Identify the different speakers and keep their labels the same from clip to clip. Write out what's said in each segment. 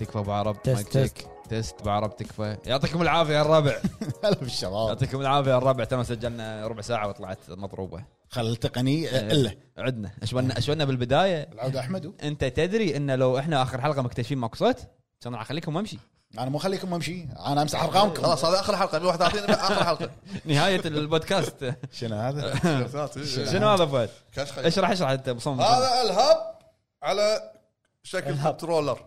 Speaker 1: حلقه بعرب
Speaker 2: تست، تست.
Speaker 1: تست بعربتك ف يعطيكم العافيه يا الربع
Speaker 3: هلا بالشباب
Speaker 1: يعطيكم العافيه يا الربع ترى سجلنا ربع ساعه وطلعت مضروبه
Speaker 3: خلتقني
Speaker 1: إيه.
Speaker 3: الا
Speaker 1: عدنا اشولنا اشولنا بالبدايه
Speaker 3: العوده احمد
Speaker 1: انت تدري ان لو احنا اخر حلقه مكتشفين مقصود كان راح اخليكم امشي
Speaker 3: انا مو خليكم امشي انا امسح
Speaker 1: إيه.
Speaker 3: ارقامكم
Speaker 4: خلاص هذا اخر حلقه 131 اخر حلقه
Speaker 1: نهايه البودكاست
Speaker 3: شنو هذا؟
Speaker 1: شنو هذا فهد؟
Speaker 4: كاش خير.
Speaker 1: اشرح اشرح انت مصمم
Speaker 4: هذا الهب على شكل
Speaker 2: الهب.
Speaker 4: كنترولر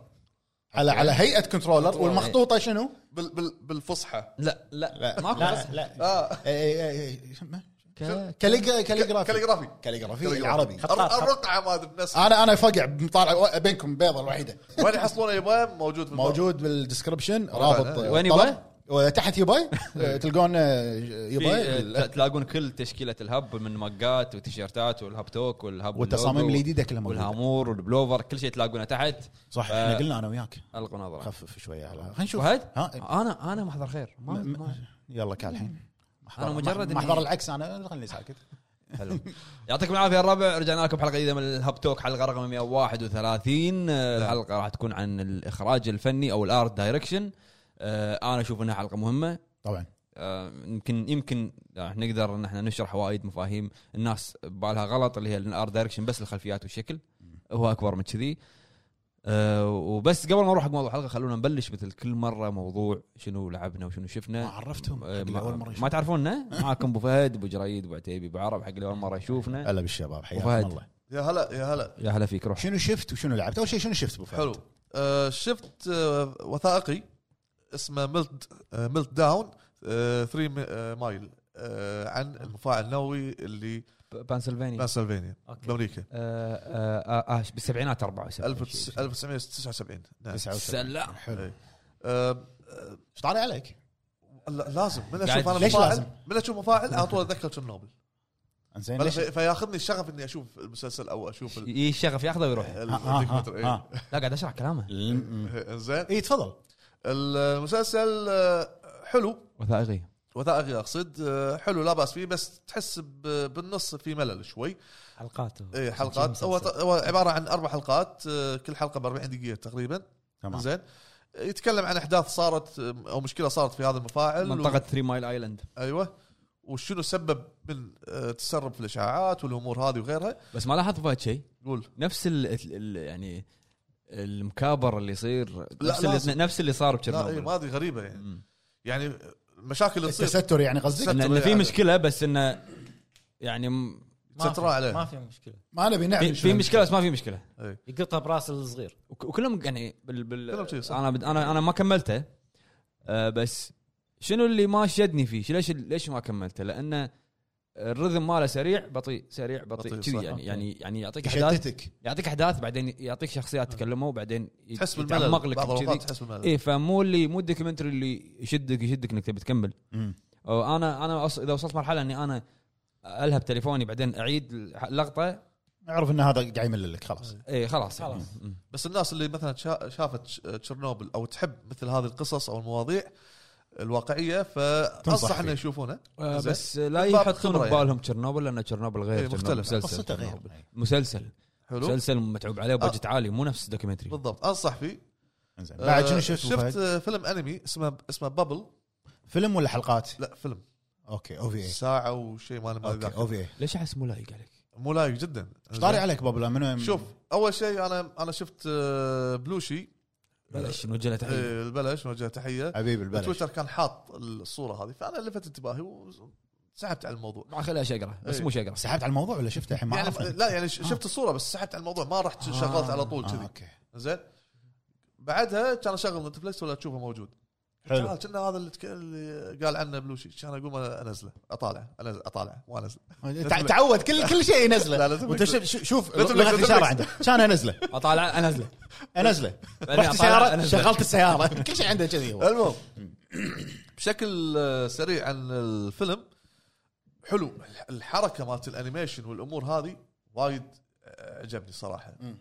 Speaker 3: على على هيئه كنترولر
Speaker 1: إيه.
Speaker 3: والمخطوطه شنو؟
Speaker 4: بال بال بالفصحى
Speaker 1: لا لا
Speaker 3: لا.
Speaker 1: ماكو
Speaker 2: لا
Speaker 1: بس
Speaker 2: لا
Speaker 4: اه
Speaker 3: إي- إي- إي- شو- ما-
Speaker 1: ك-
Speaker 3: كاليغ- كاليغرافي
Speaker 4: كاليغرافي
Speaker 3: كاليغرافي
Speaker 4: كاليغرافي.
Speaker 3: العربي
Speaker 2: خطاط، خطاط.
Speaker 4: الرقعه ما أدري بنفسها.
Speaker 3: انا انا فقع مطالع بينكم بيضه الوحيده
Speaker 4: وين يحصلون يبا موجود في البر.
Speaker 3: موجود بالدسكربشن رابط
Speaker 1: وين يبا؟
Speaker 3: يبا؟ تحت يبا آه، تلقون آه،
Speaker 1: في آه،
Speaker 3: يبا
Speaker 1: تلاقون كل تشكيله الهب من مقات وتيشيرتات والهب توك والهب
Speaker 3: والتصاميم
Speaker 1: اللوجو
Speaker 3: الجديده كلها موجوده
Speaker 1: والهامور والبلوفر كل شيء تلاقونه تحت
Speaker 3: صح
Speaker 1: ف-
Speaker 3: احنا قلنا انا وياك
Speaker 1: القوا نظره
Speaker 3: خفف شويه على خلينا نشوف
Speaker 1: فهد
Speaker 3: ها
Speaker 1: انا انا محضر خير ما-
Speaker 3: م-
Speaker 1: ما-
Speaker 3: يلا كال الحين
Speaker 1: أنا مجرد إني-
Speaker 3: محضر العكس انا خليني ساكت
Speaker 1: حلو يعطيكم العافيه يا الربع رجعنا لكم حلقه جديده من الهاب توك حلقه رقم 131
Speaker 3: نعم.
Speaker 1: آه، الحلقه راح تكون عن الاخراج الفني او الارت دايركشن آه، انا اشوف انها حلقه مهمه
Speaker 3: طبعا
Speaker 1: آه، يمكن يمكن راح نقدر ان احنا نشرح وايد مفاهيم الناس بالها غلط اللي هي الار دايركشن بس الخلفيات والشكل هو اكبر من كذي آه، وبس قبل ما نروح حق موضوع الحلقه خلونا نبلش مثل كل مره موضوع شنو لعبنا وشنو
Speaker 3: ما
Speaker 1: شفنا
Speaker 3: عرفتهم
Speaker 1: آه،
Speaker 3: قبل اول
Speaker 1: ما,
Speaker 3: مره
Speaker 1: ما
Speaker 3: يشوف.
Speaker 1: تعرفونا معاكم ابو فهد ابو جريد ابو عتيبي ابو عرب حق اللي اول مره يشوفنا
Speaker 3: هلا بالشباب حياكم
Speaker 1: وفهد.
Speaker 3: الله
Speaker 4: يا هلا يا هلا
Speaker 1: يا هلا فيك روح
Speaker 3: شنو شفت وشنو لعبت اول شيء شنو شفت ابو فهد؟
Speaker 4: حلو آه، شفت آه، وثائقي اسمه ملت آه، ملت داون 3 مايل آه، عن المفاعل النووي اللي
Speaker 1: بنسلفانيا
Speaker 4: بنسلفانيا
Speaker 1: إيه. أوكي.
Speaker 4: بامريكا
Speaker 1: آه، آه، آه، آه، بالسبعينات 74 شيء.
Speaker 4: 1979 نعم
Speaker 3: 79
Speaker 1: سلام
Speaker 3: حلو
Speaker 4: إي. آه، آه،
Speaker 3: ايش طالع عليك؟
Speaker 4: لا- لازم من
Speaker 1: قاعد-
Speaker 4: اشوف انا
Speaker 3: ليش لازم؟
Speaker 4: مفاعل من اشوف مفاعل على طول اتذكر تشيرنوبل
Speaker 3: زين
Speaker 4: فأنا
Speaker 3: ليش؟
Speaker 4: في- فياخذني الشغف اني اشوف المسلسل او اشوف ال-
Speaker 1: يجي الشغف ياخذه ويروح
Speaker 4: ال- إيه،
Speaker 3: ها- ها-
Speaker 4: الدوكيومنتري.
Speaker 3: ها- ها.
Speaker 1: لا قاعد اشرح كلامه
Speaker 4: انزين
Speaker 3: اي آه. إيه، تفضل
Speaker 4: المسلسل آه، حلو
Speaker 1: وثائقي
Speaker 4: وثائقي اقصد آه، حلو لا باس فيه بس تحس ب- بالنص في ملل شوي
Speaker 2: حلقات
Speaker 4: إيه، حلقات هو ط- هو عباره عن اربع حلقات آه، كل حلقه ب 40 دقيقه تقريبا
Speaker 3: تمام
Speaker 4: زين يتكلم عن احداث صارت آه، او مشكله صارت في هذا المفاعل و-
Speaker 1: منطقه 3 مايل ايلاند
Speaker 4: ايوه وشنو سبب من آه، تسرب في الاشاعات والامور هذه وغيرها
Speaker 1: بس ما لاحظت فهد شيء
Speaker 4: قول
Speaker 1: نفس ال ال يعني المكابر اللي يصير نفس
Speaker 4: لازم.
Speaker 1: اللي, نفس اللي صار
Speaker 4: لا إيه،
Speaker 1: بتشيرنوبل
Speaker 4: ما هذه غريبه يعني
Speaker 1: مم.
Speaker 4: يعني المشاكل اللي تصير
Speaker 3: التستر يعني قصدك؟
Speaker 1: إن- ان
Speaker 4: تستر
Speaker 1: في
Speaker 4: يعني.
Speaker 1: مشكله بس انه يعني م-
Speaker 4: تسترها عليه.
Speaker 2: ما في مشكله
Speaker 3: ما نبي نعرف
Speaker 4: يعني
Speaker 1: في,
Speaker 3: شنو
Speaker 1: في مشكله بس ما في مشكله
Speaker 2: يقطها براس الصغير
Speaker 1: وك- وكلهم يعني بال بال
Speaker 4: كلهم شي صح.
Speaker 1: انا بد- انا انا ما كملته آه بس شنو اللي ما شدني فيه؟ شو- ليش ليش ما كملته؟ لان الرذم ماله سريع بطيء سريع بطيء
Speaker 4: بطيء،
Speaker 1: كذي
Speaker 4: صح.
Speaker 1: يعني
Speaker 2: أوكي.
Speaker 1: يعني يعني يعطيك احداث
Speaker 3: يشتتك
Speaker 1: يعطيك احداث بعدين يعطيك شخصيات تكلموا وبعدين يت-
Speaker 4: تحس بالملل
Speaker 1: يتعمق لك
Speaker 4: بعض
Speaker 1: كذي إيه.
Speaker 4: الاوقات تحس بالملل
Speaker 1: اي فمو اللي مو الدوكيومنتري اللي يشدك يشدك انك تبي تكمل
Speaker 3: مم.
Speaker 1: أو انا انا أص... اذا وصلت مرحله اني انا الهب تليفوني بعدين اعيد اللقطه
Speaker 3: اعرف ان هذا قاعد يملل لك خلاص
Speaker 4: إيه.
Speaker 1: اي إيه، خلاص
Speaker 2: خلاص.
Speaker 1: م- م.
Speaker 4: بس الناس اللي مثلا شا- شافت ش- تشيرنوبل او تحب مثل هذه القصص او المواضيع الواقعيه فانصح
Speaker 3: فيه.
Speaker 4: انه يشوفونه
Speaker 1: آه
Speaker 4: زين.
Speaker 1: بس لا
Speaker 4: من باب
Speaker 1: يحطون
Speaker 4: خبرة يعني.
Speaker 1: ببالهم تشيرنوبل لان تشيرنوبل غير
Speaker 4: إيه،
Speaker 1: تشيرنوبل
Speaker 4: مختلف.
Speaker 1: مسلسل
Speaker 3: قصته غير
Speaker 1: تشيرنوبل. مسلسل
Speaker 4: حلو آه.
Speaker 1: مسلسل متعوب عليه بجت عالي مو نفس الدوكيومنتري
Speaker 4: بالضبط انصح فيه
Speaker 3: إنزين.
Speaker 4: آه،
Speaker 3: بعد شنو شفت أبو
Speaker 4: شفت
Speaker 3: فهد؟
Speaker 4: آه، فيلم انمي اسمه اسمه بابل
Speaker 3: فيلم ولا حلقات؟
Speaker 4: لا فيلم
Speaker 3: اوكي او في اي
Speaker 4: ساعه وشيء ما انا ما
Speaker 3: اوكي او
Speaker 4: ذاكر
Speaker 3: في اي
Speaker 1: ليش احس مو لايق عليك؟
Speaker 4: مو لايق جدا
Speaker 3: ايش طاري عليك بابلا منو
Speaker 4: شوف اول شيء انا انا شفت آه، بلوشي
Speaker 1: بلاش نوجه له تحيه
Speaker 4: آه، البلش نوجه تحيه
Speaker 3: حبيب البلد
Speaker 4: تويتر كان حاط الصوره هذه فانا لفت انتباهي وسحبت على الموضوع
Speaker 1: ما خليها شقره بس
Speaker 4: إيه.
Speaker 1: مو شقره
Speaker 3: سحبت على الموضوع ولا شفته الحين ما
Speaker 4: يعني
Speaker 3: اعرف
Speaker 4: لا يعني ش- شفت الصوره بس سحبت على الموضوع ما رحت شغلت على طول
Speaker 3: آه
Speaker 4: كذي
Speaker 3: اوكي
Speaker 4: زين بعدها كان اشغل نتفلكس ولا تشوفه موجود
Speaker 3: حلو.
Speaker 4: تعال، كنا هذا اللي, تك... اللي قال عنه بلوشي كان اقوم انزله اطالعه انزله اطالعه ما انزله
Speaker 3: تع- تعود كل كل شيء
Speaker 4: لا،
Speaker 3: ينزله
Speaker 4: لا،
Speaker 3: وانت شوف شوف
Speaker 4: لا، لا،
Speaker 3: لغه
Speaker 4: لا،
Speaker 3: الاشاره
Speaker 4: لا.
Speaker 3: عنده كان انزله
Speaker 1: اطالع انزله
Speaker 3: انزله
Speaker 1: بعدين
Speaker 3: رحت
Speaker 1: أطالع،
Speaker 3: السياره
Speaker 1: أنزله.
Speaker 3: شغلت السياره كل شيء عنده كذي هو
Speaker 4: المهم بشكل آه، سريع عن الفيلم حلو الح- الحركه مالت الانيميشن والامور هذه وايد آه، عجبني صراحه
Speaker 5: يعني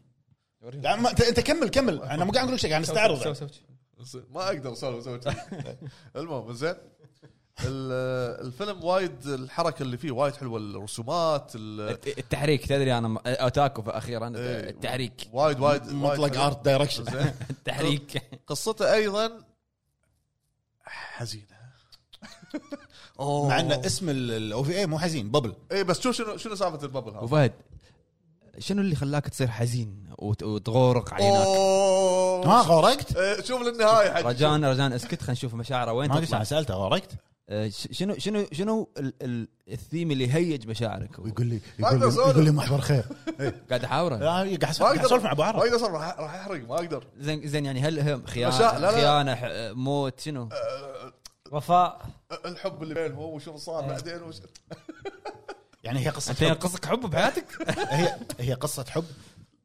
Speaker 3: لا، ما- انت انت كمل كمل انا مو قاعد اقول لك شيء قاعد
Speaker 1: سو- سو-
Speaker 3: استعرض
Speaker 1: سو- سو-
Speaker 4: ما اقدر اسولف اسوي كذي. المهم زين ال- الفيلم وايد الحركه اللي فيه وايد حلوه الرسومات ال-
Speaker 1: التحريك تدري انا م- اوتاكو اخيرا
Speaker 4: إيه.
Speaker 1: التحريك
Speaker 4: وايد وايد
Speaker 5: مطلق
Speaker 4: ارت
Speaker 5: ارت دايركشن
Speaker 1: التحريك
Speaker 4: قصته ايضا حزينه
Speaker 5: مع ان اسم الاو في اي مو حزين ببل
Speaker 4: اي إيه، بس شوف شنو شنو سالفه البابل هذا
Speaker 1: وفهد شنو اللي خلاك تصير حزين وت- وتغورق عيناك؟
Speaker 4: أوه.
Speaker 5: ما غرقت؟
Speaker 4: إيه، شوف للنهايه حق
Speaker 1: رجاء رجاء اسكت خلينا نشوف مشاعره وين
Speaker 5: ما
Speaker 1: تطلع
Speaker 5: قلت سالته غرقت؟
Speaker 1: آه، ش- شنو شنو شنو ال- ال- الثيم اللي هيج مشاعرك؟
Speaker 5: ويقول لي
Speaker 4: ما
Speaker 5: يقول
Speaker 4: أقدر
Speaker 5: لي,
Speaker 4: أسولف.
Speaker 5: يقول لي محور خير
Speaker 1: قاعد
Speaker 5: لا،
Speaker 1: احاوره
Speaker 5: قاعد أسولف-
Speaker 4: ما
Speaker 5: قاعد
Speaker 4: اقدر
Speaker 5: اسولف مع ابو
Speaker 4: ما
Speaker 5: عرب
Speaker 4: اقدر أصلاً، راح راح احرق ما اقدر
Speaker 1: زين زين يعني هل هم
Speaker 4: مشاع- لا،
Speaker 1: خيانه
Speaker 4: لا.
Speaker 1: خيانه ح- موت شنو؟
Speaker 2: وفاء
Speaker 4: أه، الحب اللي بينهم وشوف صار بعدين وش
Speaker 5: يعني هي قصه
Speaker 1: انت
Speaker 5: حب
Speaker 1: ينقصك حب بحياتك؟
Speaker 5: هي هي قصه حب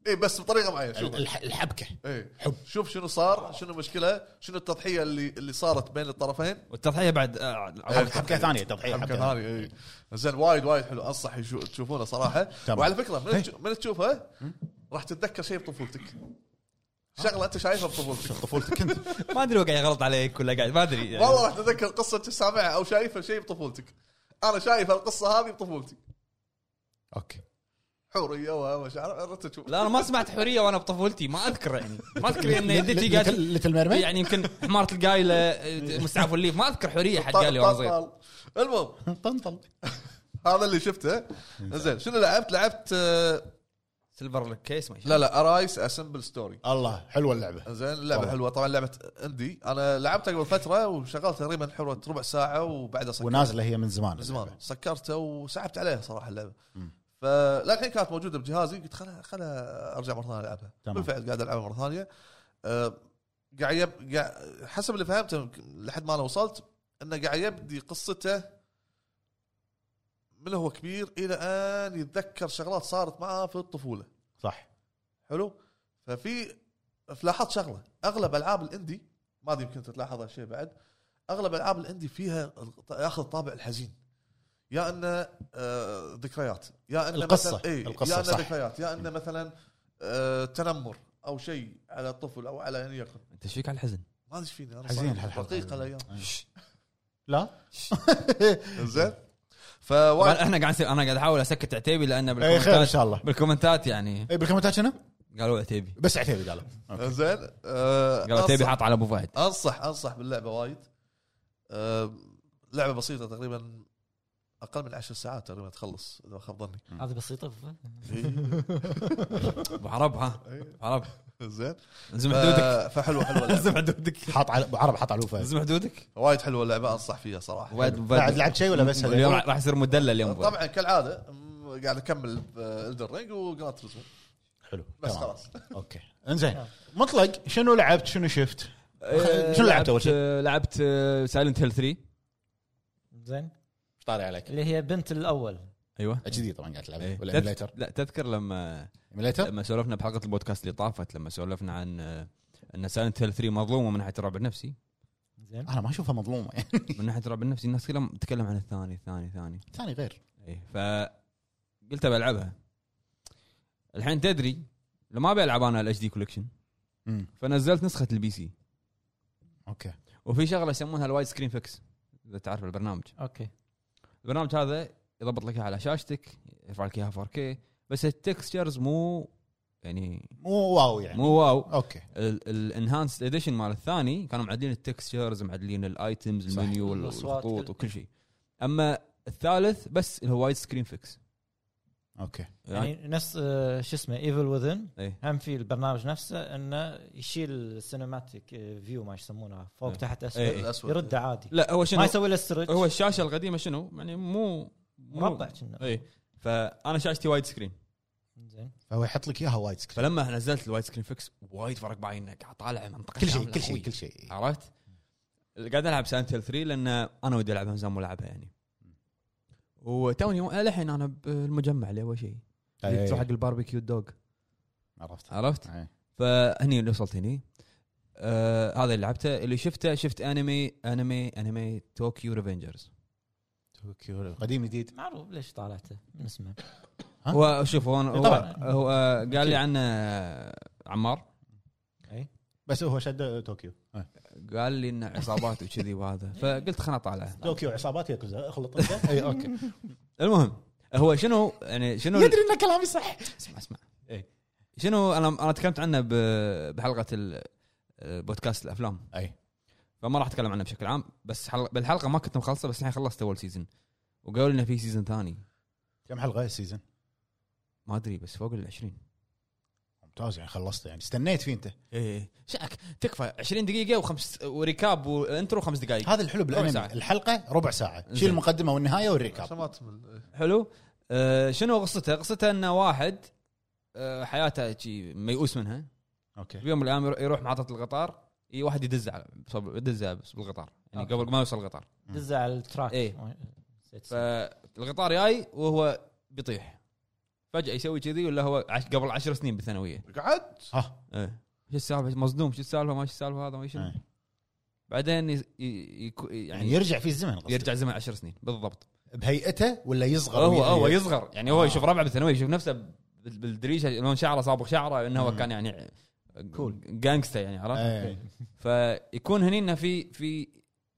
Speaker 4: اي إيه، بس بطريقه معينه شوف
Speaker 5: الح- الحبكه
Speaker 4: اي
Speaker 5: حب.
Speaker 4: شوف شنو صار شنو المشكله شنو التضحيه اللي اللي صارت بين الطرفين
Speaker 1: والتضحيه بعد آه،
Speaker 5: حب- حبكه ثانيه
Speaker 3: إيه،
Speaker 5: تضحيه
Speaker 4: حبكه
Speaker 5: حبكه
Speaker 4: ثانيه اي إيه. زين وايد وايد حلو انصح يشو- تشوفونه صراحه
Speaker 5: تمام. إيه.
Speaker 4: وعلى فكره من, تشو- من تشوفه راح تتذكر شيء بطفولتك شغله انت شايفها بطفولتك
Speaker 5: طفولتك كنت
Speaker 1: ما ادري هو قاعد يغلط عليك ولا قاعد ما ادري يعني.
Speaker 4: والله راح تتذكر قصه أنت سامعها او شايفها شيء بطفولتك انا شايف القصه هذه بطفولتي
Speaker 5: اوكي
Speaker 4: حوريه ومشاعر انت تشوف
Speaker 1: لا انا ما سمعت حوريه وانا بطفولتي ما اذكر يعني ما اذكر ان يدتي
Speaker 5: ليتل
Speaker 1: قاعد
Speaker 5: ليتل ميرميد
Speaker 1: يعني يمكن حماره القايله آه، مستعف الليف ما اذكر حوريه حد قال لي وانا صغير
Speaker 4: المهم
Speaker 5: طنطل
Speaker 4: هذا اللي شفته زين شنو لعبت لعبت آه،
Speaker 1: سيلفر كيس ما
Speaker 4: لا لا ارايس اسمبل ستوري
Speaker 5: الله حلوه اللعبه
Speaker 4: زين اللعبه
Speaker 5: والله.
Speaker 4: حلوه طبعا لعبه اندي انا لعبتها قبل فتره وشغال تقريبا حوالي ربع ساعه وبعدها سكرت
Speaker 5: ونازله هي من زمان
Speaker 4: من زمان سكرته وسحبت عليها صراحه اللعبه فلا الحين كانت موجوده بجهازي قلت خلها خلها ارجع مره ثانيه العبها
Speaker 5: تمام.
Speaker 4: بالفعل قاعد العبها مره ثانيه أه، قاعد يب... قاعد حسب اللي فهمته يمكن لحد ما انا وصلت انه قاعد يبدي قصته من هو كبير الى ان يتذكر شغلات صارت معاه في الطفوله
Speaker 5: صح
Speaker 4: حلو ففي فلاحظت شغله اغلب العاب الاندي ما ادري يمكن تلاحظ هالشيء بعد اغلب العاب الاندي فيها ياخذ الطابع الحزين يا انه آه، ذكريات يا انه
Speaker 5: القصة.
Speaker 4: مثلا إيه
Speaker 5: القصة،
Speaker 4: يا انه
Speaker 5: صح. إيه.
Speaker 4: ذكريات يا انه مثلا آه، تنمر او شيء على الطفل او على ان يكن
Speaker 1: انت ايش فيك على الحزن؟
Speaker 4: ما ادري ايش فيني انا
Speaker 5: حزين
Speaker 4: صاير
Speaker 5: هالحلقة.
Speaker 4: دقيق الايام
Speaker 5: لا
Speaker 4: زين
Speaker 1: طبعاً
Speaker 4: فوايد
Speaker 1: احنا قاعد نصير انا قاعد احاول اسكت عتيبي لان
Speaker 5: اي إيه، خير ان
Speaker 1: بالكومنتات
Speaker 5: شاء الله
Speaker 1: بالكومنتات يعني
Speaker 5: اي بالكومنتات شنو؟
Speaker 1: قالوا عتيبي
Speaker 5: بس عتيبي قالوا أوكي.
Speaker 4: زين آه،
Speaker 1: قالوا عتيبي
Speaker 4: أنصح-
Speaker 1: حاط على ابو فهد
Speaker 4: انصح انصح باللعبه وايد أم، لعبه بسيطه تقريبا اقل من عشر ساعات تقريبا تخلص اذا ما خاب ظني
Speaker 2: هذه بسيطه
Speaker 1: ابو عرب ها أبو عرب
Speaker 4: زين
Speaker 1: انزم
Speaker 4: ف-
Speaker 1: حدودك
Speaker 4: فحلوه حلوه اللعبة.
Speaker 1: انزم حدودك
Speaker 5: حاط على أبو عرب حاط على الوفا
Speaker 1: انزم حدودك
Speaker 4: وايد حلوه اللعبه انصح فيها صراحه
Speaker 1: واد- واد-
Speaker 5: بعد لعبت شيء ولا بس هذا؟
Speaker 1: اليوم راح راح يصير مدلل اليوم أبو فهد.
Speaker 4: طبعا كالعاده أم، قاعد اكمل الدر رينج وجراند تريزمو
Speaker 5: حلو
Speaker 4: بس
Speaker 5: تمام.
Speaker 4: خلاص
Speaker 5: اوكي انزين مطلق شنو لعبت شنو شفت؟
Speaker 1: آه،
Speaker 5: شنو لعبت أول شيء؟
Speaker 1: آه، لعبت سايلنت هيل 3
Speaker 2: زين
Speaker 5: طاري عليك
Speaker 2: اللي هي بنت الاول
Speaker 1: ايوه
Speaker 5: كذي طبعا قاعد تلعب
Speaker 1: إيه.
Speaker 5: ولا
Speaker 1: تذ-
Speaker 5: ايميليتر
Speaker 1: لا تذكر لما
Speaker 5: ايميليتر
Speaker 1: لما سولفنا بحلقه البودكاست اللي طافت لما سولفنا عن آه، ان سايلنت هيل 3 مظلومه من ناحيه الرعب النفسي
Speaker 2: زين
Speaker 1: آه.
Speaker 5: انا ما اشوفها مظلومه يعني
Speaker 1: من ناحيه الرعب النفسي الناس كلها تتكلم عن الثاني الثاني الثاني
Speaker 5: ثاني غير
Speaker 1: اي ف قلت بلعبها الحين تدري لما بلعب انا الاتش دي كولكشن
Speaker 5: امم
Speaker 1: فنزلت نسخه البي سي
Speaker 5: اوكي
Speaker 1: وفي شغله يسمونها الوايد سكرين فيكس اذا تعرف البرنامج
Speaker 2: اوكي
Speaker 1: البرنامج هذا يضبط لك إياها على شاشتك يرفع لك اياها 4K بس التكستشرز مو يعني
Speaker 5: مو واو يعني
Speaker 1: مو واو
Speaker 5: اوكي
Speaker 1: الانهانسد اديشن مال الثاني كانوا معدلين التكستشرز معدلين الايتمز
Speaker 5: صح.
Speaker 1: المنيو
Speaker 2: الأصوات،
Speaker 1: والخطوط
Speaker 2: كل-
Speaker 1: وكل شيء اما الثالث بس اللي هو وايد سكرين فيكس
Speaker 5: اوكي
Speaker 1: يعني
Speaker 2: يعني نفس آه، شو اسمه ايفل وذن
Speaker 1: ايه
Speaker 2: هم في البرنامج نفسه انه يشيل السينماتيك فيو ما يسمونها فوق
Speaker 1: إيه.
Speaker 2: تحت
Speaker 1: إيه.
Speaker 2: اسفل
Speaker 4: الاسود
Speaker 2: يرد عادي
Speaker 1: لا هو شنو
Speaker 2: ما يسوي له ستريتش
Speaker 1: هو الشاشه القديمه شنو يعني مو مو-
Speaker 2: مربع كنا
Speaker 1: اي فانا شاشتي وايد سكرين
Speaker 2: زين
Speaker 5: فهو يحط لك اياها وايد سكرين
Speaker 1: فلما نزلت الوايد سكرين فيكس وايد فرق بعيننا قاعد طالع منطقه
Speaker 5: كل شيء
Speaker 1: كاملة
Speaker 5: كل شيء
Speaker 1: قوية.
Speaker 5: كل شيء
Speaker 1: عرفت؟ قاعد العب سايلنت هيل 3 لان انا ودي العبها من زمان مو لعبها يعني. وتوني للحين انا بالمجمع اللي اول شيء اللي
Speaker 5: إيه.
Speaker 1: تروح حق الباربيكيو دوغ
Speaker 5: عرفت
Speaker 1: عرفت؟
Speaker 5: إيه.
Speaker 1: فهني اللي وصلت هني آه هذا اللي لعبته اللي شفته شفت انمي انمي انمي طوكيو ريفنجرز
Speaker 5: طوكيو قديم جديد
Speaker 2: معروف ليش طالعته من اسمه
Speaker 5: ها؟
Speaker 1: هو شوف هو هو,
Speaker 5: طبعاً.
Speaker 1: آه، هو قال لي عنه عمار
Speaker 2: اي
Speaker 3: بس هو شد طوكيو
Speaker 1: قال لي انه عصابات وكذي وهذا فقلت خلنا اطالعه
Speaker 3: طوكيو عصابات ياكوزا اخلط انت اي اوكي
Speaker 1: المهم هو شنو يعني شنو
Speaker 3: يدري ان كلامي صح
Speaker 1: اسمع اسمع
Speaker 3: إي.
Speaker 1: شنو انا انا تكلمت عنه ب- بحلقه ال- آه، بودكاست الافلام
Speaker 3: اي
Speaker 1: فما راح اتكلم عنه بشكل عام بس حلقة بالحلقه ما كنت مخلصه بس الحين خلصت اول سيزون وقالوا لي انه في سيزون ثاني
Speaker 3: كم حلقه السيزون
Speaker 1: ما ادري بس فوق ال 20
Speaker 3: ممتاز يعني خلصت يعني استنيت فيه انت
Speaker 1: ايه شاك تكفى 20 دقيقه وخمس وريكاب وانترو خمس دقائق
Speaker 3: هذا الحلو بالانمي
Speaker 1: ساعة.
Speaker 3: الحلقه ربع ساعه شيل
Speaker 1: زين.
Speaker 3: المقدمه والنهايه والريكاب
Speaker 4: عشان ما تمل
Speaker 1: حلو آه شنو قصته؟ قصته انه واحد آه حياته شي ميؤوس منها
Speaker 3: اوكي
Speaker 1: بيوم من الايام يرو- يروح محطه القطار اي واحد يدز على بصب- يدز على بس- بالقطار يعني
Speaker 2: أوكي.
Speaker 1: قبل ما يوصل القطار
Speaker 2: دز على التراك
Speaker 1: إيه.
Speaker 2: نسيت اسمه.
Speaker 1: فالقطار جاي وهو بيطيح فجاه يسوي كذي ولا هو عش قبل عشر سنين بالثانويه
Speaker 4: قعد
Speaker 3: ها
Speaker 1: ايه شو السالفه مصدوم شو السالفه ما شو يعني؟ السالفه هذا ما شنو
Speaker 3: إيه.
Speaker 1: بعدين ي... ي... يكو- يعني
Speaker 3: يعني يرجع في الزمن قصدي.
Speaker 1: يرجع زمن عشر سنين بالضبط
Speaker 3: بهيئته ولا يصغر
Speaker 1: هو
Speaker 3: ويا-
Speaker 1: هو يصغر يعني هو
Speaker 3: آه.
Speaker 1: يشوف ربعه بالثانويه يشوف نفسه بال- بالدريشه لون شعره صابغ شعره انه هو
Speaker 3: مم.
Speaker 1: كان يعني
Speaker 3: Cool.
Speaker 1: جانجستا يعني عرفت؟
Speaker 3: إيه.
Speaker 1: فيكون هني انه في في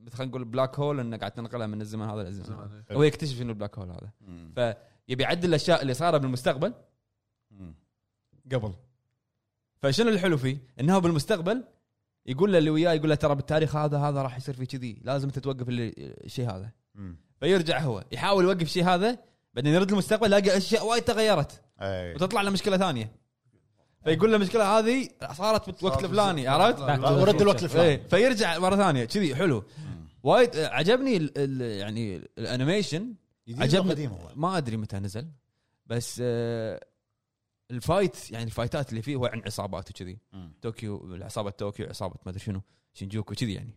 Speaker 1: مثل خلينا نقول بلاك هول انه قاعد تنقلها من الزمن هذا للزمن هذا.
Speaker 4: زمان. إيه.
Speaker 1: هو يكتشف انه البلاك هول هذا
Speaker 3: مم.
Speaker 1: يبي يعدل الاشياء اللي صارت بالمستقبل
Speaker 3: مم.
Speaker 1: قبل فشنو الحلو فيه؟ انه هو بالمستقبل يقول له اللي وياه يقول له ترى بالتاريخ هذا هذا راح يصير فيه كذي لازم انت توقف اللي- الشيء هذا
Speaker 3: مم.
Speaker 1: فيرجع هو يحاول يوقف شيء هذا بعدين يرد المستقبل يلاقي اشياء وايد تغيرت
Speaker 3: إيه.
Speaker 1: وتطلع له مشكله ثانيه فيقول له المشكله هذه صارت بالوقت
Speaker 4: صارت
Speaker 1: الفلاني
Speaker 4: بالوقت
Speaker 1: عرفت؟
Speaker 4: الفلاني.
Speaker 3: آه، ورد الوقت
Speaker 1: ايه
Speaker 3: الفلاني
Speaker 1: فيرجع مره ثانيه كذي حلو
Speaker 3: مم.
Speaker 1: وايد آه، عجبني ال ال يعني الانيميشن
Speaker 3: جديد ولا
Speaker 1: عجبني
Speaker 3: قديم هو
Speaker 1: ما ادري متى نزل بس آه، الفايت يعني الفايتات اللي فيه هو عن عصابات وكذي
Speaker 3: مم.
Speaker 1: طوكيو عصابه طوكيو عصابه ما ادري شنو شنجوكو كذي يعني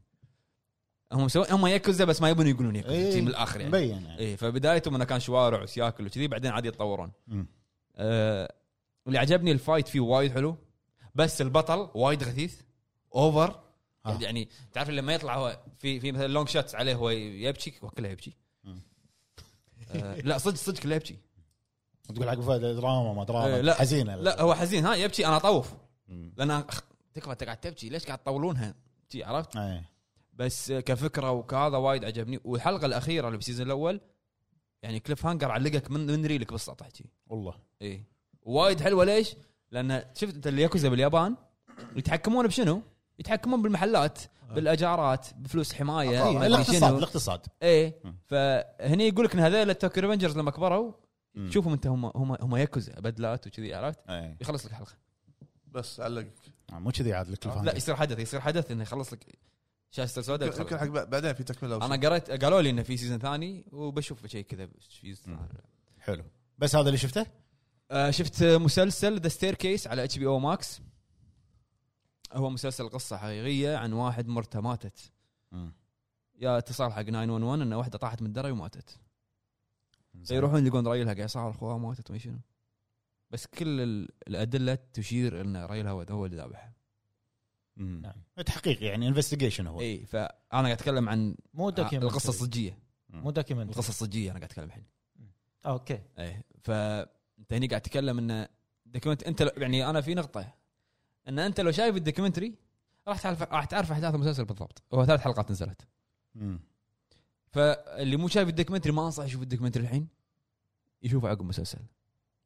Speaker 1: هم سووا هم ياكوزا بس ما يبون يقولون ياكوزا
Speaker 3: إيه.
Speaker 1: شي من الاخر يعني
Speaker 3: مبين يعني
Speaker 1: ايه فبدايتهم انه كان شوارع وسياكل وكذي بعدين عاد يتطورون
Speaker 3: مم.
Speaker 1: آه اللي عجبني الفايت فيه وايد حلو بس البطل وايد غثيث اوفر
Speaker 3: آه.
Speaker 1: يعني تعرف لما يطلع هو في في مثلا لونج شوتس عليه هو يبكي هو كله يبكي
Speaker 3: مم.
Speaker 1: آه لا صدق صدق كله يبكي
Speaker 3: تقول حق فهد دراما ما
Speaker 1: إيه،
Speaker 3: دراما
Speaker 1: لا.
Speaker 3: حزينه
Speaker 1: لا هو حزين ها يبكي انا اطوف
Speaker 3: مم.
Speaker 1: لان أخ، تكفى انت قاعد تبكي ليش قاعد تطولونها شي، عرفت
Speaker 3: إيه.
Speaker 1: بس آه، كفكره وكهذا وايد عجبني والحلقه الاخيره اللي بالسيزون الاول يعني كليف هانجر علقك من من ريلك بالسطح شي.
Speaker 3: والله
Speaker 1: اي إيه. وايد حلوه ليش؟ لان شفت انت الياكوزا باليابان يتحكمون بشنو؟ يتحكمون بالمحلات بالاجارات بفلوس حمايه
Speaker 3: آه،
Speaker 1: ما أدري
Speaker 3: الاقتصاد
Speaker 1: شنو
Speaker 3: الاقتصاد
Speaker 1: اي
Speaker 3: مم.
Speaker 1: فهني يقول لك ان هذول التوكي ريفنجرز لما كبروا
Speaker 3: مم.
Speaker 1: شوفهم انت هم هم هم ياكوزا بدلات وكذي عرفت؟
Speaker 3: إيه.
Speaker 1: يخلص لك حلقه
Speaker 4: بس علقك
Speaker 3: آه، مو كذي عاد الكليف
Speaker 1: لا
Speaker 3: هانجر.
Speaker 1: يصير حدث يصير حدث انه يخلص لك شاشه السوداء
Speaker 4: يمكن يمكن
Speaker 1: وتخلص.
Speaker 4: حق بع- بعدين في تكمله أو شيء.
Speaker 1: انا قريت قالوا لي انه في سيزون ثاني وبشوف شيء كذا بس-
Speaker 3: مم. حلو بس هذا اللي شفته
Speaker 1: آه، شفت مسلسل ذا ستير كيس على اتش بي او ماكس هو مسلسل قصه حقيقيه عن واحد مرته ماتت يا اتصال حق 911 ان واحده طاحت من الدرج وماتت
Speaker 3: زين.
Speaker 1: يروحون يلقون رايلها قاعد يصارخ اخوها ماتت وما شنو بس كل ال- الادله تشير ان رايلها هو- هو اللي ذابحها
Speaker 3: مم.
Speaker 2: نعم.
Speaker 3: تحقيق يعني انفستيجيشن هو
Speaker 1: اي فانا إيه، قاعد اتكلم عن
Speaker 2: مو دوكيومنتري
Speaker 1: القصه الصجيه
Speaker 2: مو دوكيومنتري
Speaker 1: القصه الصجيه انا قاعد اتكلم الحين
Speaker 2: اوكي
Speaker 1: ايه فانت هني قاعد تتكلم ان دوكيومنت انت لو- يعني انا في نقطه ان انت لو شايف الدوكيومنتري راح تعرف راح تعرف احداث المسلسل بالضبط هو ثلاث حلقات نزلت
Speaker 3: مم.
Speaker 1: فاللي مو شايف الدوكيومنتري ما انصح يشوف الدوكيومنتري الحين يشوفه عقب مسلسل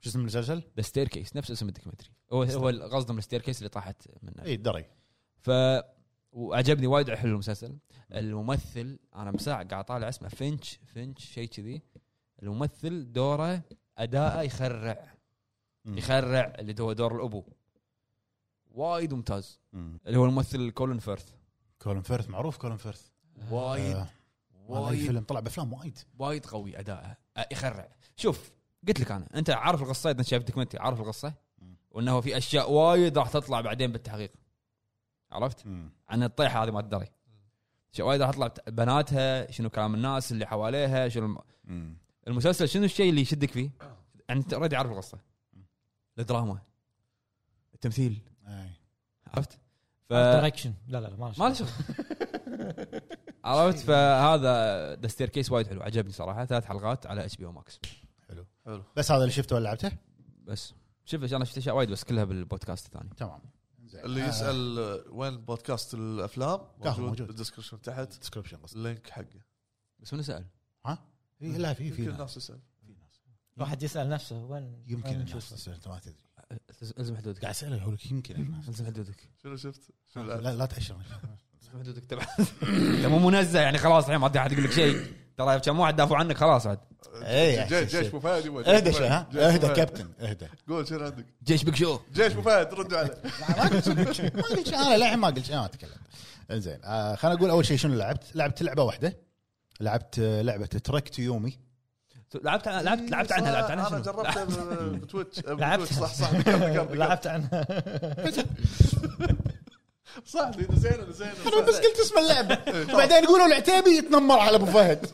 Speaker 3: شو اسم المسلسل؟
Speaker 1: ذا ستير كيس نفس اسم الدوكيومنتري هو هو قصدهم الستير كيس اللي طاحت منه
Speaker 3: اي دري
Speaker 1: ف وعجبني وايد حلو المسلسل الممثل انا مساع قاعد طالع اسمه فينش فينش شيء كذي الممثل دوره اداءه يخرع
Speaker 3: مم.
Speaker 1: يخرع اللي هو دور الابو وايد ممتاز
Speaker 3: مم.
Speaker 1: اللي هو الممثل كولن فيرث
Speaker 3: كولن فيرث معروف كولن فيرث
Speaker 1: وايد
Speaker 3: آه، والله
Speaker 1: وايد
Speaker 3: الفيلم طلع بافلام وايد
Speaker 1: وايد قوي اداءه أه، يخرع شوف قلت لك انا انت عارف القصه اذا شايف دوكيومنتري عارف القصه
Speaker 3: مم.
Speaker 1: وانه في اشياء وايد راح تطلع بعدين بالتحقيق عرفت عن الطيحه هذه ما تدري اشياء وايد راح تطلع بت- بناتها شنو كلام الناس اللي حواليها شنو الم-
Speaker 3: مم.
Speaker 1: المسلسل شنو الشيء اللي يشدك فيه؟ انت اوريدي عارف القصه الدراما التمثيل
Speaker 3: أي.
Speaker 1: عرفت؟ ف...
Speaker 2: دايركشن لا لا لا ما
Speaker 1: ما له شغل عرفت فهذا ذا ستير كيس وايد حلو عجبني صراحه ثلاث حلقات على اتش بي او ماكس
Speaker 4: حلو
Speaker 3: بس هذا اللي شفته ولا لعبته؟
Speaker 1: بس شوف انا شفت اشياء وايد بس كلها بالبودكاست الثاني
Speaker 3: تمام زين
Speaker 1: زين
Speaker 4: اللي
Speaker 3: آه.
Speaker 4: يسال آه، وين بودكاست الافلام موجود,
Speaker 3: موجود.
Speaker 4: موجود. بالدسكربشن تحت
Speaker 3: ديسكربشن قصدي
Speaker 4: اللينك حقه
Speaker 1: بس من سال
Speaker 3: إيه، لا في في ناس
Speaker 4: يمكن الناس تسال
Speaker 3: في ناس.
Speaker 2: الواحد يسال نفسه وين
Speaker 3: يمكن
Speaker 2: وين
Speaker 3: الناس
Speaker 2: نشوف؟
Speaker 3: تسأل، انت ما تدري
Speaker 1: الزم حدودك
Speaker 3: قاعد اساله يقول لك يمكن الناس
Speaker 1: الزم حدودك
Speaker 4: شنو شفت؟ شنو الآن؟
Speaker 3: لا لا تعشرني
Speaker 1: الزم حدودك تبع انت مو منزه يعني خلاص الحين ما عاد احد يقول لك شيء ترى كم واحد دافعوا عنك خلاص عاد
Speaker 3: إيه، يا
Speaker 4: جيش
Speaker 3: شيخ.
Speaker 4: جيش ابو فهد يبا، جيش
Speaker 3: اهدى شيء ها
Speaker 4: أبو فهد. جيش
Speaker 3: اهدى
Speaker 4: أبو فهد.
Speaker 3: كابتن اهدى
Speaker 4: قول شنو عندك؟
Speaker 1: جيش بيك شو
Speaker 4: جيش ابو فهد ردوا عليه
Speaker 3: لا، ما قلت لك ما قلت شيء. انا للحين ما قلت شيء، انا ما اتكلم انزين آه خليني اقول اول شيء شنو لعبت لعبت لعبه واحده لعبت آه، لعبه تركت يومي
Speaker 1: لعبت
Speaker 4: إيه،
Speaker 1: لعبت لعبت عنها لعبت عنها
Speaker 4: انا
Speaker 1: شنو؟
Speaker 4: جربتها ب- بتويتش
Speaker 2: لعبت
Speaker 4: بتويتش صح صح ذكرت- ذكرت- ذكرت.
Speaker 2: لعبت عنها
Speaker 4: صح زين زين
Speaker 3: انا بس قلت اسم اللعبه وبعدين يقولوا العتيبي يتنمر على ابو فهد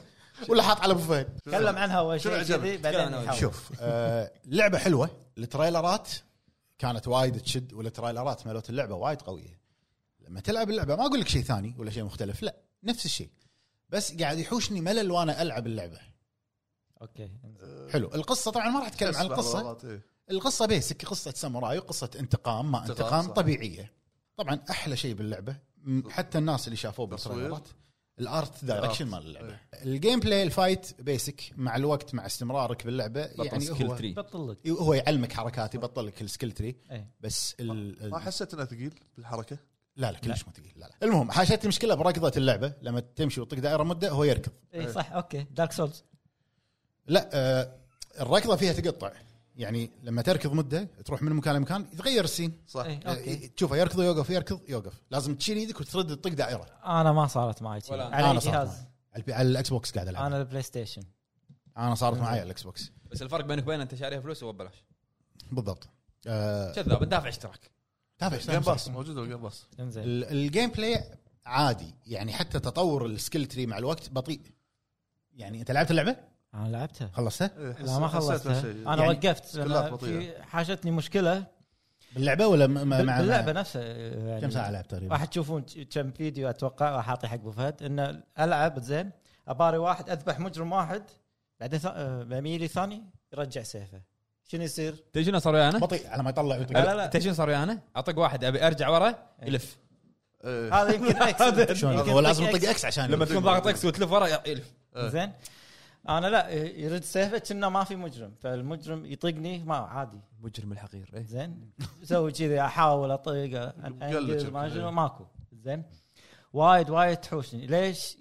Speaker 3: ولا حاط على ابو فهد
Speaker 2: تكلم عنها اول
Speaker 4: شنو
Speaker 2: شيء
Speaker 4: عجبك؟
Speaker 2: كذي
Speaker 1: تكلم
Speaker 2: بعدين
Speaker 1: عنها.
Speaker 2: يحاول.
Speaker 3: شوف آه لعبه حلوه التريلرات كانت وايد تشد والتريلرات مالت اللعبه وايد قويه لما تلعب اللعبه ما اقول لك شيء ثاني ولا شيء مختلف لا نفس الشيء بس قاعد يحوشني ملل وانا العب اللعبه
Speaker 2: اوكي
Speaker 3: حلو القصه طبعا ما راح اتكلم عن القصه القصه بيسك قصه ساموراي وقصه انتقام ما
Speaker 4: انتقام،
Speaker 3: انتقام
Speaker 4: صح.
Speaker 3: طبيعيه طبعا احلى شيء باللعبه م- حتى الناس اللي شافوه
Speaker 4: تصوير.
Speaker 3: بالتريلرات الارت دايركشن مال اللعبه
Speaker 4: إيه.
Speaker 3: الجيم بلاي الفايت بيسك مع الوقت مع استمرارك باللعبه يعني هو
Speaker 1: سكيل
Speaker 2: بطل لك
Speaker 3: هو يعلمك حركات يبطل لك السكيل تري
Speaker 2: إيه.
Speaker 3: بس ال...
Speaker 4: ما
Speaker 3: ال...
Speaker 4: حسيت انها ثقيل بالحركه
Speaker 3: لا لا كلش مو ثقيل لا لا المهم حاشتني مشكله بركضه اللعبه لما تمشي وتطق دائره مده هو يركض
Speaker 2: اي إيه، صح اوكي دارك سولز
Speaker 3: لا آه الركضه فيها تقطع يعني لما تركض مده تروح من مكان لمكان يتغير السين
Speaker 4: صح
Speaker 2: إيه. اوكي
Speaker 3: أوكي. تشوفه آه، يركض يوقف يركض يوقف لازم تشيل ايدك وترد تطق دائره
Speaker 2: انا ما صارت معي شي.
Speaker 1: ولا أنا.
Speaker 2: على
Speaker 3: أنا
Speaker 2: أي
Speaker 3: صارت
Speaker 2: جهاز
Speaker 3: على البي- على الاكس بوكس قاعد العب
Speaker 2: انا
Speaker 3: انا,
Speaker 2: البلاي ستيشن
Speaker 3: أنا صارت معي على الاكس بوكس
Speaker 1: بس الفرق بينك وبين انت شاريها فلوس وببلاش
Speaker 3: بالضبط آه،
Speaker 1: كذاب دافع اشتراك
Speaker 3: دافع
Speaker 4: جيم
Speaker 3: شلون
Speaker 4: باس
Speaker 3: صار؟
Speaker 4: موجود ولا جيم باس
Speaker 2: انزين
Speaker 3: ال- الجيم بلاي عادي يعني حتى تطور السكيل تري مع الوقت بطيء يعني انت لعبت اللعبه
Speaker 2: انا لعبتها
Speaker 3: خلصتها
Speaker 4: إيه، حس-
Speaker 2: لا ما
Speaker 4: حسيت
Speaker 2: خلصتها
Speaker 4: بهالشيء.
Speaker 2: انا
Speaker 3: يعني
Speaker 2: وقفت
Speaker 4: كلها
Speaker 2: لأن
Speaker 4: بطيئة.
Speaker 2: في حاجتني مشكله
Speaker 3: باللعبه ولا م- مع
Speaker 2: بال-
Speaker 3: مع-
Speaker 2: باللعبه نفسها يعني
Speaker 3: كم ساعه لعبت تقريبا
Speaker 2: راح تشوفون كم فيديو اتوقع راح اعطي حق ابو فهد انه العب زين اباري واحد اذبح مجرم واحد بعدين ث- آه، بميلي ثاني يرجع سيفه شنو يصير؟
Speaker 1: تدري شنو صار ويانا؟
Speaker 3: بطيء على ما يطلع ويطلع.
Speaker 1: لا لا تدري شنو صار ويانا؟ اعطيك واحد ابي ارجع ورا يلف
Speaker 4: إيه.
Speaker 2: هذا يمكن اكس
Speaker 3: شلون
Speaker 2: يمكن
Speaker 3: هو لازم
Speaker 2: X.
Speaker 3: يطق اكس عشان
Speaker 1: لما
Speaker 3: يلف.
Speaker 1: تكون ضاغط اكس وتلف ورا يلف
Speaker 4: إيه.
Speaker 2: زين انا لا يرد سيفه كنا ما في مجرم فالمجرم يطقني ما عادي
Speaker 1: مجرم الحقير إيه.
Speaker 2: زين اسوي كذي احاول اطق أن-
Speaker 4: مقلج
Speaker 2: أنقذ، ما
Speaker 4: كذي.
Speaker 2: شنو ماكو زين وايد وايد تحوشني ليش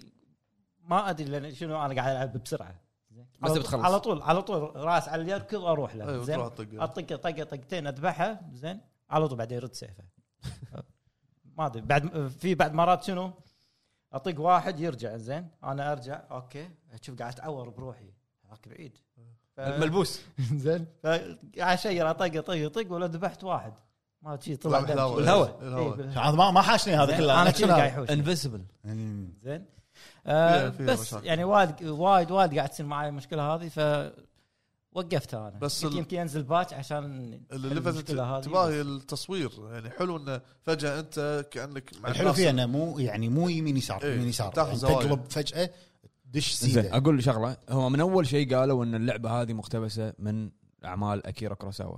Speaker 2: ما ادري لأن شنو انا قاعد العب بسرعه زين
Speaker 1: بس
Speaker 2: على-
Speaker 1: بتخلص.
Speaker 2: على طول على طول راس على اليد كذا اروح
Speaker 4: إيه،
Speaker 2: له
Speaker 4: وتروح
Speaker 2: زين
Speaker 4: تطق
Speaker 2: اطق طقه طقتين اذبحها زين على طول بعدين يرد سيفه ما ادري بعد في بعد مرات شنو اطق واحد يرجع زين انا ارجع اوكي اشوف قاعد اتعور بروحي هذاك بعيد ف-
Speaker 1: ملبوس
Speaker 2: زين عشير اطق اطق اطق ولا ذبحت واحد ما شي طلع
Speaker 4: طلع
Speaker 2: دم.
Speaker 4: بالهواء.
Speaker 1: بالهواء.
Speaker 2: إيه،
Speaker 4: بالهواء.
Speaker 2: بالهواء.
Speaker 3: هذا ما ما حاشني هذا
Speaker 2: زين،
Speaker 3: كله
Speaker 2: انا
Speaker 3: أكشن
Speaker 2: كذي
Speaker 3: هذا.
Speaker 2: قاعد يحوش
Speaker 1: انفيسبل
Speaker 3: مم.
Speaker 2: زين آه
Speaker 4: فيها- فيها
Speaker 2: بس
Speaker 4: مشاكل.
Speaker 2: يعني وايد وايد وايد قاعد تصير معي المشكله هذه ف وقفتها انا
Speaker 4: بس
Speaker 2: بس
Speaker 4: ال-
Speaker 2: يمكن انزل باتش عشان
Speaker 4: اللي لفت
Speaker 2: المشكلة هذه.
Speaker 4: انتباهي التصوير يعني حلو انه فجاه انت كانك مع
Speaker 3: الحلو
Speaker 4: الناس.
Speaker 3: فيه انه مو يعني مو يمين يسار
Speaker 4: إيه،
Speaker 3: يمين يسار
Speaker 4: تاخذ
Speaker 3: يعني
Speaker 4: زوايا.
Speaker 3: تقلب فجاه دش
Speaker 1: زين
Speaker 3: سيده
Speaker 1: اقول شغله هو من اول شيء قالوا ان اللعبه هذه مقتبسه من اعمال اكيرا كوروساوا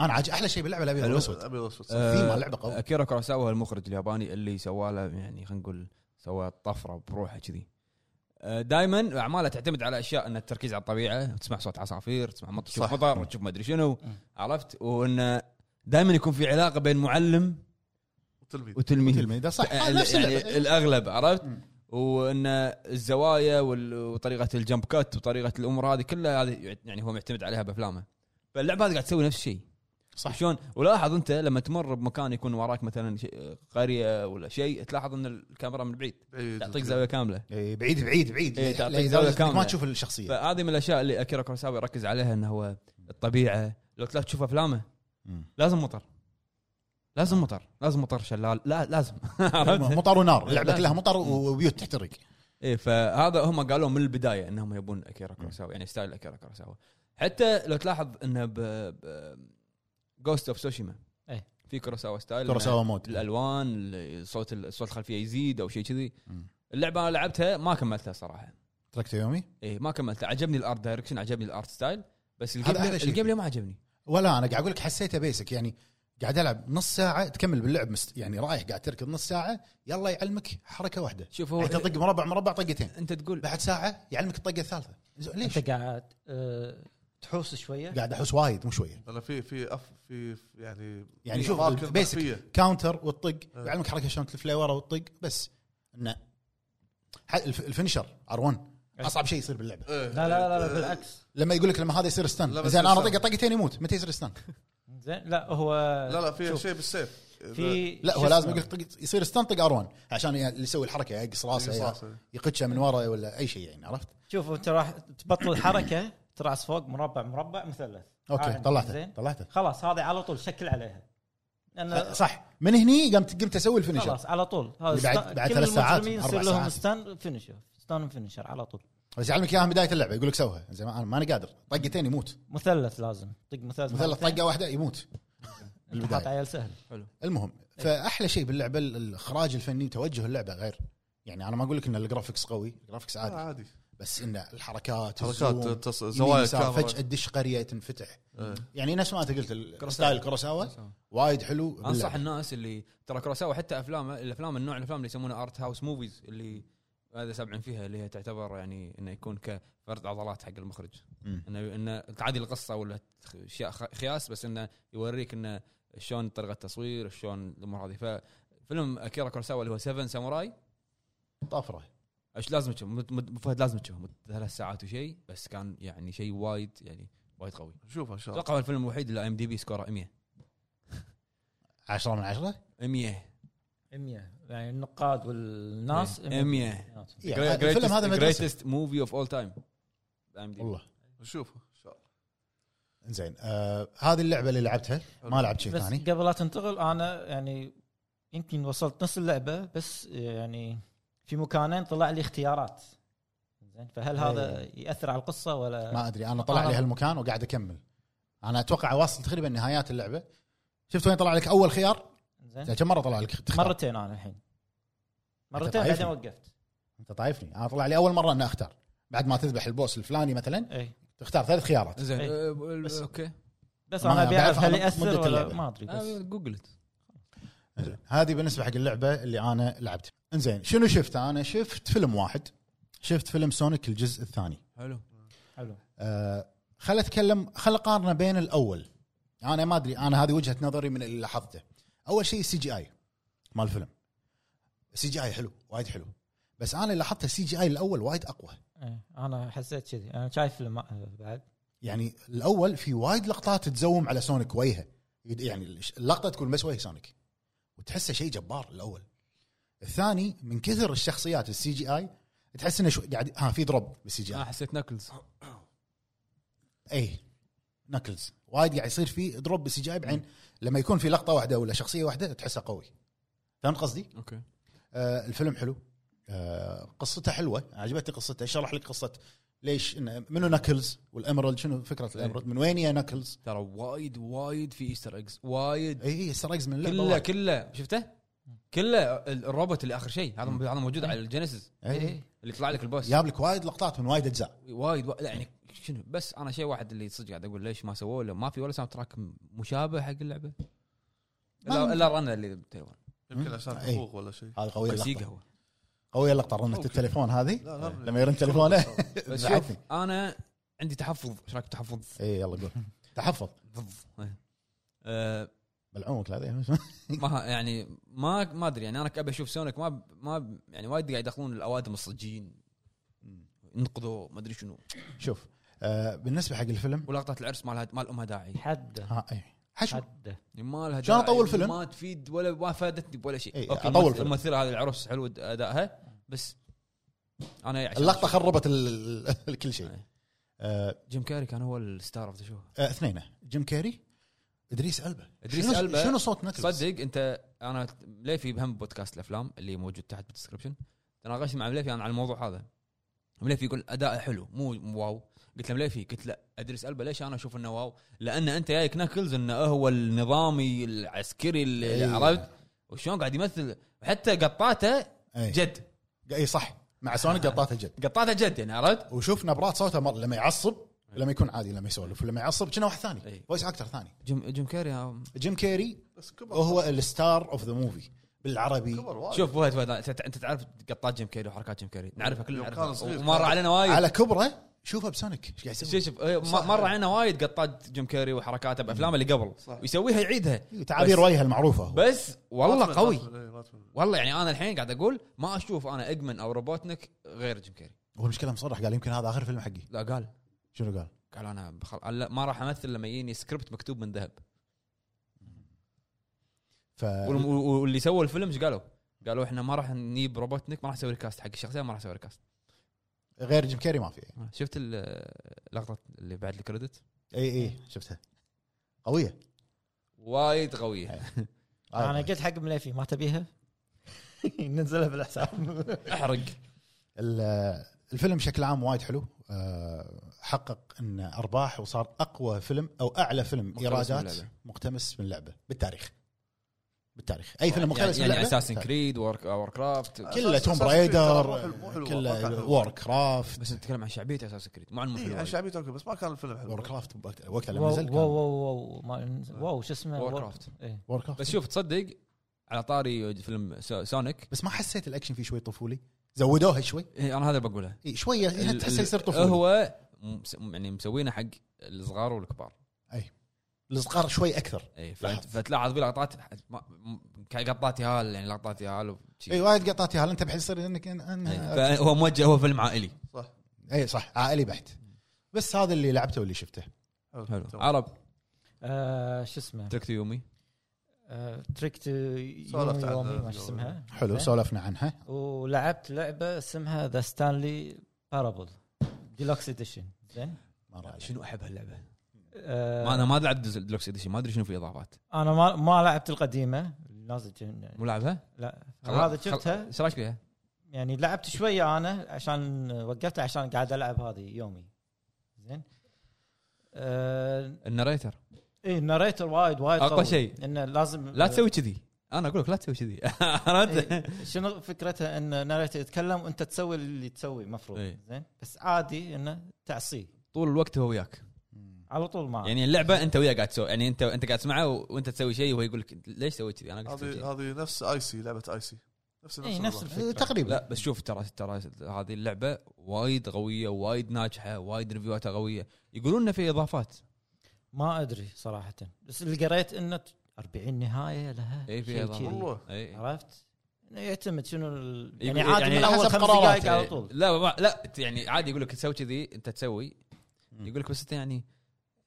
Speaker 3: انا عاجي احلى شيء باللعبه الابيض
Speaker 4: حلو.
Speaker 3: والاسود
Speaker 4: ابيض واسود صح.
Speaker 1: آه،
Speaker 3: ثيمها لعبة قوي.
Speaker 1: اكيرا كوروساوا هو المخرج الياباني اللي سوى له يعني خلينا نقول سوى طفره بروحه كذي دائما اعماله تعتمد على اشياء ان التركيز على الطبيعه تسمع صوت عصافير تسمع مط تشوف
Speaker 4: صح.
Speaker 1: مطر تشوف ما ادري شنو
Speaker 2: مم.
Speaker 1: عرفت وانه دائما يكون في علاقه بين معلم
Speaker 4: تلميذ
Speaker 1: وتلميذ
Speaker 3: تلميذ صح آه، نفس
Speaker 1: يعني
Speaker 3: اللعبه
Speaker 1: الاغلب عرفت
Speaker 3: مم.
Speaker 1: وان الزوايا وال- وطريقه الجمب كات وطريقه الامور هذه كلها هذه يعني هو معتمد عليها بافلامه فاللعبه هذه قاعد تسوي نفس الشيء
Speaker 3: صح
Speaker 1: شلون ولاحظ انت لما تمر بمكان يكون وراك مثلا شيء- قريه ولا شيء تلاحظ ان الكاميرا من بعيد
Speaker 4: بعيد.
Speaker 1: تعطيك زاويه كامله
Speaker 3: إيه، بعيد بعيد بعيد
Speaker 1: إيه،
Speaker 3: لا-
Speaker 1: تعطيك
Speaker 3: لا-
Speaker 1: زاوية
Speaker 3: لدرجة إنك
Speaker 1: كاملة.
Speaker 3: ما تشوف الشخصيه
Speaker 1: فهذه من الاشياء اللي اكيرا كوراساوا يركز عليها انه هو الطبيعه لو تلاحظ تشوف افلامه
Speaker 3: مم.
Speaker 1: لازم مطر لازم مطر لازم مطر شلال لا لازم عرفت؟
Speaker 3: مطر ونار
Speaker 1: إيه،
Speaker 3: لعبه
Speaker 1: لازم.
Speaker 3: كلها مطر وبيوت تحترق
Speaker 1: ايه فهذا هم قالوا من البدايه انهم يبون اكيرا كوراساوا يعني ستايل اكيرا كوراساوا حتى لو تلاحظ انه ب جوست اوف سوشيما
Speaker 2: إيه.
Speaker 1: في كوراساوا ستايل إنه
Speaker 3: كوراساوا مود
Speaker 1: الالوان ال- صوت ال- الصوت الخلفيه يزيد او شيء كذي
Speaker 3: مم.
Speaker 1: اللعبه انا لعبتها ما كملتها صراحه
Speaker 3: تركت يومي
Speaker 1: اي ما كملتها عجبني الارت دايركشن عجبني الارت ستايل بس الجيم
Speaker 3: هذا أحلى
Speaker 1: بلاي-
Speaker 3: شيء.
Speaker 1: الجيم بلاي ما عجبني
Speaker 3: ولا انا قاعد اقول لك حسيته بيسك يعني قاعد العب نص ساعه تكمل باللعب مست... يعني رايح قاعد تركض نص ساعه يلا يعلمك حركه واحده
Speaker 1: شوف
Speaker 3: يعني
Speaker 1: هو
Speaker 3: تطق مربع مربع طقتين
Speaker 1: انت تقول
Speaker 3: بعد ساعه يعلمك الطقه الثالثه زين، ليش؟
Speaker 2: انت قاعد آه، تحوس شويه
Speaker 3: قاعد احس وايد مو شويه
Speaker 4: انا في في أف في في- يعني
Speaker 3: يعني شوف
Speaker 4: أماكن
Speaker 3: البيسك.
Speaker 4: مخفية.
Speaker 3: كاونتر والطق
Speaker 4: أه.
Speaker 3: يعلمك حركه شلون تلف ورا والطق بس انه ح- الف- الفينشر ار 1 اصعب شيء يصير باللعبه
Speaker 4: إيه.
Speaker 2: لا لا لا,
Speaker 4: إيه.
Speaker 2: لا بالعكس
Speaker 3: لما يقول لك لما هذا يصير
Speaker 4: لا
Speaker 3: ستان
Speaker 4: بس
Speaker 3: زين انا
Speaker 4: يصير.
Speaker 3: طقه طقتين يموت متى يصير ستان؟
Speaker 2: زين لا هو
Speaker 4: إيه، لا لا في
Speaker 2: شوف،
Speaker 4: شيء بالسيف إيه،
Speaker 2: في
Speaker 3: لا هو
Speaker 2: شو
Speaker 3: لازم
Speaker 2: اسمه؟
Speaker 3: يقول لك طق- يصير ستان طق ار 1 عشان ي- اللي يسوي الحركه يقص راسه يا
Speaker 4: راسه.
Speaker 3: يقتشه من ورا ولا اي شيء يعني عرفت؟
Speaker 2: شوف انت راح تبطل حركه ترعس فوق مربع مربع مثلث
Speaker 3: اوكي
Speaker 2: عادي،
Speaker 3: طلعته
Speaker 2: زين
Speaker 3: طلعته
Speaker 2: خلاص هذه على طول شكل عليها
Speaker 3: أه،
Speaker 2: لان
Speaker 3: صح من هني قمت قمت اسوي الفينشر
Speaker 2: خلاص على طول هذا
Speaker 3: بعد-
Speaker 2: ستان-
Speaker 3: بعد
Speaker 2: كل
Speaker 3: ثلاث ساعات،
Speaker 2: المجرمين
Speaker 3: أربع
Speaker 2: يصير لهم
Speaker 3: ساعات.
Speaker 2: ستان فينشر ستان فينشر على طول
Speaker 3: بس يعلمك اياها من بدايه اللعبه يقول لك سوها زين ما- انا ماني قادر طقتين يموت
Speaker 2: مثلث لازم طق مثلث
Speaker 3: مثلا
Speaker 2: مرتين،
Speaker 3: طقه واحده يموت
Speaker 2: انت
Speaker 3: بالبداية.
Speaker 2: حاط عيال سهل
Speaker 3: المهم فاحلى شيء باللعبه ال- الاخراج الفني توجه اللعبه غير يعني انا ما اقول لك ان الجرافكس قوي الجرافكس
Speaker 4: آه،
Speaker 3: عادي
Speaker 4: عادي
Speaker 3: بس ان الحركات الزوم،
Speaker 4: حركات تص-
Speaker 3: يمين
Speaker 4: زوايا
Speaker 3: يسار،
Speaker 4: الكاميرا
Speaker 3: فجاه تدش قريه تنفتح
Speaker 4: إيه.
Speaker 3: يعني نفس ما انت قلت ال- ستايل كروساوا وايد حلو باللعبة.
Speaker 1: انصح الناس اللي ترى كراساوا حتى افلام الافلام النوع الافلام اللي يسمونها ارت هاوس موفيز اللي هذا سبعين فيها اللي هي تعتبر يعني انه يكون كفرد عضلات حق المخرج
Speaker 3: مم.
Speaker 1: انه انه تعادل القصه ولا تخ- اشياء خ- خياس بس انه يوريك انه شلون طريقه التصوير شلون الامور هذه ففيلم اكيرا كورساوا اللي هو 7 ساموراي
Speaker 3: طفره
Speaker 1: ايش لازم تشوف مد- مد- فهد لازم تشوفه مد- ثلاث ساعات وشيء بس كان يعني شيء وايد يعني وايد قوي
Speaker 4: نشوفها ان شاء الله
Speaker 1: اتوقع هو الفيلم الوحيد اللي ام دي بي سكوره 100
Speaker 3: 10 من 10
Speaker 1: 100
Speaker 2: 100 يعني النقاد والناس
Speaker 1: إيه، 100
Speaker 3: يعني الفيلم هذا مدرسه
Speaker 1: جريتست موفي اوف اول تايم
Speaker 3: والله
Speaker 4: نشوفها ان شاء الله
Speaker 3: زين آه هذه اللعبه اللي لعبتها ما لعبت شيء
Speaker 2: بس
Speaker 3: ثاني
Speaker 2: قبل لا تنتقل انا يعني يمكن وصلت نص اللعبه بس يعني في مكانين طلع لي اختيارات زين فهل هذا ياثر على القصه ولا
Speaker 3: إيه. ما ادري انا طلع
Speaker 2: آه.
Speaker 3: لي هالمكان وقاعد اكمل انا اتوقع واصل تقريبا نهايات اللعبه شفت وين طلع لك اول خيار
Speaker 2: زين
Speaker 3: يعني كم مره طلع لك تختار؟
Speaker 2: مرتين انا الحين مرتين
Speaker 3: طايفني.
Speaker 2: بعدين وقفت
Speaker 3: انت طايفني انا طلع لي اول مره اني اختار بعد ما تذبح البوس الفلاني مثلا
Speaker 2: اي
Speaker 3: تختار ثلاث خيارات
Speaker 1: زين
Speaker 2: إيه.
Speaker 1: آه، ب-
Speaker 2: بس-
Speaker 1: اوكي
Speaker 2: بس
Speaker 3: ما
Speaker 2: انا ابي اعرف
Speaker 3: بعرف
Speaker 2: هل
Speaker 3: عن مدة
Speaker 2: ياثر ولا
Speaker 3: اللعبة.
Speaker 2: ما ادري
Speaker 1: آه،
Speaker 2: بس
Speaker 1: جوجلت
Speaker 3: زين. هذه بالنسبه حق اللعبه اللي انا لعبتها انزين شنو شفت انا شفت فيلم واحد شفت فيلم سونيك الجزء الثاني
Speaker 1: حلو
Speaker 2: حلو
Speaker 3: آه خل اتكلم خل اقارنه بين الاول انا ما ادري انا هذه وجهه نظري من اللي لاحظته اول شيء السي جي اي مال الفيلم السي جي اي حلو وايد حلو بس انا اللي لاحظته السي جي اي الاول وايد اقوى
Speaker 2: إيه، انا حسيت كذي انا شايف فيلم آه، بعد
Speaker 3: يعني الاول في وايد لقطات تزوم على سونيك وجهه يعني اللقطه تكون بس وجه سونيك وتحسه شيء جبار الاول الثاني من كثر الشخصيات السي جي اي تحس انه شو قاعد ها في دروب بالسي جي
Speaker 1: انا
Speaker 3: اي
Speaker 1: Ah, حسيت ناكلز
Speaker 3: اي نكلز إيه. وايد قاعد يصير في دروب بالسي جي اي بعدين لما يكون في لقطه واحده ولا شخصيه واحده تحسها قوي فهمت قصدي؟
Speaker 1: اوكي
Speaker 3: آه الفيلم حلو آه قصته حلوه عجبتني قصته شرح لك قصه ليش إنه منو نكلز والامرالد شنو فكره الامرالد من وين يا نكلز
Speaker 1: ترى وايد وايد في ايستر ايجز وايد
Speaker 3: اي اي استرايكز إيه، من اللعبه
Speaker 1: كله
Speaker 3: وايد.
Speaker 1: كله شفته؟ كله ال- الروبوت اللي اخر شيء هذا هذا موجود على الجينيسيس
Speaker 3: اي
Speaker 1: اللي يطلع لك البوس
Speaker 3: جاب لك وايد لقطات من وايد اجزاء
Speaker 1: وايد وا- لا يعني شنو بس انا شيء واحد اللي صدق قاعد اقول ليش ما سووه ولا ما في ولا ساوند تراك م- مشابه حق اللعبه الا
Speaker 3: ما-
Speaker 1: الا رنا اللي بتايوان
Speaker 4: يمكن عشان
Speaker 3: إيه.
Speaker 4: حقوق ولا شيء
Speaker 3: هذه قويه
Speaker 1: موسيقى
Speaker 3: اللقطه
Speaker 1: هو
Speaker 3: قويه اللقطه رنه
Speaker 4: أوكي.
Speaker 3: التليفون هذه
Speaker 4: لا لا
Speaker 3: لما يرن تليفونه
Speaker 1: بس شوف
Speaker 3: زعلتني.
Speaker 1: انا عندي تحفظ ايش رايك تحفظ
Speaker 3: اي إيه، يلا قول تحفظ
Speaker 1: إيه. آه،
Speaker 3: بلعومك لا
Speaker 1: ما يعني ما ما ادري يعني انا ابي اشوف سونيك ما ما يعني وايد قاعد يدخلون الاوادم الصجين ينقذوا ما ادري شنو
Speaker 3: شوف آه بالنسبه حق الفيلم
Speaker 1: ولقطه العرس مالها مال امها داعي
Speaker 2: حده
Speaker 3: ها اي حشو
Speaker 2: حده
Speaker 1: يعني ما لها
Speaker 3: شلون
Speaker 1: داعي
Speaker 3: أطول فيلم؟
Speaker 1: ما تفيد ولا ما فادتني ولا شيء
Speaker 3: إي،
Speaker 1: اوكي
Speaker 3: أطول
Speaker 1: الممثل-
Speaker 3: فيلم.
Speaker 1: الممثله هذه العرس حلو ادائها بس انا عشان
Speaker 3: اللقطه خربت ال- ال- كل شيء
Speaker 1: إيه.
Speaker 3: آه
Speaker 1: جيم كاري كان هو الستار اوف ذا شو
Speaker 3: آه، اثنين جيم كاري ادريس البا
Speaker 1: إدريس
Speaker 3: شنو-
Speaker 1: ألبا.
Speaker 3: شنو صوت نكلز
Speaker 1: تصدق انت انا مليفي بهم بودكاست الافلام اللي موجود تحت بالدسكربشن تناقشت مع مليفي انا على الموضوع هذا مليفي يقول اداءه حلو مو مو واو قلت له مليفي قلت له ادريس البا ليش انا اشوف انه واو لان انت جايك ناكلز انه هو النظامي العسكري اللي
Speaker 3: إيه.
Speaker 1: عرفت وشلون قاعد يمثل حتى قطاته
Speaker 3: اي
Speaker 1: جد
Speaker 3: اي إيه. صح مع سونيك قطاته جد
Speaker 1: قطاته جد يعني عرفت
Speaker 3: وشوف نبرات صوته مر لما يعصب لما يكون عادي لما يسولف ولما يعصب كنا واحد ثاني
Speaker 1: إي.
Speaker 3: فويس اكتر ثاني
Speaker 1: جيم جيم كاري ها-
Speaker 3: جيم كيري
Speaker 4: بس كبر
Speaker 3: هو الستار اوف ذا موفي بالعربي
Speaker 4: كبر وايد
Speaker 1: شوف وايد وايد انت انت تعرف قطات جيم كاري وحركات جيم كاري نعرفها كلنا
Speaker 4: يوم كان
Speaker 1: نعرفها
Speaker 4: صغير
Speaker 1: ومر
Speaker 4: كان-
Speaker 1: علينا وايد
Speaker 3: على كبره شوفه بسونيك ايش قاعد يسوي
Speaker 1: شوف شوف إيه،
Speaker 4: صح.
Speaker 1: م- مر علينا وايد قطات جيم كاري وحركاته بافلامه اللي قبل
Speaker 4: صح.
Speaker 1: ويسويها يعيدها
Speaker 3: تعابير
Speaker 1: بس-
Speaker 3: وجهه المعروفه هو.
Speaker 1: بس
Speaker 4: ما
Speaker 1: والله
Speaker 4: تمل-
Speaker 1: قوي
Speaker 4: ما تمل- إيه، ما تمل.
Speaker 1: والله يعني انا الحين قاعد اقول ما اشوف انا اجمن او روبوتنك غير جيم كاري
Speaker 3: هو المشكله مصرح قال يمكن هذا اخر فيلم حقي
Speaker 1: لا قال
Speaker 3: شنو قال؟
Speaker 1: قال انا بخل... لا ما راح امثل لما يجيني سكريبت مكتوب من ذهب
Speaker 3: ف
Speaker 4: آه.
Speaker 1: والم- و- واللي سووا الفيلم ايش قالوا؟ قالوا احنا ما راح نجيب روبوتنك ما راح نسوي ريكاست حق الشخصيه ما راح نسوي ريكاست
Speaker 3: غير جيم كيري ما في
Speaker 1: شفت ال- اللقطه اللي بعد الكريدت
Speaker 3: اي اي
Speaker 4: إيه،
Speaker 3: شفتها قويه
Speaker 1: وايد قويه
Speaker 3: طيب.
Speaker 2: انا
Speaker 3: آه.
Speaker 2: قلت حق مليفي ما تبيها ننزلها بالحساب
Speaker 4: آه.
Speaker 1: احرق
Speaker 3: ال- الفيلم بشكل عام وايد حلو أه، حقق ان ارباح وصار اقوى فيلم او اعلى فيلم
Speaker 1: مقتبس من
Speaker 3: ايرادات
Speaker 1: لعبة.
Speaker 3: مقتمس من لعبه بالتاريخ بالتاريخ اي فيلم مقتبس
Speaker 1: يعني,
Speaker 3: من
Speaker 1: يعني
Speaker 3: لعبه
Speaker 1: اساسن
Speaker 3: بالتاريخ.
Speaker 4: طيب.
Speaker 1: كريد وورك اور كرافت
Speaker 3: كله
Speaker 4: أساس-
Speaker 3: توم
Speaker 4: أساس كريد ترى مو
Speaker 3: رايدر
Speaker 4: حلو- مو حلو والله،
Speaker 3: كله
Speaker 4: حلو.
Speaker 3: وور كرافت
Speaker 1: بس نتكلم عن شعبيه اساسن كريد مو عن
Speaker 4: إيه،
Speaker 1: مو
Speaker 4: عن شعبيته اوكي بس ما كان الفيلم حلو
Speaker 3: وور كرافت وقت- وقتها لما
Speaker 2: واو
Speaker 3: نزل
Speaker 2: واو
Speaker 3: كان
Speaker 2: واو ما- واو شو اسمه
Speaker 1: وور
Speaker 2: واو-
Speaker 1: كرافت
Speaker 2: إيه.
Speaker 3: وور
Speaker 1: بس
Speaker 3: كرافت
Speaker 1: شوف تصدق على طاري فيلم سو- سونيك
Speaker 3: بس ما حسيت الاكشن فيه شوي طفولي زودوها شوي
Speaker 1: إيه، انا هذا بقوله
Speaker 3: اي شويه يعني
Speaker 1: ال-
Speaker 3: تحسه
Speaker 1: ال-
Speaker 3: يصير طفولي
Speaker 1: هو مس- يعني مسوينه حق الصغار والكبار
Speaker 3: الصغار شوي اكثر
Speaker 1: اي فت-
Speaker 3: لاحظ.
Speaker 1: فتلاحظ فيه لقطات ما- م- قطات يهال يعني لقطات يهال وشي.
Speaker 3: اي وايد قطعت هل انت بحيث يصير انك إن-
Speaker 1: إيه،
Speaker 3: إن-
Speaker 1: فهو موجه هو فيلم عائلي
Speaker 4: صح
Speaker 3: اي صح عائلي بحت بس هذا اللي لعبته واللي شفته
Speaker 1: حلو
Speaker 4: تمام.
Speaker 1: عرب
Speaker 2: آه، شو اسمه آه،
Speaker 1: ترك تو يومي
Speaker 2: تريكت
Speaker 4: سولفت عن
Speaker 2: يومي ما شو اسمها
Speaker 3: حلو
Speaker 2: زين.
Speaker 3: سولفنا عنها
Speaker 2: ولعبت لعبه اسمها ذا ستانلي بارابل ديلوكس اديشن زين
Speaker 3: ما رأيك.
Speaker 1: شنو احب هاللعبه؟
Speaker 2: آه،
Speaker 1: ما انا ما لعبت ديز- ديلوكس اديشن ما ادري شنو في اضافات
Speaker 2: انا آه، ما ما لعبت القديمه نازل جن-
Speaker 1: مو لعبها؟
Speaker 2: لا
Speaker 1: خلاص-
Speaker 2: هذا
Speaker 1: خلاص.
Speaker 2: شفتها
Speaker 1: ايش رايك فيها؟
Speaker 2: يعني لعبت شويه انا عشان وقفت عشان قاعد العب هذه يومي زين آه،
Speaker 1: الناريتر
Speaker 2: ايه الناريتر وايد وايد
Speaker 1: أقوى
Speaker 2: قوي.
Speaker 1: شيء.
Speaker 2: انه لازم
Speaker 1: لا تسوي كذي انا اقول لك لا تسوي كذي عرفت؟
Speaker 2: إيه، شنو فكرتها ان الناريتر يتكلم وانت تسوي اللي تسوي المفروض
Speaker 1: إيه.
Speaker 2: زين بس عادي انه تعصيه
Speaker 1: طول الوقت هو وياك
Speaker 2: على طول
Speaker 3: آه.
Speaker 2: معه
Speaker 1: يعني اللعبه انت وياه قاعد تسوي يعني انت انت قاعد تسمعه وانت تسوي شيء وهو يقول لك ليش سويت كذي انا قاعد أسوي
Speaker 4: هذه
Speaker 1: كذي.
Speaker 4: هذه نفس اي سي لعبه اي سي نفس
Speaker 2: إيه،
Speaker 4: نفس
Speaker 2: نفس
Speaker 4: الوضع.
Speaker 3: آه، تقريبا
Speaker 1: لا بس شوف ترى ترى هذه اللعبه وايد قويه وايد ناجحه وايد ريفيواتها قويه يقولون انه في اضافات
Speaker 2: ما ادري صراحه بس اللي قريت انه ت- 40 نهايه لها
Speaker 1: اي إيه، في
Speaker 2: شيء كذي.
Speaker 1: اضافات
Speaker 4: والله.
Speaker 1: إي.
Speaker 2: عرفت؟ إنه يعتمد شنو ال...
Speaker 1: يقول-
Speaker 2: يعني عادي
Speaker 1: يعني
Speaker 2: يعني من اول
Speaker 3: حسب
Speaker 2: خمس
Speaker 3: قراراته.
Speaker 2: دقائق على طول
Speaker 1: لا ما لا يعني عادي يقول لك تسوي كذي انت تسوي
Speaker 3: مم.
Speaker 1: يقول لك بس انت يعني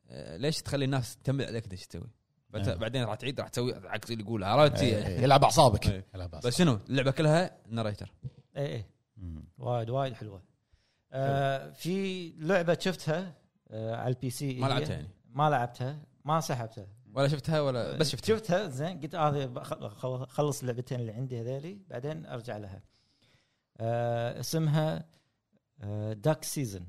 Speaker 1: آه، ليش تخلي الناس تكمل عليك ايش تسوي؟ فأنت
Speaker 3: أيوة.
Speaker 1: بعدين راح تعيد راح تسوي عكس اللي يقول عرفت
Speaker 3: إيه،
Speaker 1: يعني.
Speaker 3: إيه، يلعب اعصابك
Speaker 1: إيه.
Speaker 3: يلعب أعصابك.
Speaker 1: بس شنو اللعبه كلها ناريتر
Speaker 2: اي اي
Speaker 3: مم.
Speaker 2: وايد وايد حلوه آه في لعبه شفتها آه على البي سي
Speaker 1: ما
Speaker 2: هي.
Speaker 1: لعبتها يعني
Speaker 2: ما لعبتها ما سحبتها
Speaker 1: ولا شفتها
Speaker 2: إيه.
Speaker 1: ولا بس شفتها
Speaker 2: شفتها زين قلت هذه آه خلص اللعبتين اللي عندي هذيلي بعدين ارجع لها آه اسمها آه داك سيزون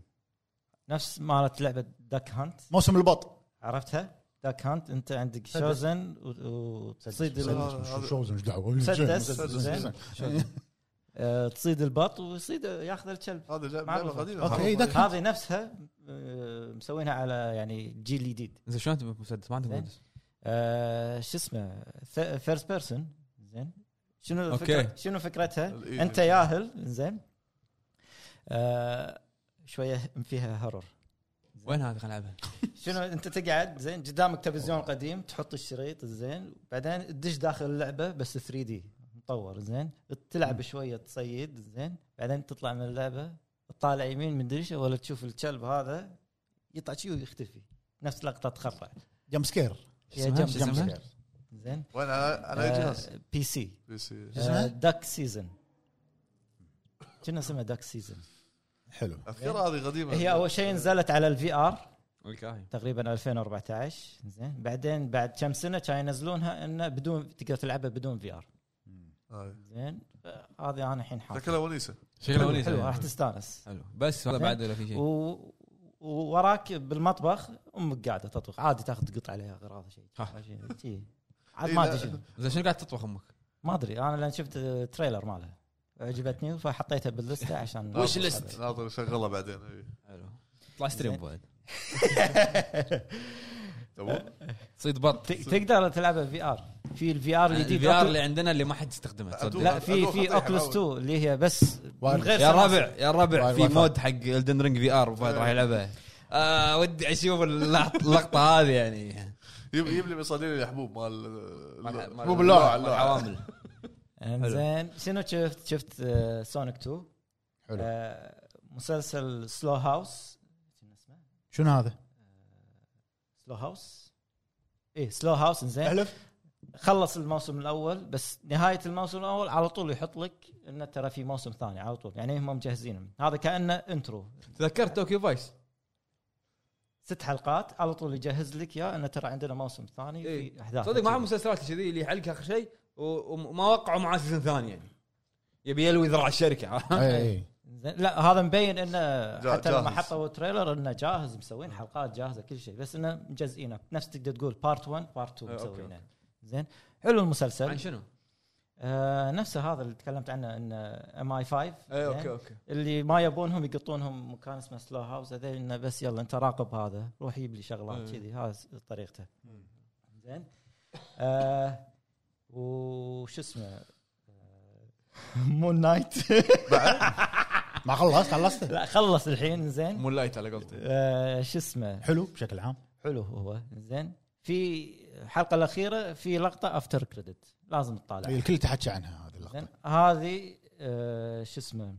Speaker 2: نفس مالت لعبه داك هانت
Speaker 3: موسم البط
Speaker 2: عرفتها داك هانت انت عندك شوزن و- وتصيد
Speaker 3: مسدس،
Speaker 2: ال-
Speaker 3: مسدس، شو- شو- ايش دعوه مسدس، مسدس،
Speaker 2: زين.
Speaker 3: مسدس.
Speaker 2: آه، تصيد البط ويصيد ياخذ الكلب
Speaker 4: هذه لعبه لعبة
Speaker 2: معروفة.
Speaker 4: قديمه
Speaker 3: أوكي،
Speaker 4: معروفة.
Speaker 3: دك.
Speaker 2: هذه نفسها آه، مسوينها على يعني جيل جديد
Speaker 1: زين شلون انت مسدس ما عندك
Speaker 2: زين.
Speaker 1: مسدس
Speaker 2: آه، شو اسمه فيرست بيرسون زين شنو
Speaker 1: أوكي.
Speaker 2: فكرة شنو فكرتها؟
Speaker 4: الإيد.
Speaker 2: انت ياهل زين آه، شويه فيها هرر
Speaker 1: وين هذا خلينا نلعبها
Speaker 2: شنو انت تقعد زين قدامك تلفزيون قديم تحط الشريط زين بعدين تدش داخل اللعبه بس 3 دي مطور زين تلعب شويه تصيد زين بعدين تطلع من اللعبه تطالع يمين من دريشه ولا تشوف الكلب هذا يطلع شي ويختفي نفس لقطه تخرع
Speaker 3: جمب سكير
Speaker 2: يا
Speaker 1: اسمها؟
Speaker 2: جمب
Speaker 1: شو
Speaker 2: جمب
Speaker 1: اسمها؟
Speaker 2: سكير. زين
Speaker 4: وين على على اي جهاز؟
Speaker 2: آه، بي سي آه،
Speaker 4: بي سي
Speaker 3: شو اسمها؟
Speaker 2: داك سيزون كنا اسمها داك سيزون
Speaker 3: حلو
Speaker 4: اذكر هذه قديمه
Speaker 2: هي اول شيء نزلت على الفي ار
Speaker 1: الكاهي
Speaker 2: تقريبا 2014 زين بعدين بعد كم سنه كانوا ينزلونها انه بدون تقدر تلعبها بدون في ار
Speaker 4: هاي.
Speaker 2: زين آه، هذه انا الحين
Speaker 4: شكلها
Speaker 2: حاطها
Speaker 4: ونيسه
Speaker 1: شكلها
Speaker 2: حلو-
Speaker 1: ونيسة
Speaker 2: حلو
Speaker 1: يعني.
Speaker 2: راح تستانس
Speaker 1: حلو بس هذا بعد ولا في شيء
Speaker 2: و- ووراك بالمطبخ امك قاعده تطبخ عادي تاخذ قطعه عليها اغراض شيء
Speaker 1: ها.
Speaker 2: شيء- شيء. عاد
Speaker 4: إيه،
Speaker 2: ما
Speaker 4: لا.
Speaker 2: ادري شنو.
Speaker 1: زين شنو قاعد تطبخ امك؟
Speaker 2: ما ادري انا لان شفت آه، تريلر مالها عجبتني فحطيتها باللسته عشان
Speaker 1: وش اللست؟
Speaker 4: ناطر شغلها بعدين إيه.
Speaker 1: حلو طلع ستريم بعد
Speaker 4: تمام
Speaker 1: تصيد بط
Speaker 2: ت- تقدر تلعبها في ار في الفي ار الجديد
Speaker 1: الفي ار
Speaker 2: أوكل-
Speaker 1: اللي عندنا اللي ما حد يستخدمه تصدق.
Speaker 2: لا في
Speaker 4: أدوخ
Speaker 2: في
Speaker 4: أطيح
Speaker 2: اوكلس
Speaker 4: أحاول.
Speaker 2: 2 اللي هي بس من غير
Speaker 1: يا
Speaker 2: سلاسل.
Speaker 1: الربع يا الربع
Speaker 3: واي-
Speaker 1: في
Speaker 3: واي فاي.
Speaker 1: مود حق الدن رينج في ار وفهد راح يلعبها آه ودي اشوف اللقط- اللقطه هذه يعني
Speaker 4: يجيب يجيب لي مصادر الحبوب مال
Speaker 1: مال- مال-
Speaker 4: حبوب اللاعب
Speaker 1: مال العوامل
Speaker 2: انزين شنو شفت؟ شفت آه، سونيك 2
Speaker 3: حلو.
Speaker 2: آه، مسلسل سلو هاوس شنو اسمه؟
Speaker 3: شنو هذا؟
Speaker 2: سلو هاوس ايه سلو هاوس انزين
Speaker 3: احلف
Speaker 2: خلص الموسم الاول بس نهايه الموسم الاول على طول يحط لك انه ترى في موسم ثاني على طول يعني هم مجهزين هذا كانه انترو
Speaker 1: تذكرت توكيو فايس
Speaker 2: ست حلقات على طول يجهز لك يا انه ترى عندنا موسم ثاني
Speaker 1: إيه.
Speaker 2: في احداث
Speaker 1: صدق معهم مسلسلات كذي اللي يحلك اخر شيء و- وما وقعوا معاه سيزون ثاني يعني يبي يلوي ذراع الشركه
Speaker 3: اي اي
Speaker 2: زين، لا هذا مبين انه
Speaker 4: جا-
Speaker 2: حتى لما
Speaker 4: جاهز.
Speaker 2: حطوا تريلر انه جاهز مسوين حلقات جاهزه كل شيء بس انه مجزئينه نفس تقدر تقول بارت 1 بارت 2
Speaker 1: آه، أوكي،
Speaker 2: مسوينه زين حلو
Speaker 1: عن
Speaker 2: المسلسل
Speaker 1: شنو؟
Speaker 2: آه نفسه هذا اللي تكلمت عنه انه ام اي 5
Speaker 4: إيه،
Speaker 1: اي اوكي اوكي
Speaker 2: اللي ما يبونهم يقطونهم مكان اسمه سلو هاوس هذول انه بس يلا انت راقب هذا روح يجيب لي شغلات
Speaker 1: إيه.
Speaker 2: كذي هذا س- طريقته زين آه وش اسمه آه، مون نايت
Speaker 3: ما خلصت خلصته
Speaker 2: لا خلص الحين زين
Speaker 1: مون لايت على قولته
Speaker 2: آه، شو اسمه
Speaker 3: حلو بشكل عام
Speaker 2: حلو هو زين في الحلقه الاخيره في لقطه افتر كريدت لازم تطالع
Speaker 3: إيه، الكل تحكي عنها هذه
Speaker 2: زين
Speaker 3: اللقطه
Speaker 2: هذه آه، شو اسمه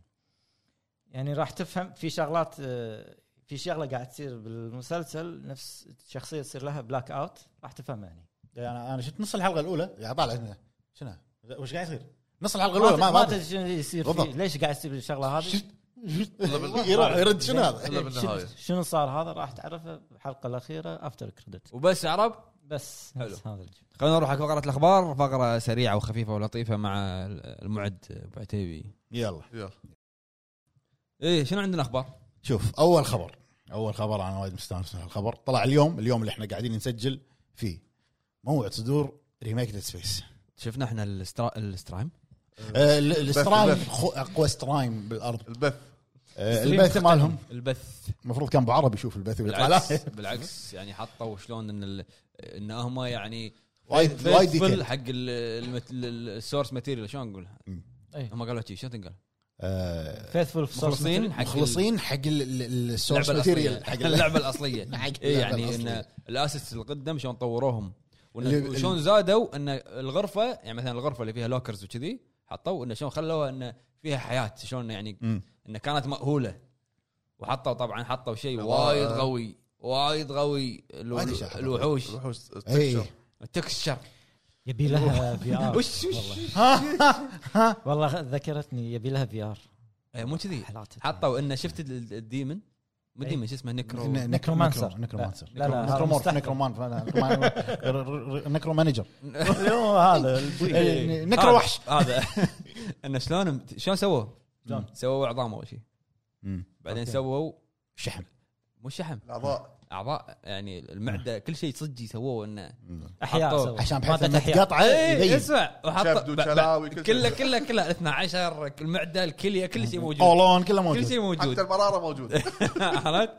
Speaker 2: يعني راح تفهم في شغلات آه، في شغله قاعد تصير بالمسلسل نفس شخصيه تصير لها بلاك اوت راح تفهمها يعني. هني
Speaker 3: انا انا يعني شفت نص الحلقه الاولى يعني طالع هنا. شنو وش قاعد يصير؟ نص الحلقه
Speaker 2: ما
Speaker 3: الاولى
Speaker 2: ت-
Speaker 3: ما
Speaker 2: ما
Speaker 3: ما
Speaker 2: تدري شنو اللي يصير فيه
Speaker 3: بالضبط.
Speaker 2: ليش قاعد تصير الشغله هذه إيه،
Speaker 3: يرد- يرد شنو هذا؟
Speaker 4: إلا بالنهاية.
Speaker 2: شنو- شنو صار هذا راح تعرفه بالحلقه الاخيره افتر كريدت
Speaker 1: وبس عرب
Speaker 2: بس
Speaker 1: حلو.
Speaker 2: بس هذا الج-
Speaker 1: خلينا نروح على فقره الاخبار فقره سريعه وخفيفه ولطيفه مع المعد ابو عتيبي
Speaker 3: يلا
Speaker 4: يلا
Speaker 1: ايه شنو عندنا اخبار؟
Speaker 3: شوف اول خبر اول خبر انا وايد مستانس من الخبر طلع اليوم اليوم اللي احنا قاعدين نسجل فيه موعد صدور ريميك ديد سبيس
Speaker 1: شفنا احنا السترا... السترايم
Speaker 3: الاسترايم
Speaker 4: البث.
Speaker 3: خو- اقوى استرايم بالارض
Speaker 4: البث
Speaker 3: آه، البث مالهم
Speaker 1: البث
Speaker 3: المفروض كان ابو عربي يشوف البث ويطلع
Speaker 1: بالعكس
Speaker 3: لا.
Speaker 1: بالعكس يعني حطوا شلون ان ال... ان هم يعني
Speaker 3: وايد وايد
Speaker 1: faithful
Speaker 3: ديتيل.
Speaker 1: حق السورس ماتيريال شلون نقول؟
Speaker 3: مم.
Speaker 2: أي.
Speaker 1: هم قالوا شي شلون تنقال؟
Speaker 3: آه،
Speaker 2: فيثفول
Speaker 1: مخلصين حق
Speaker 3: مخلصين حق ال- ال- السورس
Speaker 1: اللعبه
Speaker 3: ماتيريال
Speaker 1: الاصليه
Speaker 3: حق
Speaker 1: حق
Speaker 3: ال-
Speaker 1: اللعبه الاصليه
Speaker 3: حق
Speaker 1: إيه
Speaker 3: اللعبة
Speaker 1: يعني
Speaker 3: الأصلية.
Speaker 1: ان الاسس القدم شلون طوروهم
Speaker 3: اللي-
Speaker 1: وإن- وشلون زادوا ان الغرفه يعني مثلا الغرفه اللي فيها لوكرز وكذي حطوا انه شلون خلوها انه فيها حياه شلون يعني
Speaker 3: مم.
Speaker 1: انه كانت مأهوله وحطوا طبعا حطوا شيء وايد قوي وايد قوي الو-
Speaker 3: وايد شيء حطوا.
Speaker 1: الوحوش
Speaker 4: الوحوش
Speaker 3: إيه.
Speaker 4: تكشر
Speaker 1: التكشر
Speaker 2: يبي لها في
Speaker 3: آه.
Speaker 2: ار
Speaker 1: وش وش
Speaker 2: والله ذكرتني يبي لها في ار
Speaker 1: إيه، مو كذي حطوا انه شفت ال- ال- الديمن مو
Speaker 2: إيه.
Speaker 1: الديمن شو اسمه نكرو
Speaker 3: ن-
Speaker 2: نكرومانسر.
Speaker 3: نكرو- نكرومانسر
Speaker 2: لا، لا،
Speaker 3: نكرومورف
Speaker 2: مستحيل.
Speaker 3: نكرومان نكرو مانجر
Speaker 2: هذا
Speaker 1: إيه. هذا-
Speaker 3: نكرو إيه، وحش
Speaker 1: هذا انه شلون شلون سووا؟
Speaker 2: شلون؟
Speaker 1: سووا عظام اول شيء بعدين
Speaker 2: أوكي.
Speaker 1: سووا
Speaker 3: شحم
Speaker 1: مو شحم
Speaker 4: الاعضاء
Speaker 1: اعضاء يعني المعده كل شيء صدق سووه انه
Speaker 2: احياء
Speaker 1: حطوه.
Speaker 2: سووا.
Speaker 3: عشان بحيث
Speaker 2: مادة
Speaker 3: لما
Speaker 2: احياء
Speaker 3: تقطعه
Speaker 1: ايه
Speaker 3: إيه، يبين
Speaker 1: اسمع
Speaker 4: شبد
Speaker 1: وحط
Speaker 4: وشلاوي، كل شيء.
Speaker 1: كله كله كله ال 12 المعده الكليه كل شيء موجود
Speaker 3: اولون كله
Speaker 1: كل
Speaker 3: موجود
Speaker 1: شيء موجود
Speaker 4: حتى المراره موجوده
Speaker 1: عرفت؟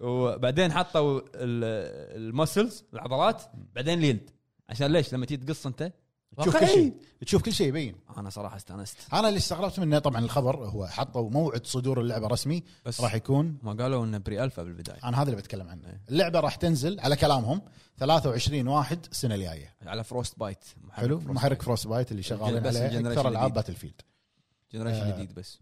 Speaker 1: وبعدين حطوا المسلز العضلات بعدين اليد عشان ليش لما تيجي تقص انت
Speaker 3: تشوف كل
Speaker 1: واقعي.
Speaker 3: شيء تشوف كل شيء يبين
Speaker 1: انا صراحه استانست
Speaker 3: انا اللي استغربت منه طبعا الخبر هو حطوا موعد صدور اللعبه رسمي
Speaker 1: بس
Speaker 3: راح يكون
Speaker 1: ما قالوا انه بري الفا بالبدايه
Speaker 3: انا هذا اللي بتكلم عنه
Speaker 1: إيه.
Speaker 3: اللعبه راح تنزل على كلامهم 23 واحد السنه الجايه
Speaker 1: على فروست بايت محرك
Speaker 3: حلو
Speaker 1: فروست
Speaker 3: محرك فروست بايت اللي شغالين
Speaker 1: بس
Speaker 3: عليه
Speaker 1: الجنريشن
Speaker 3: اكثر العاب
Speaker 1: الجديد.
Speaker 3: باتل فيلد
Speaker 1: جنريشن
Speaker 3: آه.
Speaker 1: جديد بس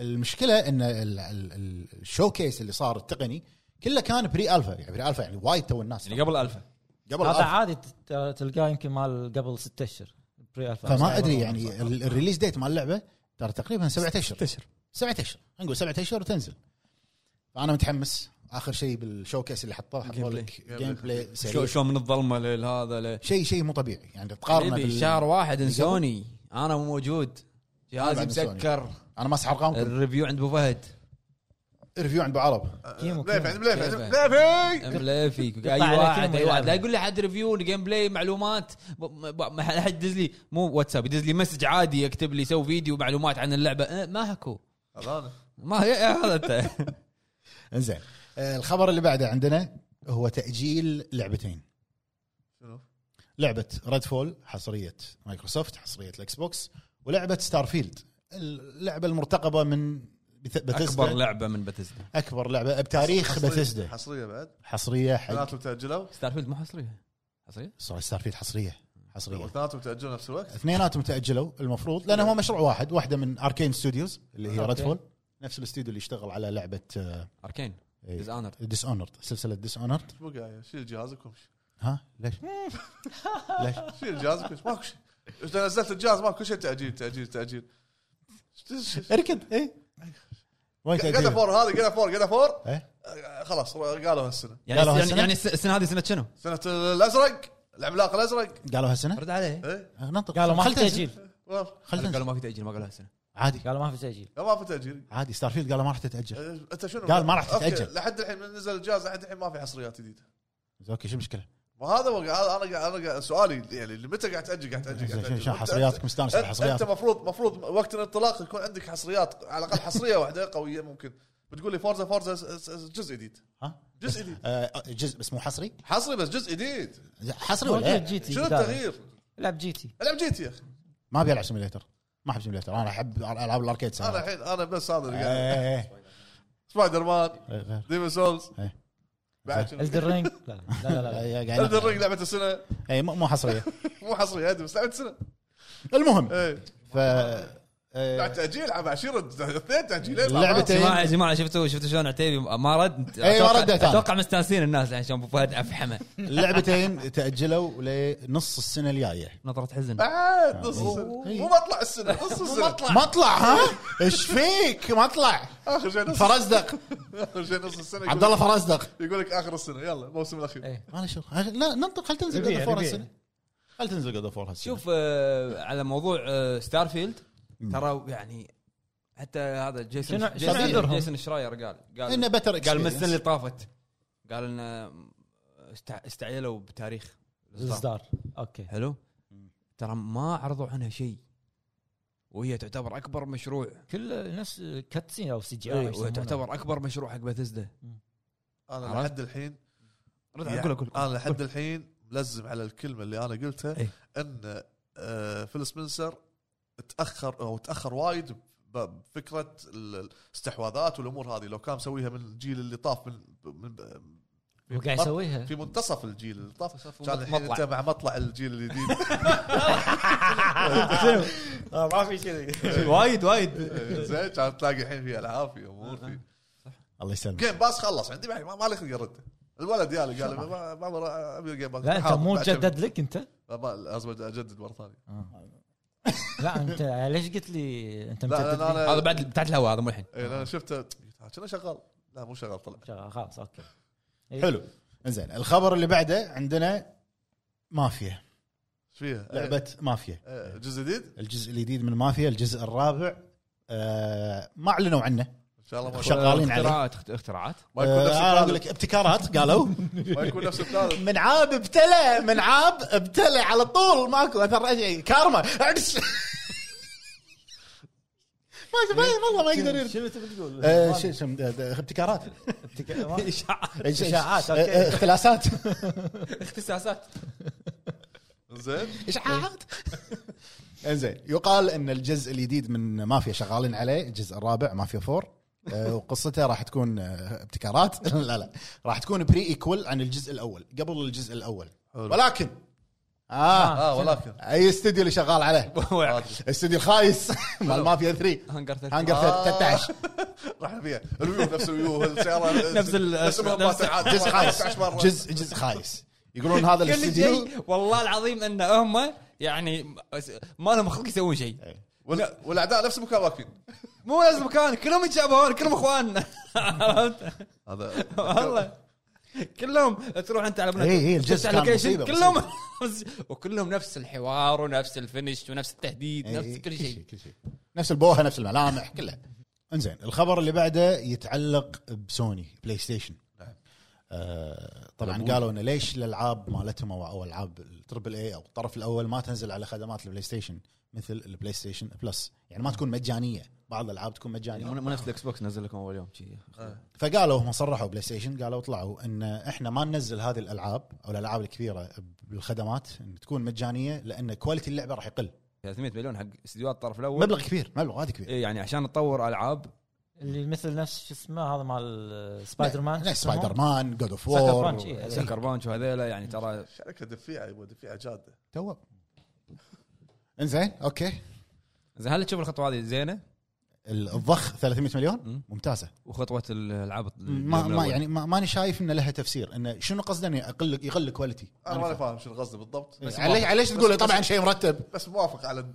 Speaker 3: المشكله ان ال- ال- ال- الشوكيس اللي صار التقني كله كان بري الفا يعني بري الفا يعني وايد تو الناس
Speaker 1: يعني قبل الفا
Speaker 3: قبل
Speaker 2: هذا
Speaker 3: الألفا.
Speaker 2: عادي تت- تلقاه يمكن مال قبل ستة اشهر بري الفا
Speaker 3: فما ادري يعني ال- الريليز ديت مال اللعبه ترى تقريبا سبعة اشهر
Speaker 1: اشهر
Speaker 3: سبعة اشهر نقول سبعة اشهر وتنزل فانا متحمس اخر شيء بالشوكيس اللي حطوه حطوا
Speaker 1: Gameplay.
Speaker 3: لك جيم بلاي
Speaker 1: شو- شلون من الظلمه لهذا ل-
Speaker 3: شيء شيء مو طبيعي يعني تقارنه
Speaker 1: حبيبي
Speaker 3: بال...
Speaker 1: شهر واحد انسوني انا مو موجود جهازي
Speaker 3: أنا بعد إنسوني.
Speaker 1: مسكر
Speaker 3: انا ماسح ارقامكم
Speaker 1: الريفيو عند ابو فهد
Speaker 3: ريفيو عند ابو عرب
Speaker 4: آه،
Speaker 2: كيمو
Speaker 4: مليفي عند
Speaker 2: كيمو.
Speaker 4: مليفي عند
Speaker 1: كيف؟
Speaker 4: مليفي
Speaker 1: ملافي
Speaker 2: قطع
Speaker 1: اي
Speaker 2: على
Speaker 1: واحد
Speaker 2: كلمة
Speaker 1: اي واحد
Speaker 2: يلعبها.
Speaker 1: لا يقول لي حد ريفيو جيم بلاي معلومات ب- ب- ما حد يدز لي مو واتساب يدز لي مسج عادي يكتب لي سوي فيديو معلومات عن اللعبه أه، ما هكو
Speaker 4: هذا أنا.
Speaker 1: ما هي- هذا انت
Speaker 3: انزين آه، الخبر اللي بعده عندنا هو تاجيل لعبتين
Speaker 4: شنو؟
Speaker 3: لعبه ريد فول حصريه مايكروسوفت حصريه الاكس بوكس ولعبه ستار فيلد اللعبه المرتقبه من بث-
Speaker 1: اكبر
Speaker 3: بثيسدا
Speaker 1: لعبه من بتزدا
Speaker 3: اكبر لعبه بتاريخ
Speaker 4: حصرية-
Speaker 3: بثيسدا
Speaker 4: حصريه بعد
Speaker 3: حصريه حق
Speaker 4: اثنيناتهم تاجلوا
Speaker 1: ستار فيلد مو حصريه حصريه
Speaker 3: ستار فيلد حصريه حصريه
Speaker 4: اثنيناتهم تاجلوا نفس الوقت
Speaker 3: اثنيناتهم تاجلوا المفروض لان هو مشروع واحد واحده من اركين ستوديوز اللي هي ريد
Speaker 2: أوكي.
Speaker 3: فول نفس الاستوديو اللي اشتغل على آه، لعبه
Speaker 1: اركين
Speaker 3: إيه.
Speaker 1: ديز اونر
Speaker 3: ديس اونرد سلسله ديس اونرد
Speaker 4: مو قاعد شيل جهازك وامشي
Speaker 3: ها ليش؟ ليش؟
Speaker 4: شيل جهازك وامشي ماكو شيء إذا نزلت الجهاز ماكو كل شيء تاجيل تاجيل تاجيل
Speaker 3: اركد
Speaker 4: إيه.
Speaker 3: اي وين
Speaker 4: قاعد
Speaker 3: تأجيله؟
Speaker 4: فور هذا قاعد فور قاعد فور
Speaker 3: إيه؟
Speaker 4: آه، خلاص قالوا هالسنه
Speaker 1: يعني
Speaker 3: قالوا
Speaker 1: يعني,
Speaker 3: هالسنة؟
Speaker 1: يعني الس- السنه هذه سنه شنو؟
Speaker 4: سنه الازرق العملاق الازرق
Speaker 3: قالوا هالسنه؟
Speaker 1: رد عليه
Speaker 4: ايه
Speaker 3: آه، ننطق
Speaker 2: قالوا ما في
Speaker 3: خلت أنزل.
Speaker 2: تاجيل
Speaker 4: والله.
Speaker 3: خلت أنزل.
Speaker 1: قالوا ما في تاجيل ما قالوا هالسنه
Speaker 3: عادي
Speaker 2: قالوا ما في تاجيل
Speaker 4: لا ما في تاجيل
Speaker 3: عادي ستار فيلد قالوا ما راح تتاجل
Speaker 4: آه، انت شنو
Speaker 3: قال ما راح
Speaker 4: أوكي،
Speaker 3: تتأجل.
Speaker 4: لحد الحين من نزل الجهاز لحد الحين ما في حصريات جديده
Speaker 3: اوكي شو المشكله؟
Speaker 4: وهذا هو قاعد- انا قاعد انا قاعد سؤالي يعني اللي متى قاعد تاجل قاعد
Speaker 2: إيه،
Speaker 4: تاجل قاعد
Speaker 3: زين،
Speaker 4: تاجل
Speaker 3: شنو حصرياتك مستانس على
Speaker 4: انت انت
Speaker 3: حصرياتك
Speaker 4: مفروض مفروض وقت الانطلاق يكون عندك حصريات على الاقل حصريه واحده قويه ممكن بتقول لي فورزا فورزا س- س- س- جزء جديد
Speaker 3: ها؟
Speaker 4: جزء جديد
Speaker 3: آه، جزء بس مو حصري
Speaker 4: حصري بس جزء جديد
Speaker 3: حصري ولا
Speaker 2: موجود
Speaker 3: إيه؟
Speaker 2: جي تي
Speaker 4: شنو التغيير؟
Speaker 2: العب جي تي
Speaker 4: العب جي تي يا اخي
Speaker 3: ما ابي العب سيميليتر ما احب سيميليتر انا احب العاب الاركيد
Speaker 4: انا
Speaker 3: صراحه
Speaker 4: الحين انا بس هذا اللي قاعد
Speaker 2: يعني.
Speaker 3: إيه، إيه،
Speaker 4: يعني. سبايدر مان
Speaker 3: إيه، غير.
Speaker 4: ديمون سولز
Speaker 3: إيه.
Speaker 4: بعد شنو؟
Speaker 2: الدر رينج لا لا لا, لا, لا.
Speaker 3: إيه، قاعد-
Speaker 4: Elden Ring لعبه السنه
Speaker 3: اي مو مو حصريه
Speaker 4: مو حصريه ادري بس لعبه السنه
Speaker 3: المهم
Speaker 2: إيه.
Speaker 4: ايه
Speaker 3: ف
Speaker 4: بعد
Speaker 3: آه،
Speaker 4: تاجيل عم عشيره اثنين تاجيلين
Speaker 3: لعبتين.
Speaker 1: جماعه يا جماعه شفتوا شفتوا شلون عتيبي إيه، ما رد
Speaker 3: إي، ما
Speaker 1: أتوقع-
Speaker 3: ردت أنا.
Speaker 1: اتوقع مستانسين الناس الحين عشان ابو فهد افحمه
Speaker 3: اللعبتين تاجلوا لنص السنه الجايه
Speaker 1: نظره حزن
Speaker 3: آه.
Speaker 4: بعد نص السنه مو مطلع السنه نص السنه
Speaker 3: ما اطلع ها ايش فيك ما اطلع
Speaker 4: اخر شيء نص
Speaker 3: فرزدق
Speaker 4: اخر شيء نص السنه يقول-
Speaker 3: عبد الله فرزدق
Speaker 4: يقول لك اخر السنه يلا الموسم الاخير
Speaker 2: إيه.
Speaker 3: انا شوف لا ننطق خل تنزل
Speaker 2: ربيع،
Speaker 3: جود فور
Speaker 2: ربيع.
Speaker 3: هالسنه خل تنزل جود فور هالسنه
Speaker 1: شوف آه، على موضوع آه، ستارفيلد ترى يعني حتى هذا جيسون
Speaker 2: شنو- شنو
Speaker 1: جيسون,
Speaker 2: عذرهم؟
Speaker 1: جيسون شراير قال
Speaker 3: انه
Speaker 1: قال
Speaker 3: بتر
Speaker 1: قال من السنه اللي طافت قال ان آه، استع- استعجلوا بتاريخ الإصدار.
Speaker 2: الاصدار اوكي
Speaker 1: حلو ترى ما عرضوا عنها شيء وهي تعتبر اكبر مشروع
Speaker 2: كل نفس كاتسين او سي جي اي
Speaker 1: إيه، وتعتبر اكبر مشروع حق بثزدا
Speaker 4: انا
Speaker 1: عرفت؟
Speaker 4: لحد الحين
Speaker 1: رد
Speaker 4: يعني
Speaker 1: اقول لك
Speaker 4: انا لحد الحين ملزم على الكلمه اللي انا قلتها
Speaker 1: إيه.
Speaker 4: ان آه، فيل سبنسر تاخر او تاخر وايد ب- بفكره ال- الاستحواذات والامور هذه لو كان مسويها من الجيل اللي طاف من, من
Speaker 2: وقاعد يسويها
Speaker 4: في منتصف الجيل اللي طاف
Speaker 1: منتصف
Speaker 4: كان الحين
Speaker 1: مطلع.
Speaker 4: انت مع مطلع الجيل الجديد آه،
Speaker 2: ما في كذي
Speaker 1: وايد وايد
Speaker 4: زين كان تلاقي الحين في العاب في
Speaker 1: آه.
Speaker 4: امور في
Speaker 3: الله يسلمك
Speaker 4: جيم باس خلص عندي بعد ما ما لي خلق ارده الولد يالي قال ما ما ما- ابي جيم باس
Speaker 2: لا انت
Speaker 4: حاضر،
Speaker 2: مو
Speaker 4: بعد شوي.
Speaker 2: مجدد لك انت
Speaker 4: ما- ما- لازم اجدد مره ثانيه
Speaker 2: لا انت ليش قلت لي انت
Speaker 4: لا
Speaker 2: مجدد
Speaker 4: لأن
Speaker 2: لي؟
Speaker 1: هذا
Speaker 4: انا
Speaker 1: بعد تحت الهواء هذا مو الحين
Speaker 4: اي انا شفته كنا شغال لا مو شغال طلع
Speaker 2: شغال، خلاص اوكي إيه.
Speaker 3: حلو انزين الخبر اللي بعده عندنا مافيا
Speaker 4: ايش فيها؟
Speaker 3: لعبه مافيا
Speaker 4: إيه، إيه، جزء جديد
Speaker 3: الجزء الجديد من مافيا الجزء الرابع آه ما اعلنوا عنه
Speaker 4: ان شاء الله ما يكون-
Speaker 3: شغالين عليه
Speaker 1: اختراعات اخت- اختراعات
Speaker 4: ما يكون نفس
Speaker 3: آه، انا اقول
Speaker 4: الثالث
Speaker 3: لك ابتكارات قالوا
Speaker 4: ما يكون نفس الثالث
Speaker 3: من عاب ابتلى من عاب ابتلى على طول ماكو اثر شيء كارما عدس. ما ما والله ما يقدر يرد
Speaker 2: شنو تبي تقول؟
Speaker 3: آه، شو اسم- آه، آه، ابتكارات
Speaker 2: إشاعات،
Speaker 3: آه،
Speaker 2: أوكي.
Speaker 3: آه، اختلاسات
Speaker 1: اختصاصات
Speaker 4: زين
Speaker 3: اشاعات انزين إيه. يقال ان الجزء الجديد من مافيا شغالين عليه الجزء الرابع مافيا 4 آه، وقصته راح تكون آه، ابتكارات لا لا راح تكون بري ايكول عن الجزء الاول قبل الجزء الاول
Speaker 4: حلو.
Speaker 3: ولكن اه
Speaker 4: اه ولكن
Speaker 3: اي استوديو اللي شغال عليه
Speaker 4: ما أدري.
Speaker 3: استوديو الخايس مال مافيا 3
Speaker 1: هانجر ثيرتي.
Speaker 3: هانجر
Speaker 4: آه.
Speaker 3: 13
Speaker 4: راح نبيع الويو نفس الويو السياره
Speaker 1: نفس ال-
Speaker 4: نفس المهمات
Speaker 1: نفس-
Speaker 4: العادية.
Speaker 3: جزء خايس
Speaker 4: 15 مرة.
Speaker 3: جزء جزء خايس يقولون هذا
Speaker 1: كل
Speaker 3: الاستوديو
Speaker 1: شيء والله العظيم ان هم يعني ما لهم خلق يسوون شيء
Speaker 3: إيه.
Speaker 4: وال- والاعداء نفس المكان واقفين
Speaker 1: مو نفس مكان كلهم يتشابهون كلهم اخواننا عرفت؟
Speaker 4: هذا
Speaker 1: والله كلهم تروح انت على بنات-
Speaker 3: إي إي، إيه، الجزء
Speaker 1: تفتح
Speaker 3: كان
Speaker 1: لوكيشن،
Speaker 3: مصيبة،
Speaker 1: كلهم وكلهم نفس الحوار ونفس الفينش ونفس التهديد
Speaker 3: إي،
Speaker 1: نفس إيه، كل شيء
Speaker 3: كل شيء نفس البوهه نفس الملامح كلها انزين الخبر اللي بعده يتعلق بسوني بلاي ستيشن آه، طبعا
Speaker 1: لابد.
Speaker 3: قالوا انه ليش الالعاب مالتهم او او العاب التربل اي او الطرف الاول ما تنزل على خدمات البلاي ستيشن مثل البلاي ستيشن بلس يعني ما تكون مجانيه بعض الالعاب تكون مجانيه
Speaker 1: يعني مو مو نفس الاكس بوكس نزل لكم اول يوم شي.
Speaker 3: فقالوا هم صرحوا بلاي ستيشن قالوا طلعوا ان احنا ما ننزل هذه الالعاب او الالعاب الكبيره بالخدمات ان تكون مجانيه لان كواليتي اللعبه راح يقل
Speaker 1: 300 مليون حق استديوهات الطرف الاول
Speaker 3: مبلغ كبير مبلغ هذا كبير
Speaker 1: إيه يعني عشان تطور العاب
Speaker 2: اللي مثل نفس شو اسمه هذا مال سبايدر مان
Speaker 3: لا، سبايدر مان جود اوف
Speaker 2: سكر بانش،
Speaker 3: وور
Speaker 2: إيه.
Speaker 1: سكر بانش يعني وهذيلا يعني ترى
Speaker 4: شركه دفيعه يبغى دفيعه جاده
Speaker 3: تو انزين اوكي
Speaker 1: زين هل تشوف الخطوه هذه زينه
Speaker 3: الضخ 300 مليون
Speaker 1: مم.
Speaker 3: ممتازه
Speaker 1: وخطوه الالعاب
Speaker 3: ما ما يعني ما- ماني شايف ان لها تفسير انه شنو قصده انه يقل يقل كواليتي
Speaker 4: انا ماني فاهم شنو قصدي بالضبط آه، بس
Speaker 3: عليش عليش تقول طبعا شيء مرتب
Speaker 4: بس موافق على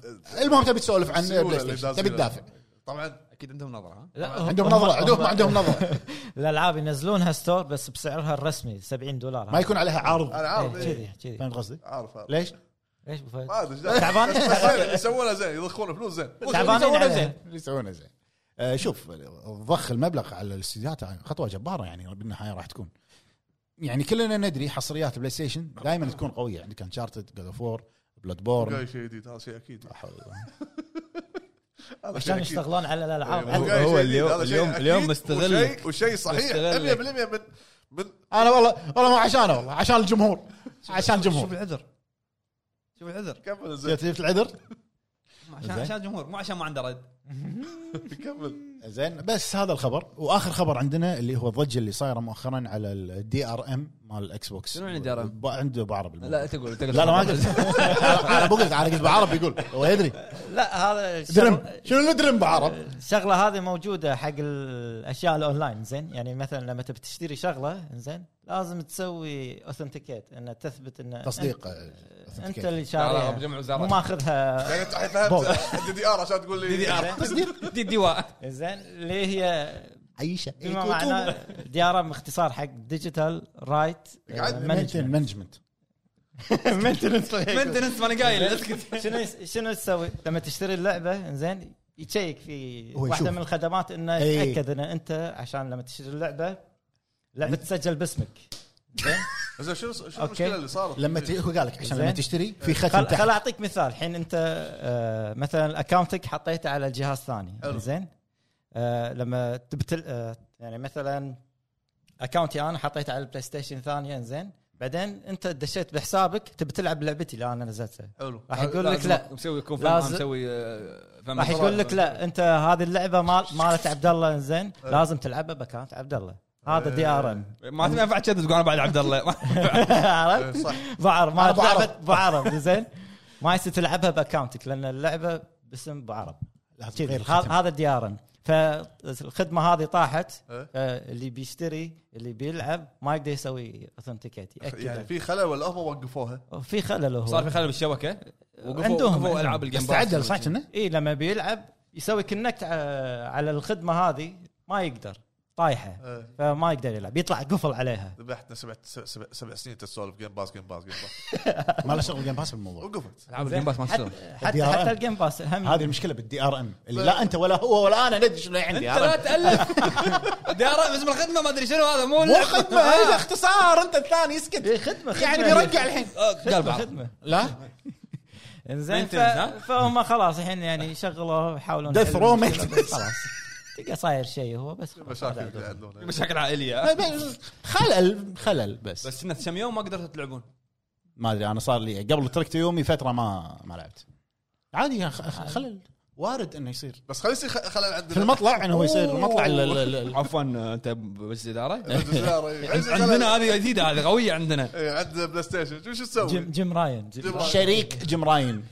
Speaker 3: المهم تبي تسولف عن
Speaker 4: السيولة
Speaker 3: بلاي
Speaker 4: اللي
Speaker 3: ستيشن
Speaker 4: دازلة.
Speaker 3: تبي تدافع
Speaker 4: طبعا
Speaker 1: اكيد عندهم نظره ها
Speaker 2: لا هم-
Speaker 3: عندهم نظره
Speaker 2: هم-
Speaker 3: عندهم عندهم نظره
Speaker 2: الالعاب ينزلونها ستور بس بسعرها الرسمي 70 دولار
Speaker 3: ما آه، يكون عليها عرض
Speaker 4: انا عارف إيه.
Speaker 2: كذي كذي
Speaker 3: فهمت قصدي؟
Speaker 4: عارف عارف
Speaker 3: ليش؟
Speaker 2: ليش ابو فهد؟
Speaker 4: ما ادري إيش دخل.
Speaker 2: تعبان؟
Speaker 4: بس- بس زين، يسوونها زين يضخون فلوس زين
Speaker 2: تعبانين
Speaker 3: يسوونه
Speaker 2: عليها.
Speaker 3: زين اللي يسوونه زين آه، شوف ضخ المبلغ على الاستديوهات خطوه جباره يعني بالنهايه راح تكون يعني كلنا ندري حصريات بلاي ستيشن دائما تكون قويه عندك انشارتد جود اوف وور بلاد بورن
Speaker 4: جاي شيء جديد هذا شيء اكيد هذا شيء
Speaker 2: عشان
Speaker 4: أكيد.
Speaker 2: يشتغلون على
Speaker 4: إيه، مو
Speaker 2: الالعاب
Speaker 1: هو-
Speaker 4: جاي شيء
Speaker 1: هو
Speaker 4: جديد،
Speaker 1: اليوم-
Speaker 4: هذا شيء
Speaker 1: اليوم-
Speaker 4: أكيد
Speaker 1: اليوم مستغلك.
Speaker 4: وشيء- وشيء صحيح
Speaker 1: مستغلك.
Speaker 4: 100% من من
Speaker 3: انا والله والله ما عشانه والله عشان الجمهور عشان
Speaker 1: شوف
Speaker 3: الجمهور
Speaker 1: العذر شوف العذر
Speaker 4: كمل زين
Speaker 3: شفت العذر
Speaker 1: عشان
Speaker 3: زين.
Speaker 1: عشان الجمهور مو عشان ما عنده رد
Speaker 4: كمل
Speaker 3: زين بس هذا الخبر واخر خبر عندنا اللي هو الضجه اللي صايره مؤخرا على الدي ار ام مال الاكس بوكس
Speaker 1: شنو يعني DRM؟
Speaker 3: ب- عنده بعرب
Speaker 1: لا تقول تقول
Speaker 3: لا لا ما قلت انا مو قلت انا قلت بعرب يقول هو يدري
Speaker 2: لا هذا
Speaker 3: درم
Speaker 2: الشغل-
Speaker 3: شنو اللي درم بعرب؟
Speaker 2: الشغله هذه موجوده حق الاشياء الاونلاين زين يعني مثلا لما تبي تشتري شغله زين لازم تسوي اوثنتيكيت انه تثبت انه
Speaker 3: تصديق
Speaker 2: أنت- انت
Speaker 3: authentication.
Speaker 2: اللي
Speaker 1: لا لا
Speaker 2: شاريها
Speaker 1: بجمع
Speaker 2: مو
Speaker 1: وزارات
Speaker 2: ماخذها
Speaker 4: يعني انت الحين فهمت دي دي ار عشان تقول لي دي دي ار
Speaker 1: تصديق دي دي وا-
Speaker 2: زين اللي هي
Speaker 3: اي شيء
Speaker 2: بما معناه دي ار ام اختصار حق آه، ديجيتال رايت
Speaker 3: آه،
Speaker 4: قاعد
Speaker 2: مانجمنت
Speaker 3: مانجمنت
Speaker 1: مينتنس ماني قايل اسكت
Speaker 2: شنو يس- شنو تسوي؟ لما تشتري اللعبه زين يتشيك في
Speaker 3: هو
Speaker 2: واحده
Speaker 3: يشوف.
Speaker 2: من الخدمات انه
Speaker 3: إيه.
Speaker 2: يتاكد ان انت عشان لما تشتري اللعبه لعبه
Speaker 3: إيه.
Speaker 2: تسجل باسمك
Speaker 4: زين شنو شنو
Speaker 2: أوكي.
Speaker 4: المشكله اللي صارت؟ إيه.
Speaker 3: لما ت- هو قال لك عشان لما
Speaker 2: زين.
Speaker 3: تشتري في ختم
Speaker 2: خل خل
Speaker 3: تحت
Speaker 2: اعطيك مثال الحين انت آه، مثلا اكونتك حطيته على الجهاز ثاني
Speaker 4: حلو.
Speaker 2: زين آه، لما تبتل آه، يعني مثلا اكونتي انا حطيته على البلاي ستيشن ثانيه زين بعدين انت دشيت بحسابك تبي تلعب لعبتي اللي انا نزلتها
Speaker 4: حلو
Speaker 1: آه،
Speaker 2: راح يقول لك لا
Speaker 1: مسوي يكون
Speaker 2: لازم-
Speaker 1: فاهم مسوي آه، فهم
Speaker 2: راح يقول لك لا انت هذه اللعبه مال مالت عبد الله زين
Speaker 4: حلو.
Speaker 2: لازم تلعبها باكونت عبد الله هذا دي ار ام
Speaker 1: ما ما ينفع تشذب تقول انا بعد عبد الله
Speaker 4: إيه،
Speaker 2: عرفت؟
Speaker 4: صح
Speaker 2: بعرف
Speaker 3: أنا
Speaker 2: ما
Speaker 3: بعرف.
Speaker 2: لعبه بعرف زين ما يصير تلعبها باكونتك لان اللعبه باسم بعرب
Speaker 3: لا،
Speaker 2: كذي
Speaker 3: غير
Speaker 2: هذا-
Speaker 3: الختم.
Speaker 2: هذا الدي ار ام فالخدمه هذه طاحت
Speaker 4: إيه.
Speaker 2: آه، اللي بيشتري اللي بيلعب ما يقدر يسوي اوثنتيكيت
Speaker 4: يعني
Speaker 2: ياكد
Speaker 4: في خلل ولا هم وقفوها؟
Speaker 2: في خلل هو
Speaker 1: صار في خلل بالشبكه وقفوا
Speaker 2: عندهم-
Speaker 1: وقفوا
Speaker 2: عندهم.
Speaker 1: العاب الجيم
Speaker 3: بس
Speaker 1: باس.
Speaker 3: تعدل صح كنا؟
Speaker 2: اي لما بيلعب يسوي كونكت على الخدمه هذه ما يقدر طايحه
Speaker 4: إيه.
Speaker 2: فما يقدر يلعب يطلع قفل عليها
Speaker 4: ذبحتنا سبع سبع, سبع سنين تسولف جيم باس جيم باس جيم باس
Speaker 3: ما له شغل جيم باس بالموضوع
Speaker 4: وقفت
Speaker 1: العاب الجيم باس ما تصير
Speaker 2: حتى حتى,
Speaker 3: DRM.
Speaker 2: حتى الجيم باس هم
Speaker 3: هذه المشكله بالدي ار ام اللي لا انت ولا هو ولا انا ندري شنو يعني
Speaker 1: انت لا تالف دار اسم الخدمه ما ادري شنو هذا مو
Speaker 3: مو خدمه هذا اختصار انت الثاني اسكت
Speaker 2: إيه، خدمه خدمه
Speaker 3: يعني بيرجع الحين
Speaker 1: آه، قال
Speaker 2: خدمه,
Speaker 1: بعض
Speaker 2: خدمة.
Speaker 3: لا
Speaker 2: انزين ف...
Speaker 1: Maintenance، ها؟
Speaker 2: فهم خلاص الحين يعني شغلوا يحاولون
Speaker 3: Death
Speaker 2: يحلوا
Speaker 3: row
Speaker 2: المشكلة،
Speaker 3: maintenance.
Speaker 2: بس خلاص تلقى صاير شيء هو بس خلاص.
Speaker 4: مشاكل اللي عندنا
Speaker 1: مشاكل عائليه
Speaker 3: خلل خلل بس
Speaker 1: بس انه كم يوم ما قدرتوا تلعبون
Speaker 3: ما ادري انا صار لي قبل تركت يومي فتره ما ما لعبت عادي يا أخ- أخ- خلل وارد انه يصير
Speaker 4: بس خلي يصير خ- خلل عندنا
Speaker 3: في المطلع انه هو يصير المطلع ال- ال- ال-
Speaker 1: عفوا انت بس اداره
Speaker 4: الجزيرة، إيه.
Speaker 1: عندنا هذه جديده هذه قويه عندنا
Speaker 4: إيه، عندنا بلاي ستيشن شو شو تسوي؟
Speaker 2: جيم جيم راين جيم
Speaker 4: جيم
Speaker 2: راين.
Speaker 3: شريك جيم راين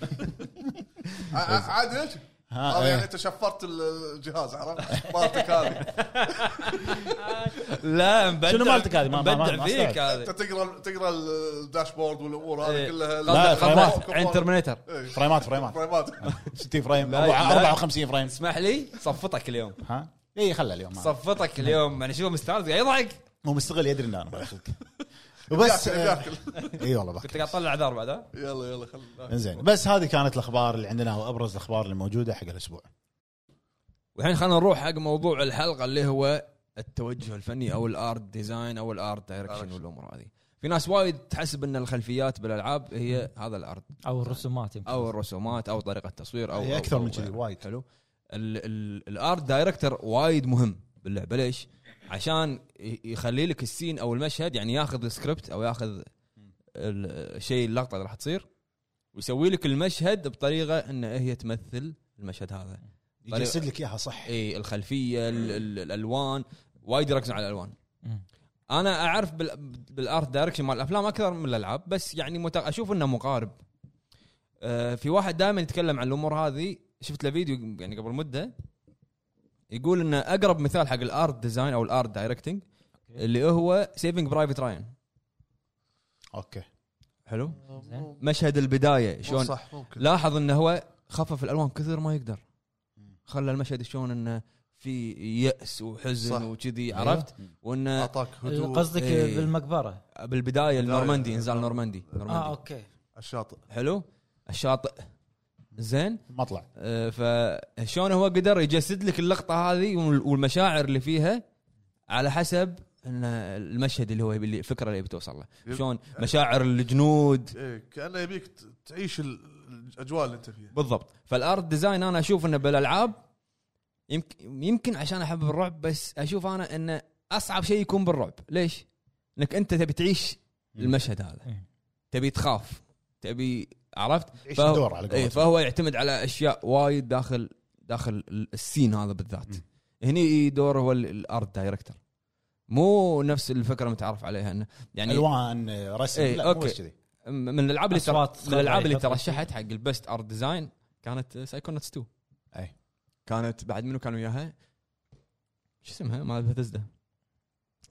Speaker 4: ع- ع- آه، عادي ليش؟
Speaker 3: ها،
Speaker 4: هذا
Speaker 3: إيه.
Speaker 4: يعني انت شفرت ال- الجهاز عرفت؟ مالتك هذه
Speaker 1: لا مبدع
Speaker 3: شنو مالتك هذه؟ ما- ما- ما-
Speaker 1: مبدع
Speaker 3: ما
Speaker 1: فيك
Speaker 3: استوعب.
Speaker 4: انت
Speaker 1: هذه
Speaker 4: تقرا تقرا الداشبورد والامور هذه
Speaker 1: إيه.
Speaker 4: كلها
Speaker 3: لا،
Speaker 1: قصدك
Speaker 3: فريمات.
Speaker 1: قصدك عند ترمينيتر
Speaker 4: إيه،
Speaker 3: فريمات فريمات
Speaker 4: فريمات
Speaker 3: 60 فريم
Speaker 1: لا،
Speaker 3: أربعة-
Speaker 1: لا.
Speaker 3: 54 فريم
Speaker 1: اسمح لي صفطك اليوم
Speaker 3: ها اي خله اليوم معنا.
Speaker 1: صفطك اليوم يعني شوفه مستانس قاعد يضحك
Speaker 3: مو مستغل يدري ان انا بخلك وبس اي
Speaker 4: بياكل- بياكل.
Speaker 3: والله بك
Speaker 1: كنت قاعد اطلع اعذار بعد ها؟
Speaker 4: يلا يلا خلنا
Speaker 3: زين بس هذه كانت الاخبار اللي عندنا وابرز الاخبار الموجوده حق الاسبوع
Speaker 1: والحين خلينا نروح حق موضوع الحلقه اللي هو التوجه الفني او الارت ديزاين او الارت دايركشن
Speaker 4: Direction.
Speaker 1: والامور هذه في ناس وايد تحسب ان الخلفيات بالالعاب هي هذا الارت
Speaker 2: او الرسومات يمكن.
Speaker 1: او الرسومات او طريقه التصوير او
Speaker 3: هي
Speaker 1: أو-
Speaker 3: أكثر
Speaker 1: أو
Speaker 3: من كذي
Speaker 1: غيره.
Speaker 3: وايد.
Speaker 1: حلو ال- ال- الارت دايركتر وايد مهم باللعبه ليش؟ عشان ي- يخلي لك السين او المشهد يعني ياخذ السكريبت او ياخذ ال- الشيء اللقطه اللي راح تصير ويسوي لك المشهد بطريقه ان هي تمثل المشهد هذا
Speaker 3: يجسد لك اياها صح
Speaker 1: اي الخلفيه إيه، ال-
Speaker 4: إيه.
Speaker 1: ال- الالوان وايد يركزون على الالوان
Speaker 2: مم.
Speaker 1: انا اعرف بال- بالارت دايركشن مال الافلام اكثر من الالعاب بس يعني مت... اشوف انه مقارب آه، في واحد دائما يتكلم عن الامور هذه شفت له فيديو يعني قبل مده يقول انه اقرب مثال حق الارت ديزاين او الارت دايركتنج اللي هو سيفنج برايفت راين
Speaker 3: اوكي
Speaker 1: حلو
Speaker 2: زين.
Speaker 1: مشهد البدايه
Speaker 4: مو
Speaker 1: شلون
Speaker 4: صح ممكن
Speaker 1: لاحظ انه هو خفف الالوان كثر ما يقدر خلى المشهد شلون انه في ياس
Speaker 4: صح. أيوه.
Speaker 1: وحزن وكذي عرفت وانه
Speaker 4: اعطاك هدوء
Speaker 2: قصدك
Speaker 1: إيه.
Speaker 2: بالمقبره
Speaker 1: بالبدايه النورماندي انزال نورماندي
Speaker 2: اه
Speaker 1: نورماندي
Speaker 2: اوكي
Speaker 4: على الشاطئ
Speaker 1: حلو الشاطئ زين
Speaker 3: المطلع
Speaker 1: آه، فشلون هو قدر يجسد لك اللقطه هذه وال- والمشاعر اللي فيها على حسب إن المشهد اللي هو يبي- اللي الفكره اللي بتوصل له
Speaker 4: يب-
Speaker 1: شلون مشاعر الجنود
Speaker 4: إيه كانه يبيك ت- تعيش ال- الاجواء اللي انت فيها
Speaker 1: بالضبط فالارت ديزاين انا اشوف انه بالالعاب يمكن يمكن عشان احب الرعب بس اشوف انا انه اصعب شيء يكون بالرعب ليش؟ انك انت تبي تعيش المشهد هذا
Speaker 2: مم.
Speaker 1: تبي تخاف تبي عرفت؟
Speaker 3: تعيش
Speaker 1: فهو-
Speaker 3: الدور على
Speaker 1: اي
Speaker 3: قولتهم
Speaker 1: فهو يعتمد على اشياء وايد داخل داخل ال- السين هذا بالذات
Speaker 3: مم.
Speaker 1: هني دور هو ال- الارت دايركتر مو نفس الفكره متعارف عليها انه يعني
Speaker 3: الوان آه، رسم
Speaker 1: إيه،
Speaker 3: لا مو
Speaker 1: أوكي.
Speaker 3: بس كذي
Speaker 1: م- من الالعاب اللي تر...
Speaker 2: أصوات
Speaker 1: من الالعاب اللي
Speaker 2: خضراء يحطوا
Speaker 1: ترشحت حق البست ارت ديزاين كانت سايكونتس 2
Speaker 3: أي.
Speaker 1: كانت بعد منو كانوا وياها؟ شو اسمها؟ مال بثزدا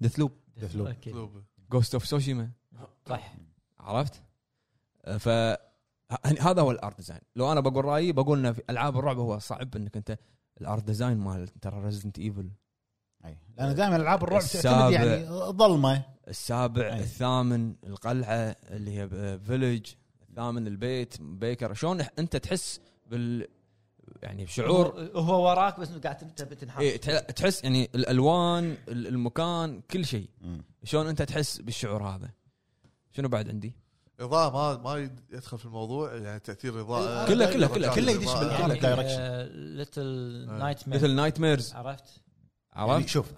Speaker 1: ديث لوب
Speaker 3: Death Loop.
Speaker 2: أكيد.
Speaker 4: أسلوبه.
Speaker 1: جوست اوف سوشيما
Speaker 2: صح
Speaker 1: عرفت؟ آه، ف ه- هذا هو الارت ديزاين لو انا بقول رايي بقول ان في العاب الرعب هو صعب انك انت الارت ديزاين مال ترى ريزدنت ايفل
Speaker 3: اي لان دائما العاب الرعب
Speaker 1: السابع.
Speaker 3: تعتمد يعني ظلمه
Speaker 1: السابع
Speaker 3: أي.
Speaker 1: الثامن القلعه اللي هي فيلج الثامن البيت بيكر شلون انت تحس بال يعني بشعور
Speaker 2: هو- هو وراك بس قاعد انت بتنحاش
Speaker 1: إيه تح- تحس يعني الالوان ال- المكان كل شيء
Speaker 3: مم.
Speaker 1: شلون انت تحس بالشعور هذا شنو بعد عندي
Speaker 4: اضاءه ما ما يد- يدخل في الموضوع يعني تاثير اضاءه
Speaker 1: كله- كله- كله-
Speaker 3: كله
Speaker 2: آه،
Speaker 3: يدش
Speaker 4: إضاءة.
Speaker 3: بالآلة. Direction.
Speaker 2: ليتل
Speaker 4: آه.
Speaker 2: نايت مير
Speaker 1: مثل نايت ميرز
Speaker 2: عرفت؟
Speaker 3: يعني
Speaker 1: عرفت
Speaker 3: شوف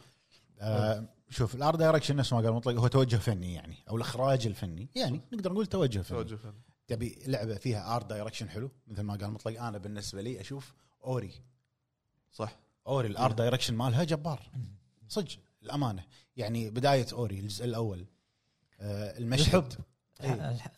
Speaker 3: آه، شوف الار دايركشن نفس ما قال مطلق هو توجه فني يعني او الاخراج الفني يعني نقدر نقول توجه فني
Speaker 4: توجه فني.
Speaker 3: تبي لعبه فيها ار دايركشن حلو مثل ما قال مطلق انا بالنسبه لي اشوف اوري
Speaker 4: صح إيه.
Speaker 3: اوري الار دايركشن مالها جبار صدق الامانه يعني بدايه اوري الجزء الاول آه، المشهد إيه.
Speaker 2: آه، الح-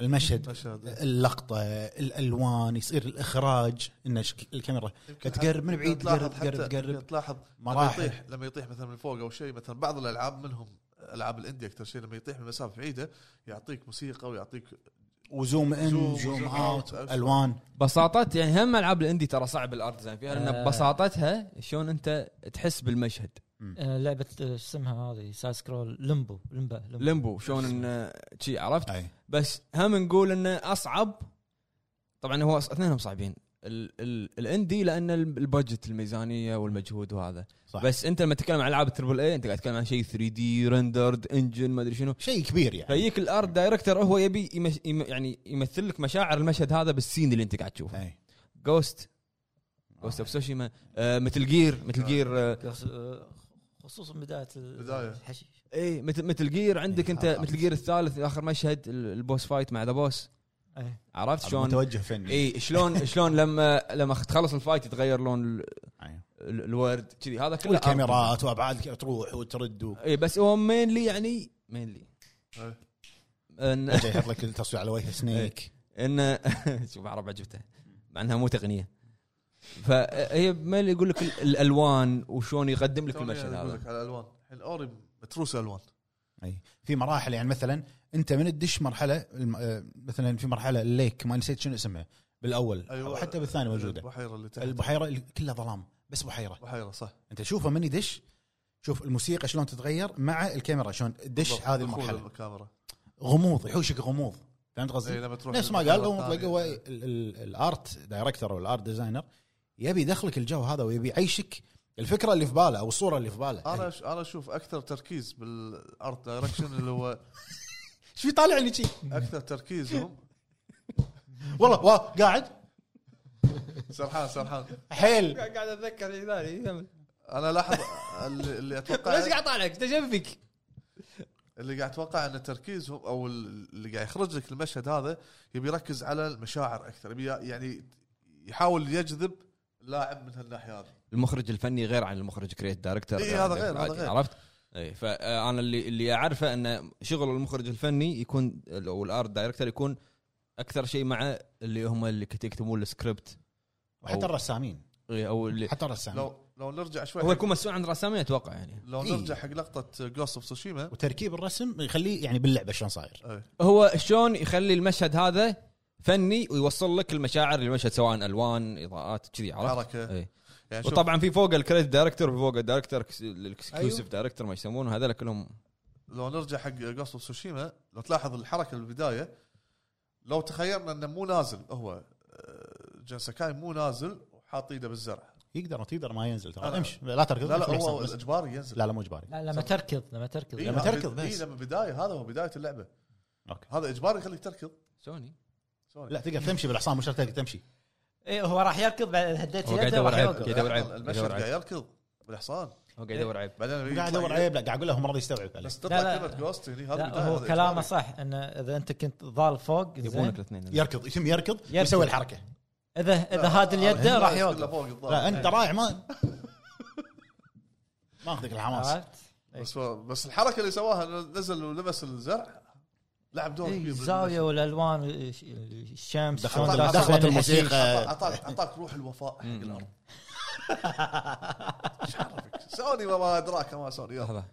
Speaker 3: المشهد
Speaker 4: مشهد
Speaker 3: اللقطه الالوان يصير الاخراج ان شك- الكاميرا تقرب من بعيد،
Speaker 4: تلاحظ
Speaker 3: تقرب-
Speaker 4: حتى-
Speaker 3: تقرب.
Speaker 4: تلاحظ لما
Speaker 3: مراحل.
Speaker 4: يطيح لما يطيح مثلا من فوق او شيء مثلا بعض الالعاب منهم العاب الاندي اكثر شيء لما يطيح من مسافه بعيده يعطيك موسيقى ويعطيك
Speaker 3: وزوم ان
Speaker 4: زوم-
Speaker 3: زوم
Speaker 4: زوم
Speaker 3: اوت
Speaker 4: أوت.
Speaker 3: الوان
Speaker 1: بساطات يعني هم العاب الاندي ترى صعب الارت ديزاين فيها لان
Speaker 2: آه.
Speaker 1: ببساطتها شلون انت تحس بالمشهد
Speaker 2: آه، لعبه آه، شو اسمها هذه سايد سكرول لمبو لمبا
Speaker 1: ليمبو شلون انه شي عرفت
Speaker 3: اي
Speaker 1: بس هم نقول انه اصعب طبعا هو أص- اثنينهم صعبين ال ال الاندي لان ال- البادجت الميزانيه والمجهود وهذا
Speaker 3: صح.
Speaker 1: صح. بس انت لما تتكلم عن العاب التربل اي انت قاعد تتكلم عن شيء 3 دي رندرد انجن ما ادري شنو
Speaker 3: شيء كبير يعني
Speaker 1: فيجيك الارت دايركتور هو يبي يمش يم يعني يمثل لك مشاعر المشهد هذا بالسين اللي انت قاعد تشوفه
Speaker 3: اي
Speaker 1: جوست جوست اوف سوشيما آه، مثل جير مثل آه، جير
Speaker 2: خصوصا بدايه آه، ال-
Speaker 4: بداية.
Speaker 2: الحشيش
Speaker 1: اي مثل إيه، مثل جير عندك
Speaker 3: إيه،
Speaker 1: انت
Speaker 3: عرفت.
Speaker 1: مثل جير الثالث اخر مشهد ال- البوس فايت مع ذا بوس
Speaker 2: إيه.
Speaker 1: عرفت شلون إيه.
Speaker 3: متوجه فني
Speaker 1: اي شلون شلون لما لما تخلص الفايت يتغير لون ال-
Speaker 3: أي.
Speaker 1: ال- الورد كذي هذا كله art.
Speaker 3: والكاميرات وابعاد الك- تروح وترد و-
Speaker 1: اي بس هو مينلي يعني مينلي
Speaker 4: إيه.
Speaker 1: ان
Speaker 3: فجاه يحط لك التصوير على وجه سنيك
Speaker 1: إيه. ان شوف عرب عجبته مع انها مو تقنيه فهي مينلي يقول لك ال- الالوان وشلون يقدم لك
Speaker 4: توني
Speaker 1: المشهد
Speaker 4: أقول
Speaker 1: هذا
Speaker 4: لك على الالوان الحين اوري متروس الوان
Speaker 3: اي في مراحل يعني مثلا انت من تدش مرحله الم- آه، مثلا في مرحله الليك ما نسيت شنو اسمها بالاول او
Speaker 4: أيوة.
Speaker 3: حتى بالثاني موجوده
Speaker 4: البحيره اللي تحت
Speaker 3: البحيره ال- كلها ظلام بس بحيره
Speaker 4: البحيره صح
Speaker 3: انت شوفه من يدش شوف الموسيقى شلون تتغير مع الكاميرا شلون تدش
Speaker 4: بالضبط.
Speaker 3: هذه
Speaker 4: دخول
Speaker 3: المرحله
Speaker 4: الكاميرا
Speaker 3: غموض يحوشك غموض فهمت
Speaker 4: إيه،
Speaker 3: قصدي؟
Speaker 4: لما تروح
Speaker 3: نفس ما
Speaker 4: للمرحلة
Speaker 3: قال هو مطلق
Speaker 4: الثانية.
Speaker 3: هو ال- ال- الارت دايركتور او الارت ديزاينر يبي يدخلك الجو هذا ويبي يعيشك الفكره اللي في باله او الصوره اللي في باله
Speaker 4: انا أش- انا اشوف اكثر تركيز بالارت دايركشن اللي هو
Speaker 3: ايش في طالع لي شي
Speaker 4: اكثر تركيزهم
Speaker 3: والله وا قاعد
Speaker 4: سرحان سرحان
Speaker 3: حيل
Speaker 1: قاعد اتذكر شيء ثاني
Speaker 4: انا لاحظ اللي, اللي اتوقع
Speaker 1: ليش قاعد طالعك؟ ايش دشم فيك؟
Speaker 4: اللي قاعد اتوقع ان تركيزهم او اللي قاعد يخرج لك المشهد هذا يبي يركز على المشاعر اكثر يبي يعني يحاول يجذب اللاعب من هالناحيه هذه
Speaker 1: المخرج الفني غير عن المخرج كريت دايركتر
Speaker 4: إي، إيه، هذا غير، هذا غير.
Speaker 1: عرفت؟ اي فانا اللي اللي اعرفه ان شغل المخرج الفني يكون او الارت دايركتر يكون اكثر شيء مع اللي هم اللي كت- يكتبون السكريبت
Speaker 3: وحتى الرسامين
Speaker 1: إي، او اللي
Speaker 3: حتى الرسامين
Speaker 4: لو لو نرجع شوي
Speaker 1: هو
Speaker 4: حق-
Speaker 1: يكون مسؤول عن الرسامين اتوقع يعني
Speaker 4: لو
Speaker 3: إيه.
Speaker 4: نرجع حق لقطه جوست اوف سوشيما
Speaker 3: وتركيب الرسم يخليه يعني باللعبه شلون
Speaker 4: إيه،
Speaker 3: صاير
Speaker 1: هو شلون يخلي المشهد هذا فني ويوصل لك المشاعر اللي المشهد سواء الوان اضاءات كذي عرفت؟
Speaker 4: حركه
Speaker 1: إي.
Speaker 4: يعني شوف أيوه.
Speaker 1: وطبعا في فوق الكريت دايركتور وفي فوق الدايركتور الاكسكلوسيف دايركتور ما يسمونه هذول كلهم
Speaker 4: لو نرجع حق جوست اوف سوشيما لو تلاحظ الحركه بالبدايه لو تخيلنا انه مو نازل هو آه، جنسكاي مو نازل وحاط ايده بالزرع
Speaker 3: يقدر تقدر ما ينزل
Speaker 4: لا، لا.
Speaker 3: ترى امشي لا تركض
Speaker 4: لا لا
Speaker 3: خلاص،
Speaker 4: هو
Speaker 3: بس-
Speaker 4: اجباري ينزل
Speaker 3: لا لا مو اجباري
Speaker 6: لا لما تركض لما تركض
Speaker 4: إيه،
Speaker 3: لما
Speaker 4: هذا-
Speaker 3: تركض بس.
Speaker 4: إيه، لما بدايه هذا هو بدايه اللعبه
Speaker 3: أوكي.
Speaker 4: هذا اجباري يخليك تركض
Speaker 1: سوني
Speaker 4: سوري
Speaker 3: لا تقدر تمشي بالحصان مو شرط تقدر تمشي
Speaker 2: إيه،
Speaker 6: ايه هو راح يركض بعد هديت
Speaker 1: هو قاعد
Speaker 6: يده
Speaker 1: يدور
Speaker 6: راح
Speaker 1: عيب
Speaker 6: يوقف
Speaker 1: قاعد يدور عيب قاعد
Speaker 4: المشهد
Speaker 1: يدور
Speaker 4: قاعد
Speaker 1: عيب
Speaker 4: يركض بالحصان
Speaker 1: هو قاعد يدور عيب
Speaker 4: بعدين
Speaker 3: قاعد ادور عليه لا قاعد اقول له مو راضي يستوعب عليه.
Speaker 4: بس
Speaker 6: لا،
Speaker 4: تطلع
Speaker 6: لا.
Speaker 4: كلمه جوست هني هذا
Speaker 6: لا
Speaker 4: بداية،
Speaker 6: هو
Speaker 4: هذا
Speaker 6: كلامه
Speaker 4: إجباري.
Speaker 6: صح انه اذا انت كنت ضال فوق
Speaker 1: يبونك
Speaker 6: زين
Speaker 1: الاثنين
Speaker 3: يركض يتم يركض
Speaker 6: يركض.
Speaker 3: يسوي الحركه
Speaker 6: اذا اذا هاد اليد
Speaker 4: هذا
Speaker 6: راح
Speaker 4: كله
Speaker 6: يوقف
Speaker 4: فوق الظهر.
Speaker 3: لا انت رايح ما ما اخذك
Speaker 2: آه.
Speaker 3: الحماس
Speaker 6: عرفت؟
Speaker 4: بس بس الحركه اللي سواها إنه نزل ولبس الزرع لعب دور
Speaker 6: إيه،
Speaker 4: كبير
Speaker 6: الزاويه والالوان الش- الشمس
Speaker 3: دخلت-
Speaker 6: شلون داخل
Speaker 3: دخلت
Speaker 6: بين
Speaker 3: الموسيقى.
Speaker 6: الحشيش.
Speaker 4: اعطاك اعطاك روح الوفاء حق الارض إيش عرفك؟ سوني وما ادراك ما سوني آه، يلا.
Speaker 1: لحظه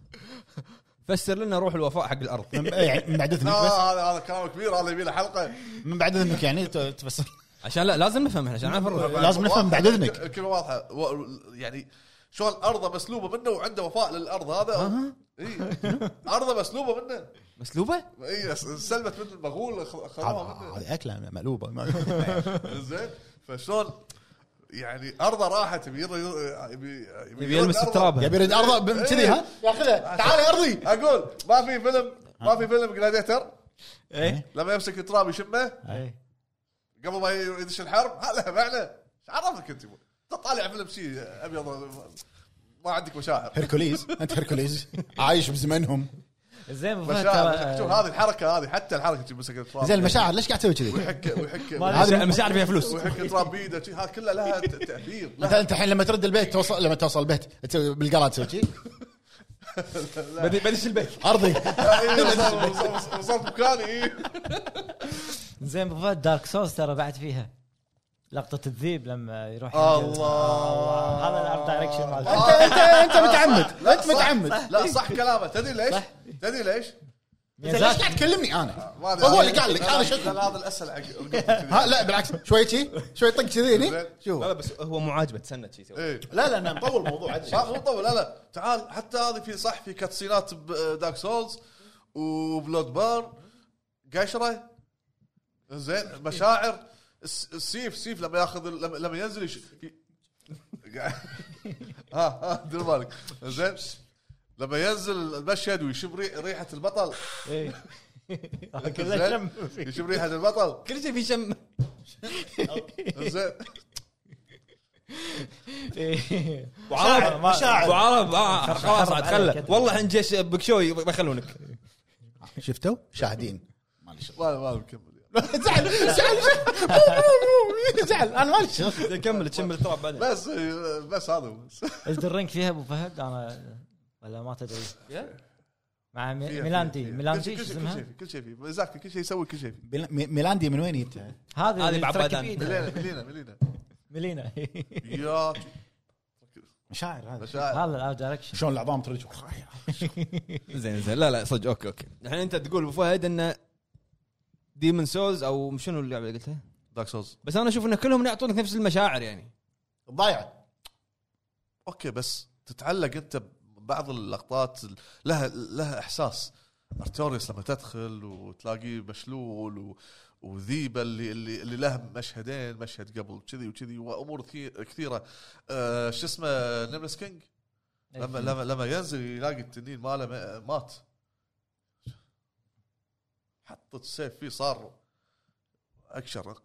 Speaker 1: فسر لنا روح الوفاء حق الارض
Speaker 3: من- يعني من بعد
Speaker 4: لا
Speaker 3: اذنك بس
Speaker 4: هذا هذا كلام كبير هذا يبي له حلقه
Speaker 3: من بعد اذنك يعني ت- تفسر
Speaker 1: عشان لا لازم نفهم احنا عشان
Speaker 4: نعم،
Speaker 1: نعرف الروح
Speaker 3: لازم نفهم بعد اذنك
Speaker 4: الكلمه واضحه و- يعني شلون ارضه مسلوبه منه وعنده وفاء للارض هذا اي ارضه مسلوبه منه
Speaker 1: مسلوبه؟
Speaker 4: اي سلبت مثل المغول خ- خذوها منه
Speaker 3: هذا- هذه اكله مقلوبه
Speaker 4: زين فشلون يعني ارضه راحت يبي ير- يبي
Speaker 1: يبي يلمس
Speaker 4: يرد أرضه.
Speaker 1: التراب
Speaker 3: يبي يرد ارضه ب- كذي ها ياخذها تعال إيه. يا ارضي
Speaker 4: اقول ما في فيلم ما في فيلم جلاديتر
Speaker 3: إيه.
Speaker 4: لما يمسك التراب يشمه
Speaker 3: إيه.
Speaker 4: قبل ما يدش الحرب هذا معنى ايش عرفك انت أنت طالع فيلم شيء ابيض ما عندك مشاعر
Speaker 3: هركوليز انت هركوليز عايش بزمنهم
Speaker 6: زين أبو فهد
Speaker 4: مشاعر شوف
Speaker 6: ترى-
Speaker 4: هذه الحركه هذه حتى الحركه اللي مسك التراب
Speaker 3: زين المشاعر ليش قاعد تسوي كذي؟
Speaker 4: ويحك ويحك
Speaker 3: هذه
Speaker 1: المشاعر فيها فلوس
Speaker 4: ويحك التراب بيده شي، هذا كله لها ت- تاثير
Speaker 3: انت
Speaker 4: لها
Speaker 3: انت الحين لما ترد البيت توصل لما توصل البيت تسوي بالقرار تسوي كذي
Speaker 1: بدش البيت
Speaker 3: ارضي
Speaker 4: إيه، وصل- وصل- وصلت مكاني إيه.
Speaker 6: زين أبو فهد دارك سولز ترى بعد فيها لقطه الذيب لما يروح
Speaker 4: الله
Speaker 6: هذا الارت دايركشن مالته
Speaker 3: انت انت انت متعمد انت متعمد
Speaker 4: لا صح كلامه تدري ليش؟ تدري ليش؟
Speaker 3: زين ليش قاعد تكلمني انا؟
Speaker 4: ما أدري.
Speaker 3: هو اللي قال لك
Speaker 4: لا،
Speaker 3: انا
Speaker 4: لا،
Speaker 3: شكلي
Speaker 4: هذا الاسهل حق القطة.
Speaker 3: ها لا بالعكس شوي كذي شوي طق كذي هني
Speaker 4: زين.
Speaker 3: شوف
Speaker 1: لا لا بس هو مو عاجبه تسند شي يسوي.
Speaker 4: إيه.
Speaker 3: لا لا انا مطول الموضوع عاد
Speaker 4: ما مو طول لا لا تعال حتى هذه في صح في كاتسينات بدارك سولز وبلود بار قشره زين مشاعر الس- السيف سيف لما ياخذ ال- لما- لما ينزل يش... ي- ها ها دير بالك زين لما ينزل المشهد ويشم ري- ريحه البطل
Speaker 6: إيه. كله
Speaker 4: زين؟
Speaker 6: شم
Speaker 4: يشم ريحه البطل
Speaker 1: كل شيء في شم
Speaker 4: زين
Speaker 6: إيه.
Speaker 1: وعرب
Speaker 6: مشاعر.
Speaker 1: مشاعر وعرب آه، خلاص
Speaker 6: حرب
Speaker 1: عاد
Speaker 6: عليك
Speaker 1: خله
Speaker 6: أنت.
Speaker 1: والله عند جيش بكشوي بيخلونك
Speaker 3: شفتوا شاهدين
Speaker 4: ما ما يعني. مكمل
Speaker 3: زعل زعل زعل انا مالي شغل
Speaker 1: كمل تشم التراب بعدين
Speaker 4: بس بس هذا هو.
Speaker 6: الدرينك فيها ابو فهد انا ولا ما تدري مع مي- ميلاندي ميلاندي شو
Speaker 4: كل شيء كل
Speaker 6: اسمها
Speaker 4: شيء كل شيء فيه ميزاكي كل شيء يسوي كل شيء فيه
Speaker 3: ميلاندي من وين جبتها؟
Speaker 6: هذه
Speaker 1: هذه
Speaker 6: اللي
Speaker 1: مع
Speaker 6: تركب
Speaker 1: بدن.
Speaker 6: إيدها.
Speaker 4: ملينا ملينا
Speaker 6: ميلينا
Speaker 4: ملينا يا
Speaker 3: مشاعر هذا
Speaker 4: مشاعر
Speaker 6: هذا الارت دايركشن
Speaker 3: شلون العظام ترجع
Speaker 1: زين زين لا لا صدق اوكي اوكي الحين انت تقول ابو فهد انه ديمن سولز او شنو اللعبه اللي قلتها؟
Speaker 4: دارك سولز
Speaker 1: بس انا اشوف ان كلهم يعطونك نفس المشاعر يعني
Speaker 3: ضايعه
Speaker 4: اوكي بس تتعلق انت ببعض اللقطات ال- لها لها احساس ارتوريوس لما تدخل وتلاقيه مشلول و- وذيبه اللي اللي, اللي له مشهدين مشهد قبل كذي وكذي وامور كثي- كثيره آه شو اسمه نملس كينج لما
Speaker 2: إيه.
Speaker 4: لما لما ينزل يلاقي التنين ماله ما- مات حطت السيف فيه صار اكشر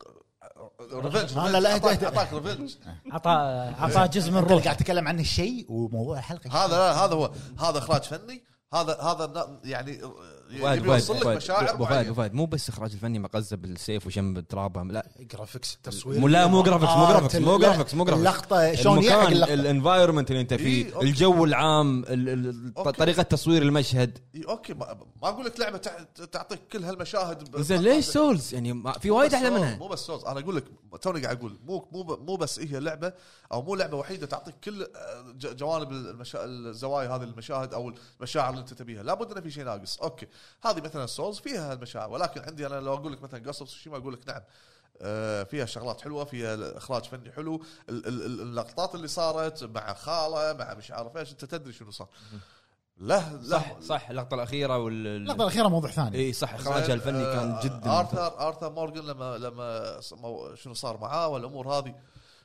Speaker 4: ريفنج
Speaker 3: لا، لا، اهدى، اهدى.
Speaker 4: اعطاك ريفنج
Speaker 2: عطى عطى جزء من
Speaker 3: انت اللي
Speaker 2: روحه
Speaker 3: قاعد تتكلم عن الشيء وموضوع حلقه
Speaker 4: هذا لا هذا هو هذا اخراج فني هذا هذا نا- يعني
Speaker 1: فهد،
Speaker 4: يبي
Speaker 1: فهد،
Speaker 4: يوصل لك
Speaker 1: فهد،
Speaker 4: مشاعر
Speaker 1: أبو فهد أبو
Speaker 4: معينة.
Speaker 1: فهد مو بس اخراج الفني مقزه بالسيف وشم ترابه لا
Speaker 3: جرافيكس
Speaker 1: مو لا مو جرافيكس مو
Speaker 3: آه،
Speaker 1: جرافيكس مو
Speaker 3: لا،
Speaker 1: جرافيكس مو جرافيكس
Speaker 3: اللقطه إيه، شلون يحق
Speaker 1: المكان
Speaker 3: اللقطه
Speaker 1: الانفايرمنت اللي انت
Speaker 4: إي،
Speaker 1: فيه
Speaker 4: إيه، أوكي.
Speaker 1: الجو العام ال- ال-
Speaker 4: أوكي.
Speaker 1: طريقه تصوير المشهد
Speaker 4: إي، اوكي ما, ما اقول لك لعبه تع- تعطيك كل هالمشاهد ب-
Speaker 1: زين ليش سولز يعني ما- في
Speaker 4: مو
Speaker 1: وايد
Speaker 4: بس
Speaker 1: احلى
Speaker 4: سولز،
Speaker 1: منها
Speaker 4: مو بس سولز انا اقول لك توني قاعد اقول مو مو ب- مو بس هي لعبه او مو لعبه وحيده تعطيك كل آه، ج- جوانب المشا... الزوايا هذه المشاهد او المشاعر اللي انت تبيها لابد ان في شيء ناقص اوكي هذه مثلا سولز فيها هالمشاعر ولكن عندي انا لو اقول لك مثلا قصص وشي ما اقول لك نعم آه، فيها شغلات حلوه فيها اخراج فني حلو ال- ال- ال- اللقطات اللي صارت مع خاله مع مش عارف ايش انت تدري شنو صار له له
Speaker 1: صح صح اللقطه الاخيره
Speaker 3: اللقطه
Speaker 1: وال
Speaker 3: الاخيره موضوع ثاني
Speaker 1: اي صح اخراجها الفني كان
Speaker 4: آه،
Speaker 1: جدا ممتاز.
Speaker 4: ارثر ارثر مورجن لما لما ص- مو- شنو صار معاه والامور هذه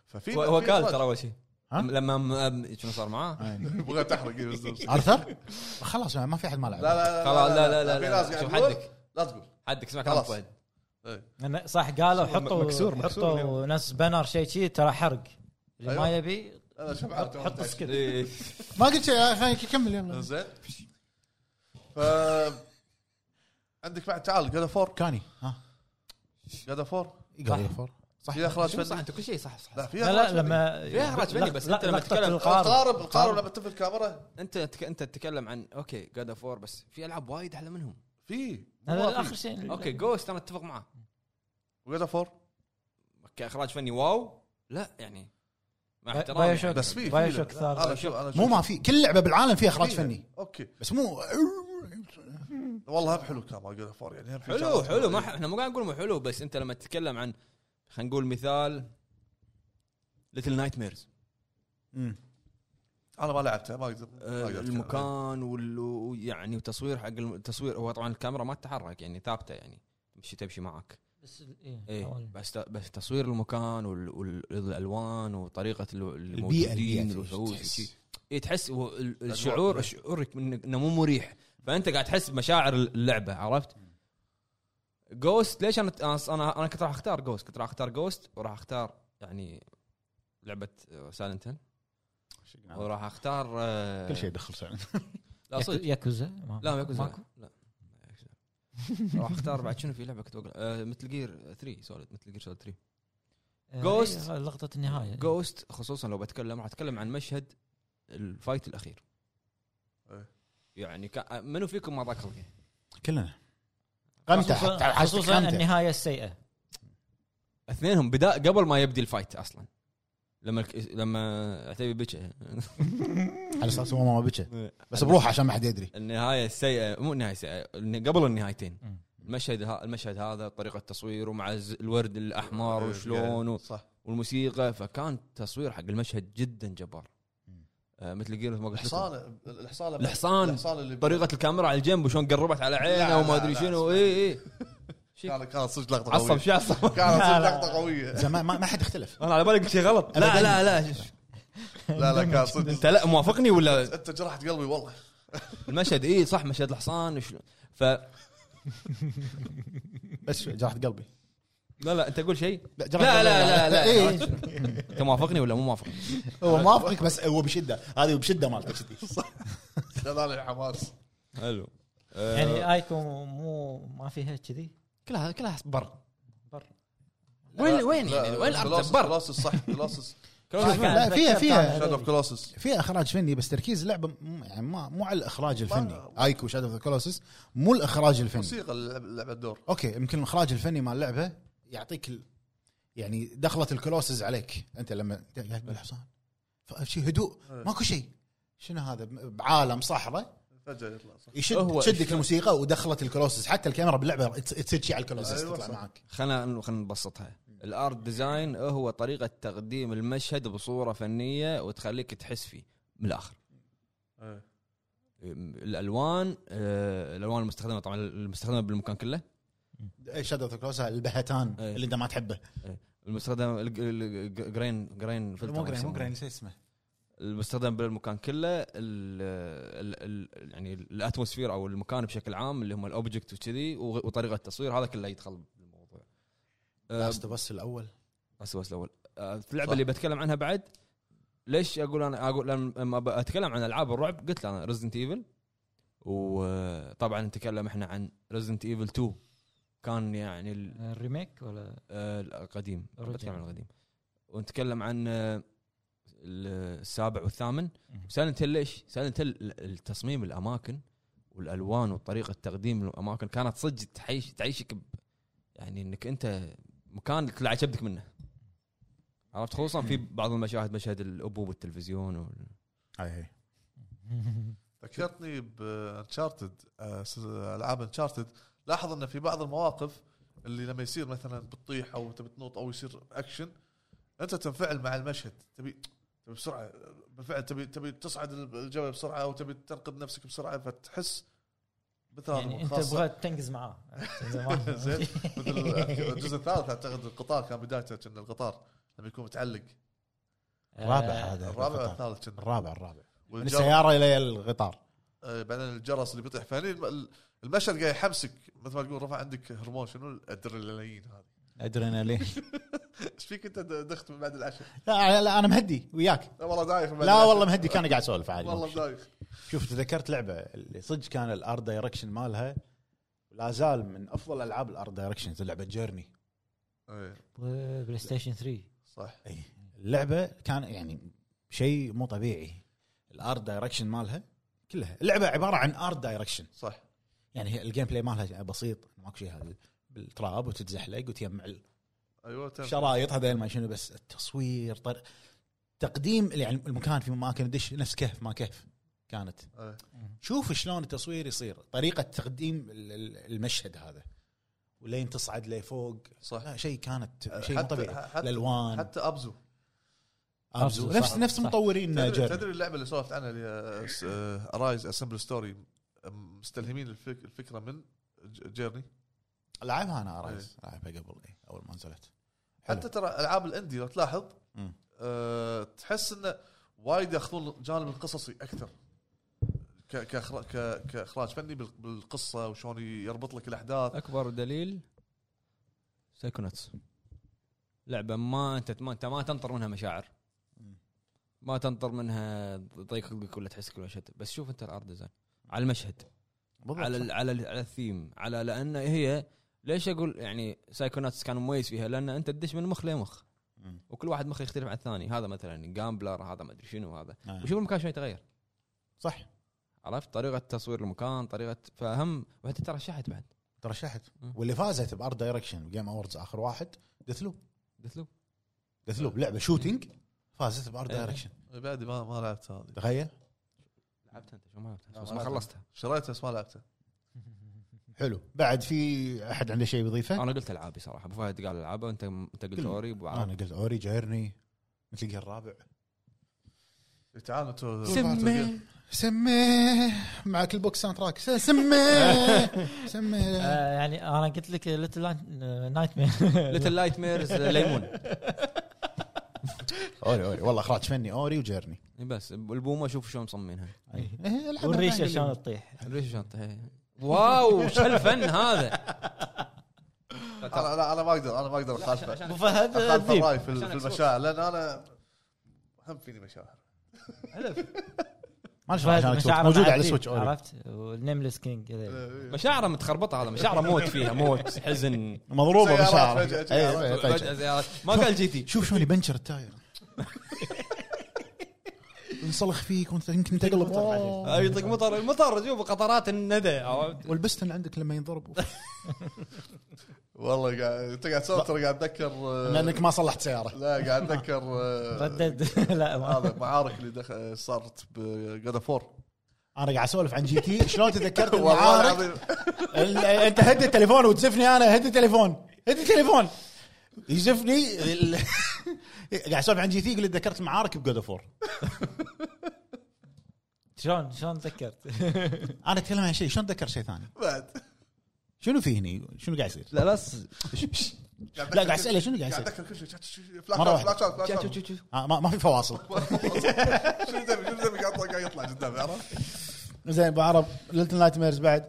Speaker 4: ففي
Speaker 1: هو هو
Speaker 4: في
Speaker 1: قال
Speaker 4: إخراج.
Speaker 1: ترى اول شيء
Speaker 3: ها؟
Speaker 1: لما م- م- شنو صار معاه
Speaker 4: بغيت تحرق إيه، بس- بس- لا
Speaker 3: ارثر خلاص ما في احد ما
Speaker 4: لا
Speaker 3: لعب
Speaker 4: لا
Speaker 1: خلاص، لا، لا، لا،
Speaker 4: في
Speaker 1: لا،
Speaker 4: ناس
Speaker 1: شوف
Speaker 4: قاعد
Speaker 1: حدك.
Speaker 4: تقول لا تقول
Speaker 1: حدك اسمع كلام
Speaker 4: خلاص.
Speaker 1: فهد
Speaker 2: أنا صح قالوا حطوا
Speaker 7: مكسور- مكسور
Speaker 2: حطوا ناس بانر شيء شيء ترى حرق
Speaker 1: أيوه.
Speaker 2: اللي ما
Speaker 4: أيوة.
Speaker 2: يبي
Speaker 4: انا شوف
Speaker 2: حط حط
Speaker 1: طيب.
Speaker 4: عرفت
Speaker 2: سكيل
Speaker 1: إي.
Speaker 3: ما قلت شيء آه، خلينا نكمل يلا.
Speaker 4: زين ف عندك بعد تعال جاد فور
Speaker 3: كاني ها
Speaker 4: جاد فور
Speaker 3: قال فور
Speaker 4: صح اخراج
Speaker 1: شوف صح
Speaker 4: فني
Speaker 1: انت كل شيء صح صح
Speaker 4: لا في
Speaker 2: لا لا
Speaker 4: اخراج فني.
Speaker 2: لما
Speaker 1: فيها إخراج فني، بس
Speaker 2: لا-
Speaker 1: أنت لما
Speaker 2: لقطة
Speaker 1: تتكلم-
Speaker 2: القارب
Speaker 4: القارب القارب لما تطفي الكاميرا
Speaker 1: انت تك- انت تتكلم عن اوكي جاد اوف وور بس في العاب وايد احلى منهم
Speaker 4: في
Speaker 2: هذا اخر شيء
Speaker 1: اوكي جوست انا اتفق معاه
Speaker 4: جاد فور
Speaker 1: كاخراج فني واو لا يعني مع
Speaker 2: باي-
Speaker 1: احترامي
Speaker 2: بايوشوك.
Speaker 1: يعني.
Speaker 4: بس في في
Speaker 2: بايو شوك
Speaker 4: لا،
Speaker 2: ثالث.
Speaker 4: انا شوف انا شوف
Speaker 3: مو ما في كل لعبه بالعالم فيها اخراج
Speaker 4: فيها.
Speaker 1: إيه.
Speaker 3: فني
Speaker 4: اوكي
Speaker 3: بس مو
Speaker 4: والله هم حلو كان مال جاد فور يعني هم في
Speaker 1: حلو
Speaker 4: شغلات
Speaker 1: حلو ما ح- احنا مو قاعد نقول مو حلو بس انت لما تتكلم عن خلينا نقول مثال ليتل نايت ميرز
Speaker 4: انا ما لعبتها ما اقدر ما أقدر أتكلم.
Speaker 1: آه، المكان وال- ويعني وتصوير حق الم- التصوير هو طبعا الكاميرا ما تتحرك يعني ثابته يعني تمشي تمشي معك
Speaker 2: بس إيه،
Speaker 1: اي
Speaker 2: أول.
Speaker 1: بس ت- بس تصوير المكان وال- وال- والالوان وطريقه الو-
Speaker 3: البيئه
Speaker 1: الموجودين والوحوش وشي.
Speaker 3: البيئه
Speaker 1: اي تحس و- ال- الشعور شعورك إنك- انه مو مريح فانت قاعد تحس بمشاعر اللعبه عرفت؟ جوست ليش انا انا انا كنت راح اختار جوست كنت راح اختار جوست وراح اختار يعني لعبه سايلنت هيل
Speaker 3: نعم.
Speaker 1: وراح اختار آه،
Speaker 3: كل شيء يدخل سعر
Speaker 1: لا
Speaker 2: ياكو-
Speaker 1: صدق
Speaker 2: ياكوزا ما-
Speaker 1: لا ما يكون
Speaker 2: ماكو؟
Speaker 1: لا راح اختار بعد شنو في لعبه كنت بقول مثل جير 3 سوليد مثل جير سوليد 3
Speaker 2: آه،
Speaker 1: Ghost.
Speaker 2: إيه، لقطه النهايه
Speaker 1: جوست خصوصا لو بتكلم راح اتكلم عن مشهد الفايت الاخير
Speaker 4: إيه.
Speaker 1: يعني كا- منو فيكم ما ذاكر الجيم؟
Speaker 3: كلنا قمت
Speaker 2: خصوصاً-
Speaker 3: حتى حاجتك
Speaker 2: خصوصا
Speaker 3: قمت.
Speaker 2: النهايه السيئه
Speaker 1: اثنينهم بدا قبل ما يبدي الفايت اصلا لما الك... لما عتيبي بكى
Speaker 3: على اساس هو ما بكى
Speaker 1: إيه.
Speaker 3: بس بروحه عشان ما حد يدري
Speaker 1: النهايه السيئه مو النهايه السيئه إن قبل النهايتين
Speaker 2: مم.
Speaker 1: المشهد ها... المشهد هذا طريقه التصوير ومع الز- الورد الاحمر
Speaker 4: إيه،
Speaker 1: وشلون و...
Speaker 4: صح
Speaker 1: والموسيقى فكان تصوير حق المشهد جدا جبار آه مثل جير ما قلت لكم.
Speaker 4: الحصان الحصان لما-
Speaker 1: الحصان.
Speaker 4: الحصان اللي
Speaker 1: طريقه الكاميرا على الجنب وشلون قربت على عينه
Speaker 4: لا،
Speaker 1: وما
Speaker 4: لا،
Speaker 1: ادري
Speaker 4: لا،
Speaker 1: شنو
Speaker 4: اسمع.
Speaker 1: اي اي
Speaker 4: كان كان صدق لقطه قويه
Speaker 1: عصب شو عصب
Speaker 4: كان
Speaker 2: لا،
Speaker 4: صدق
Speaker 2: لا.
Speaker 4: لقطه قويه
Speaker 3: زين ما- ما ما حد اختلف
Speaker 1: انا على بالي قلت شيء غلط لا لا لا
Speaker 4: لا لا كان
Speaker 1: انت
Speaker 4: صدق
Speaker 1: لا موافقني ولا
Speaker 4: انت جرحت قلبي والله
Speaker 1: المشهد اي صح مشهد الحصان وشلون ف لا
Speaker 3: بس جرحت قلبي
Speaker 1: لا انت قول شيء
Speaker 3: لا جرحت
Speaker 1: لا لا
Speaker 3: قلبي.
Speaker 1: لا لا
Speaker 3: إيه.
Speaker 1: انت موافقني ولا مو موافقني؟
Speaker 3: هو موافقك بس هو بشده هذه بشده مالته كذي
Speaker 4: خذاني الحماس
Speaker 1: حلو آه.
Speaker 2: يعني ايكو مو ما فيها كذي
Speaker 1: كلها كلها بر
Speaker 2: بر.
Speaker 1: وين وين يعني وين
Speaker 4: كلاسس
Speaker 1: الارض بر
Speaker 4: كلاسس صح كلاسس
Speaker 3: لا فيها فيها
Speaker 4: شاد اوف كلاسس
Speaker 3: فيها اخراج فني بس تركيز اللعبه م- يعني ما مو على الاخراج الفني ايكو شاد اوف ذا كولوسس مو الاخراج الفني
Speaker 4: موسيقى لعب الدور
Speaker 3: اوكي يمكن الاخراج الفني مال اللعبه يعطيك ال... يعني دخلت الكولوسز عليك انت لما قاعد بالحصان شيء هدوء ماكو شيء شنو هذا ب- بعالم صحراء
Speaker 4: فجاه يطلع صح
Speaker 3: يشد
Speaker 1: هو
Speaker 3: تشدك الموسيقى ودخلت الكولوسز حتى الكاميرا باللعبه ت- تصير شيء على الكولوسز
Speaker 4: أيوة
Speaker 3: تطلع
Speaker 4: صح.
Speaker 3: معك
Speaker 1: خلينا خلينا نبسطها الارت ديزاين هو طريقه تقديم المشهد بصوره فنيه وتخليك تحس فيه من الاخر
Speaker 4: إيه.
Speaker 1: الالوان آه، الالوان المستخدمه طبعا المستخدمه بالمكان كله
Speaker 3: شادو اوف البهتان
Speaker 1: إيه.
Speaker 3: اللي انت ما تحبه
Speaker 1: المستخدم الج- الج- جرين جرين فلتر
Speaker 3: مو جرين مو
Speaker 1: يسمونه.
Speaker 3: جرين نسيت اسمه
Speaker 1: المستخدم بالمكان كله ال ال ال يعني الاتموسفير او المكان بشكل عام اللي هم الاوبجكت وكذي وغ- وطريقه التصوير هذا كله يدخل بالموضوع أه،
Speaker 3: لاست بس الاول
Speaker 1: بس بس الاول أه، في اللعبه
Speaker 3: صح.
Speaker 1: اللي بتكلم عنها بعد ليش اقول انا اقول لما ب- اتكلم عن العاب الرعب قلت انا ريزدنت ايفل وطبعا آه، نتكلم احنا عن ريزدنت ايفل 2 كان يعني ال-
Speaker 2: الريميك ولا
Speaker 1: آه، القديم
Speaker 2: Original.
Speaker 1: بتكلم عن القديم ونتكلم عن آه، السابع والثامن سايلنت هيل ليش؟ سايلنت هيل التصميم الاماكن والالوان وطريقه تقديم الاماكن كانت صدق تعيش تعيشك ب- يعني انك انت مكان تلع كبدك منه عرفت خصوصا في بعض المشاهد مشهد الابو بالتلفزيون وال-
Speaker 3: اي
Speaker 4: ذكرتني بانشارتد العاب انشارتد لاحظ ان في بعض المواقف اللي لما يصير مثلا بتطيح او تبي تنوط او يصير اكشن انت تنفعل مع المشهد تبي تبي بسرعه بالفعل تبي تبي تصعد الجبل بسرعه او تبي تنقذ نفسك بسرعه فتحس مثل هذا
Speaker 2: يعني انت
Speaker 4: خاصة-
Speaker 2: بغيت تنقز معاه
Speaker 4: زين مثل الجزء الثالث اعتقد القطار كان بدايته كان القطار لما يكون متعلق
Speaker 3: الرابع
Speaker 2: آه،
Speaker 3: هذا
Speaker 4: الرابع
Speaker 3: القطار.
Speaker 4: والثالث كان
Speaker 3: الرابع الرابع من
Speaker 4: والجرس-
Speaker 3: السياره الى القطار
Speaker 4: آه، بعدين الجرس اللي بيطيح فهني الم- المشهد قاعد يحمسك مثل ما تقول رفع عندك هرمون شنو الادرينالين هذا
Speaker 3: ادرينالين
Speaker 4: ايش فيك انت د- دخت من بعد العشاء؟
Speaker 3: لا لا انا مهدي وياك
Speaker 4: لا والله دايخ من بعد
Speaker 3: لا
Speaker 4: العشاء.
Speaker 3: والله مهدي كان قاعد اسولف عادي
Speaker 4: والله دايخ
Speaker 3: شوف تذكرت لعبه اللي صدق كان الار دايركشن مالها لا زال من افضل العاب الار دايركشن لعبه جيرني
Speaker 4: إيه،
Speaker 2: بلاي ستيشن 3
Speaker 4: صح
Speaker 3: اي اللعبه كان يعني شيء مو طبيعي الار دايركشن مالها كلها اللعبه عباره عن ار دايركشن
Speaker 4: صح
Speaker 3: يعني هي الجيم بلاي مالها بسيط ماكو شيء هذا بالتراب وتتزحلق وتجمع
Speaker 4: ايوه تم.
Speaker 3: الشرايط هذيل ما شنو بس التصوير طر... تقديم يعني المكان في اماكن دش نفس كهف ما كهف كانت
Speaker 4: إيه.
Speaker 3: شوف شلون التصوير يصير طريقه تقديم ال- ال- المشهد هذا ولين تصعد لفوق
Speaker 4: صح أه،
Speaker 3: لا شيء كانت شيء مو
Speaker 4: حتى
Speaker 3: طبيعي
Speaker 4: حتى,
Speaker 3: الالوان
Speaker 4: حتى ابزو
Speaker 3: ابزو
Speaker 2: صح،
Speaker 3: نفس نفس
Speaker 2: صح.
Speaker 3: مطورين
Speaker 4: تدري,
Speaker 3: جيرني
Speaker 4: تدري اللعبه اللي سولفت عنها اللي آه، ارايز اسمبل ستوري مستلهمين الفك- الفكره من ج- جيرني
Speaker 3: لعبها انا ارايز لعبها قبل إيه، اول ما نزلت حلو.
Speaker 4: حتى ترى العاب الاندي لو تلاحظ
Speaker 3: مم.
Speaker 4: أه تحس انه وايد ياخذون الجانب القصصي اكثر ك- كإخرا- ك- كاخراج فني بال- بالقصه وشلون يربط لك الاحداث
Speaker 1: اكبر دليل سايكوناتس لعبه ما انت ما انت ما تنطر منها مشاعر ما تنطر منها ضيق قلبك ولا تحس كل مشهد بس شوف انت الارت ديزاين على المشهد على ال على ال على الثيم على لان هي ليش اقول يعني سايكوناتس كان مميز فيها لان انت تدش من مخ لمخ
Speaker 3: مم.
Speaker 1: وكل واحد مخ يختلف عن الثاني هذا مثلا جامبلر هذا ما ادري شنو هذا
Speaker 3: آه.
Speaker 1: وشوف المكان شلون يتغير
Speaker 3: صح
Speaker 1: عرفت طريقه تصوير المكان طريقه فهم وحتى ترى شحت بعد
Speaker 3: ترشحت
Speaker 1: مم.
Speaker 3: واللي فازت بار دايركشن جيم اووردز اخر واحد دثلوب
Speaker 1: قلت له
Speaker 3: دثلوب لعبه شوتينج فازت بار
Speaker 1: إيه.
Speaker 3: دايركشن
Speaker 4: بعد ما ما لعبت هذه
Speaker 3: تخيل
Speaker 1: لعبتها انت شو ما لعبتها
Speaker 4: لا،
Speaker 1: بس
Speaker 4: ما
Speaker 1: ما
Speaker 4: لعبتها.
Speaker 1: خلصتها
Speaker 4: شريتها بس ما لعبتها
Speaker 3: حلو بعد في احد عنده شيء يضيفه
Speaker 1: انا قلت العابي صراحه ابو فهد قال العابه انت انت قلت
Speaker 3: قل-
Speaker 1: اوري ابو
Speaker 3: انا
Speaker 1: عرب
Speaker 3: قلت اوري جيرني مثل جير الرابع
Speaker 4: تعال انتوا
Speaker 3: سميه سميه معك البوكس ساوند تراك س- سميه سميه
Speaker 2: آه، يعني انا قلت لك آه، ليتل نايت مير
Speaker 1: ليتل لايت ميرز آه، ليمون
Speaker 3: اوري اوري والله اخراج فني اوري وجيرني
Speaker 1: بس البومه شوف شلون مصممينها
Speaker 3: إيه، الحمد
Speaker 2: والريشه
Speaker 3: لله.
Speaker 2: شلون تطيح
Speaker 1: الريشه شنطه هي. واو شو الفن هذا
Speaker 4: انا لا انا ما اقدر انا ما اقدر اخالفه
Speaker 2: ابو فهد
Speaker 4: اخالف
Speaker 2: الذيب
Speaker 4: الراي في ال-
Speaker 1: عشان
Speaker 4: في
Speaker 1: أكسوس.
Speaker 4: المشاعر لان انا هم فيني مشاعر
Speaker 3: ما أدري شلون
Speaker 2: فهد
Speaker 3: عشان أكتب.
Speaker 2: مشاعره
Speaker 3: موجوده
Speaker 2: مع
Speaker 3: على
Speaker 2: الذيب،
Speaker 3: سويتش اوري
Speaker 2: عرفت والنيمليس كينج
Speaker 4: إيه.
Speaker 3: آه.
Speaker 2: هذيل.
Speaker 4: آه،
Speaker 1: مشاعره متخربطه هذا مشاعره موت فيها موت حزن
Speaker 3: مضروبه
Speaker 4: سيارات
Speaker 3: مشاعر
Speaker 4: فجأة كذا.
Speaker 3: إيه، إيه، فجأة.
Speaker 1: فجأة زيارات. ما قال جي تي
Speaker 3: شوف شلون يبنشر التاير انصلخ فيك وانت يمكن تقلب أوه.
Speaker 1: آه، يطق مطر المطر شوف قطرات الندى عرفت؟
Speaker 3: والبستن عندك لما ينضرب
Speaker 4: والله قاعد انت قاعد تسولف ترى قاعد اتذكر آه،
Speaker 3: لانك ما صلحت سياره
Speaker 4: لا قاعد اتذكر آه،
Speaker 2: ردد لا ما
Speaker 4: هذا المعارك اللي دخ- صارت بجود اوف وور
Speaker 3: انا قاعد اسولف عن جي تي شلون تذكرت
Speaker 4: والله
Speaker 3: المعارك
Speaker 4: العظيم
Speaker 3: ال- انت هد التليفون وتزفني انا هد التليفون هد التليفون يزفني ال- قاعد اسولف عن جي تي يقول لي تذكرت معارك بجود اوف وور
Speaker 2: شلون شلون تذكرت
Speaker 3: انا اتكلم عن شيء شلون اتذكر شيء ثاني
Speaker 4: بعد
Speaker 3: شنو في هني؟ شنو قاعد يصير؟
Speaker 1: لا لا س-
Speaker 3: لا قاعد اساله شنو قاعد يصير؟
Speaker 4: اتذكر كل شيء فلاش
Speaker 3: مرة
Speaker 4: فلاش
Speaker 3: واحدة.
Speaker 4: فلاش
Speaker 1: شوف- شوف-
Speaker 4: فلاش فلاش.
Speaker 1: شوف- شوف.
Speaker 3: آه، ما, ما في فواصل
Speaker 4: شنو تبي شنو تبي قاعد قاعد يطلع قدامي عرفت؟
Speaker 3: زين ابو عرب ليتل نايت ميرز بعد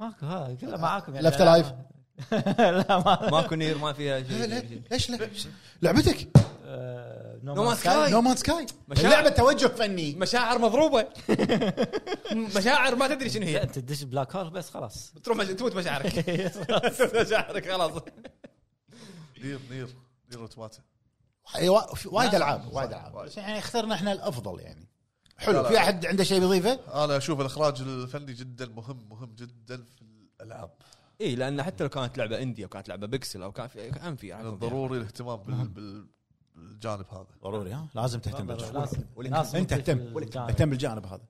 Speaker 2: ماكو ها كله
Speaker 3: آه.
Speaker 2: معاكم يعني
Speaker 3: لفت لايف
Speaker 2: لا ما
Speaker 1: ماكو نير ما فيها
Speaker 3: لا، لا،
Speaker 1: شيء
Speaker 3: ليش لا لعبتك
Speaker 2: آه،
Speaker 1: نو مان
Speaker 2: نومانس
Speaker 1: سكاي
Speaker 3: نو مان سكاي
Speaker 1: مشاعر.
Speaker 3: لعبه توجه فني
Speaker 1: مشاعر مضروبه مشاعر ما تدري شنو
Speaker 2: لا
Speaker 1: هي
Speaker 2: انت تدش بلاك هول بس خلاص
Speaker 1: تروح مش... تموت مشاعرك تموت مشاعرك خلاص
Speaker 4: نير نير نير اوتوماتا
Speaker 3: أي وا- في وايد العاب وايد
Speaker 4: صح،
Speaker 3: العاب
Speaker 4: وايد.
Speaker 3: بس يعني اخترنا احنا الافضل يعني
Speaker 4: لا،
Speaker 3: حلو
Speaker 4: لا.
Speaker 3: في احد عنده شيء يضيفه؟
Speaker 4: انا اشوف الاخراج الفني جدا مهم مهم جدا في الالعاب
Speaker 1: اي لان إيه، حتى لو كانت لعبه اندي او كانت لعبه بيكسل او كان في كان في يعني.
Speaker 3: يعني.
Speaker 4: من الضروري يعني الاهتمام بال- بال- بالجانب هذا
Speaker 3: ضروري ها لازم تهتم بالجانب
Speaker 2: لازم-
Speaker 1: ولك-
Speaker 2: لازم
Speaker 3: انت
Speaker 2: نضيف
Speaker 3: اهتم
Speaker 2: الجانب.
Speaker 3: اهتم بالجانب هذا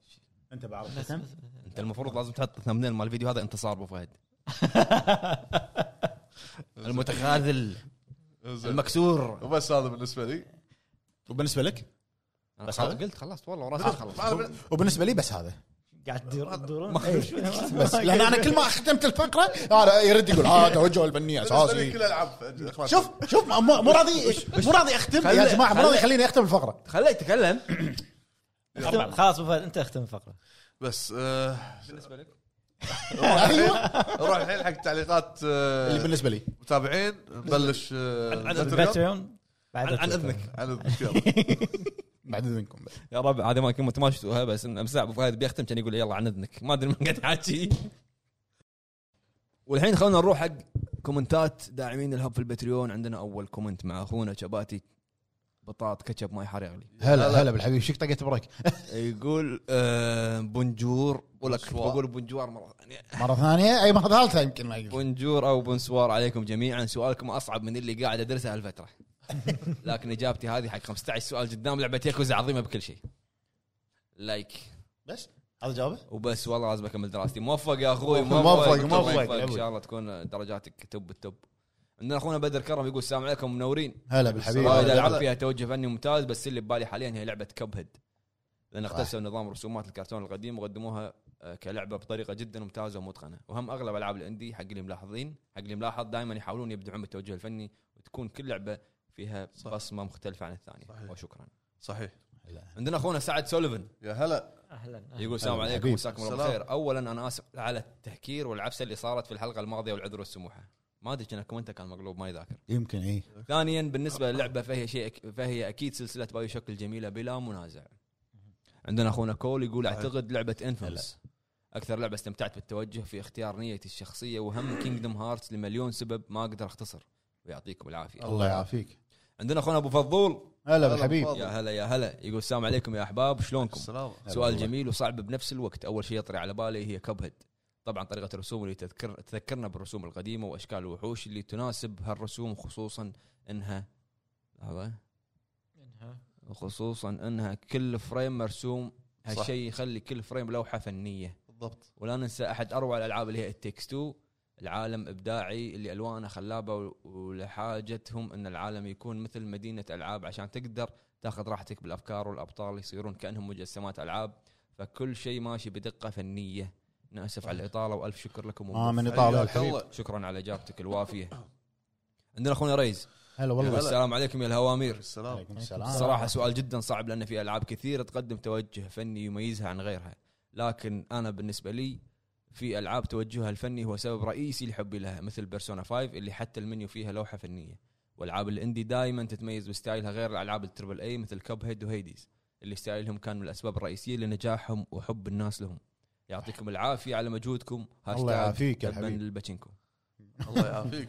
Speaker 3: انت بعرف اهتم
Speaker 1: انت المفروض لازم تحط ثمنين مال الفيديو هذا انتصار ابو فهد المتخاذل
Speaker 4: زين.
Speaker 1: المكسور
Speaker 4: وبس هذا بالنسبه لي
Speaker 3: وبالنسبه لك
Speaker 1: بس قلت خلصت والله
Speaker 3: آه،
Speaker 1: وراسي خلص
Speaker 4: أنا بال-
Speaker 3: وبالنسبه لي بس هذا
Speaker 2: قاعد تدير- تدورون
Speaker 6: إيه.
Speaker 3: بس لان انا كل ما ختمت الفقره هذا يرد يقول ها توجه الفني
Speaker 4: بالنسبه لي
Speaker 3: اساسي
Speaker 4: كل العاب
Speaker 3: شوف شوف ما- مو مو راضي مو راضي اختم يا
Speaker 1: خلي-
Speaker 3: جماعه مو راضي
Speaker 1: خلي-
Speaker 3: خليني اختم الفقره
Speaker 1: خليه يتكلم
Speaker 2: اختم- خلاص أبو فهد، انت اختم الفقره
Speaker 4: بس آه،
Speaker 1: بالنسبه لك
Speaker 3: ايوه
Speaker 4: نروح الحين حق تعليقات آه،
Speaker 3: اللي بالنسبه لي
Speaker 4: متابعين نبلش آه،
Speaker 1: عن- عن
Speaker 4: باتريون.
Speaker 2: باتريون بعد
Speaker 1: عن عن
Speaker 2: باتريون.
Speaker 1: اذنك
Speaker 4: عن الذكر.
Speaker 3: بعد اذنكم
Speaker 1: يا ربع هذا ما كنت ما شفتوها بس امس ابو فهد بيختم كان يقول يلا عن اذنك ما ادري من قاعد يحكي والحين خلونا نروح حق كومنتات داعمين الهب في البتريون عندنا اول كومنت مع اخونا شباتي بطاط كاتشب ماي حار يغلي
Speaker 3: هلا هلا بالحبيب شك طقت بريك
Speaker 1: يقول آه بونجور ولك
Speaker 4: بونسوار.
Speaker 1: بقول بونجوار مره ثانيه
Speaker 3: مره ثانيه اي مره ثالثه يمكن ما يقول.
Speaker 1: بونجور او بونسوار عليكم جميعا سؤالكم اصعب من اللي قاعد ادرسه هالفتره لكن اجابتي هذه حق 15 سؤال قدام لعبه ياكوزا عظيمه بكل شيء لايك
Speaker 3: بس هذا جوابه
Speaker 1: وبس والله لازم اكمل دراستي موفق يا اخوي
Speaker 3: موفق، موفق،
Speaker 1: ان
Speaker 3: لابد.
Speaker 1: شاء الله تكون درجاتك توب التوب عندنا اخونا بدر كرم يقول السلام عليكم منورين
Speaker 3: هلا بالحبيب
Speaker 1: وايد
Speaker 4: هلا.
Speaker 1: العاب فيها توجه فني ممتاز بس اللي ببالي حاليا هي لعبه كب هيد لان اقتبسوا نظام رسومات الكرتون القديم وقدموها آه، كلعبه بطريقه جدا ممتازه ومتقنه وهم اغلب العاب الاندي حق اللي ملاحظين حق اللي ملاحظ دائما يحاولون يبدعون بالتوجه الفني وتكون كل لعبه فيها
Speaker 4: صح.
Speaker 1: بصمه مختلفه عن الثانيه
Speaker 4: صحيح.
Speaker 1: وشكرا
Speaker 4: صحيح
Speaker 1: عندنا اخونا سعد سوليفن
Speaker 4: يا هلا
Speaker 2: اهلا
Speaker 1: يقول السلام
Speaker 3: هلا
Speaker 1: عليكم
Speaker 3: حبيبي.
Speaker 1: مساكم الله
Speaker 4: السلام.
Speaker 1: بالخير اولا انا اسف على التهكير والعفسه اللي صارت في الحلقه الماضيه والعذر والسموحه ما ادري كان كومنتها كان مقلوب ما يذاكر
Speaker 3: يمكن إيه. اي
Speaker 1: ثانيا بالنسبه للعبه فهي شيء فهي اكيد سلسله بايو شوك الجميله بلا منازع عندنا اخونا كول يقول اعتقد لعبه انفيمس اكثر لعبه استمتعت بالتوجه في اختيار نيتي الشخصيه وهم كينجدم هارتس لمليون سبب ما اقدر اختصر ويعطيكم العافيه
Speaker 3: الله يعافيك
Speaker 1: عندنا اخونا ابو فضول
Speaker 3: هلا بالحبيب
Speaker 4: بالفضل.
Speaker 1: يا هلا يا هلا يقول السلام عليكم يا احباب شلونكم
Speaker 4: السلام
Speaker 1: سؤال
Speaker 3: والله.
Speaker 1: جميل وصعب بنفس الوقت اول شيء يطري على بالي هي كبهد طبعا طريقه الرسوم اللي تذكر تذكرنا بالرسوم القديمه واشكال الوحوش اللي تناسب هالرسوم خصوصا انها هذا وخصوصا انها كل فريم مرسوم هالشيء يخلي كل فريم لوحه فنيه
Speaker 4: بالضبط
Speaker 1: ولا ننسى احد اروع الالعاب اللي هي التكس 2 العالم ابداعي اللي الوانه خلابه و- ولحاجتهم ان العالم يكون مثل مدينه العاب عشان تقدر تاخذ راحتك بالافكار والابطال يصيرون كانهم مجسمات العاب فكل شيء ماشي بدقه فنيه ناسف على الاطاله والف شكر لكم
Speaker 3: ما آه، من
Speaker 4: حياك
Speaker 3: ايطاليا الحبيب
Speaker 4: الله.
Speaker 1: شكرا على اجابتك الوافيه عندنا اخونا ريز
Speaker 3: هلا
Speaker 1: يقول
Speaker 3: والله
Speaker 1: السلام عليكم يا الهوامير
Speaker 4: السلام
Speaker 3: عليكم السلام
Speaker 1: الصراحه سؤال جدا صعب لان في العاب كثيره تقدم توجه فني يميزها عن غيرها لكن انا بالنسبه لي في العاب توجهها الفني هو سبب رئيسي لحبي لها مثل بيرسونا 5 اللي حتى المنيو فيها لوحه فنيه والعاب الاندي دائما تتميز بستايلها غير الالعاب التربل اي مثل كب هيد وهيديز اللي ستايلهم كان من الاسباب الرئيسيه لنجاحهم وحب الناس لهم يعطيكم العافيه على مجهودكم هاشتاج
Speaker 3: يعافيك يا
Speaker 1: تباً
Speaker 3: حبيبي.
Speaker 1: للباتشينكو.
Speaker 4: الله يعافيك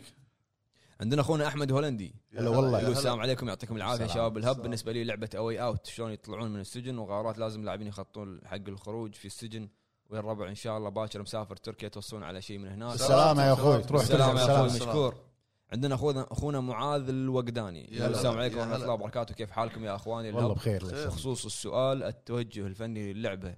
Speaker 1: عندنا اخونا احمد هولندي
Speaker 4: يا
Speaker 3: هلا والله.
Speaker 4: يا
Speaker 1: يقول السلام عليكم يعطيكم العافيه
Speaker 3: السلام.
Speaker 1: شباب الهب بالنسبه لي لعبه اوي اوت شلون يطلعون من السجن وغارات لازم اللاعبين يخطون حق الخروج في السجن ويا الربع ان شاء الله باكر مسافر تركيا توصلون على شيء من هناك
Speaker 3: السلام يا اخوي
Speaker 4: السلام.
Speaker 3: تروح
Speaker 1: السلام
Speaker 3: ترجع
Speaker 1: يا اخوي
Speaker 3: السلام
Speaker 4: السلام.
Speaker 1: مشكور عندنا اخونا اخونا معاذ الوقداني
Speaker 4: يا
Speaker 1: يقول
Speaker 4: هلا.
Speaker 1: السلام عليكم
Speaker 4: يا
Speaker 1: ورحمه
Speaker 4: هلا.
Speaker 1: الله وبركاته كيف حالكم يا اخواني
Speaker 3: والله
Speaker 1: الهب
Speaker 3: بخير
Speaker 4: خير.
Speaker 1: بخصوص السؤال التوجه الفني للعبه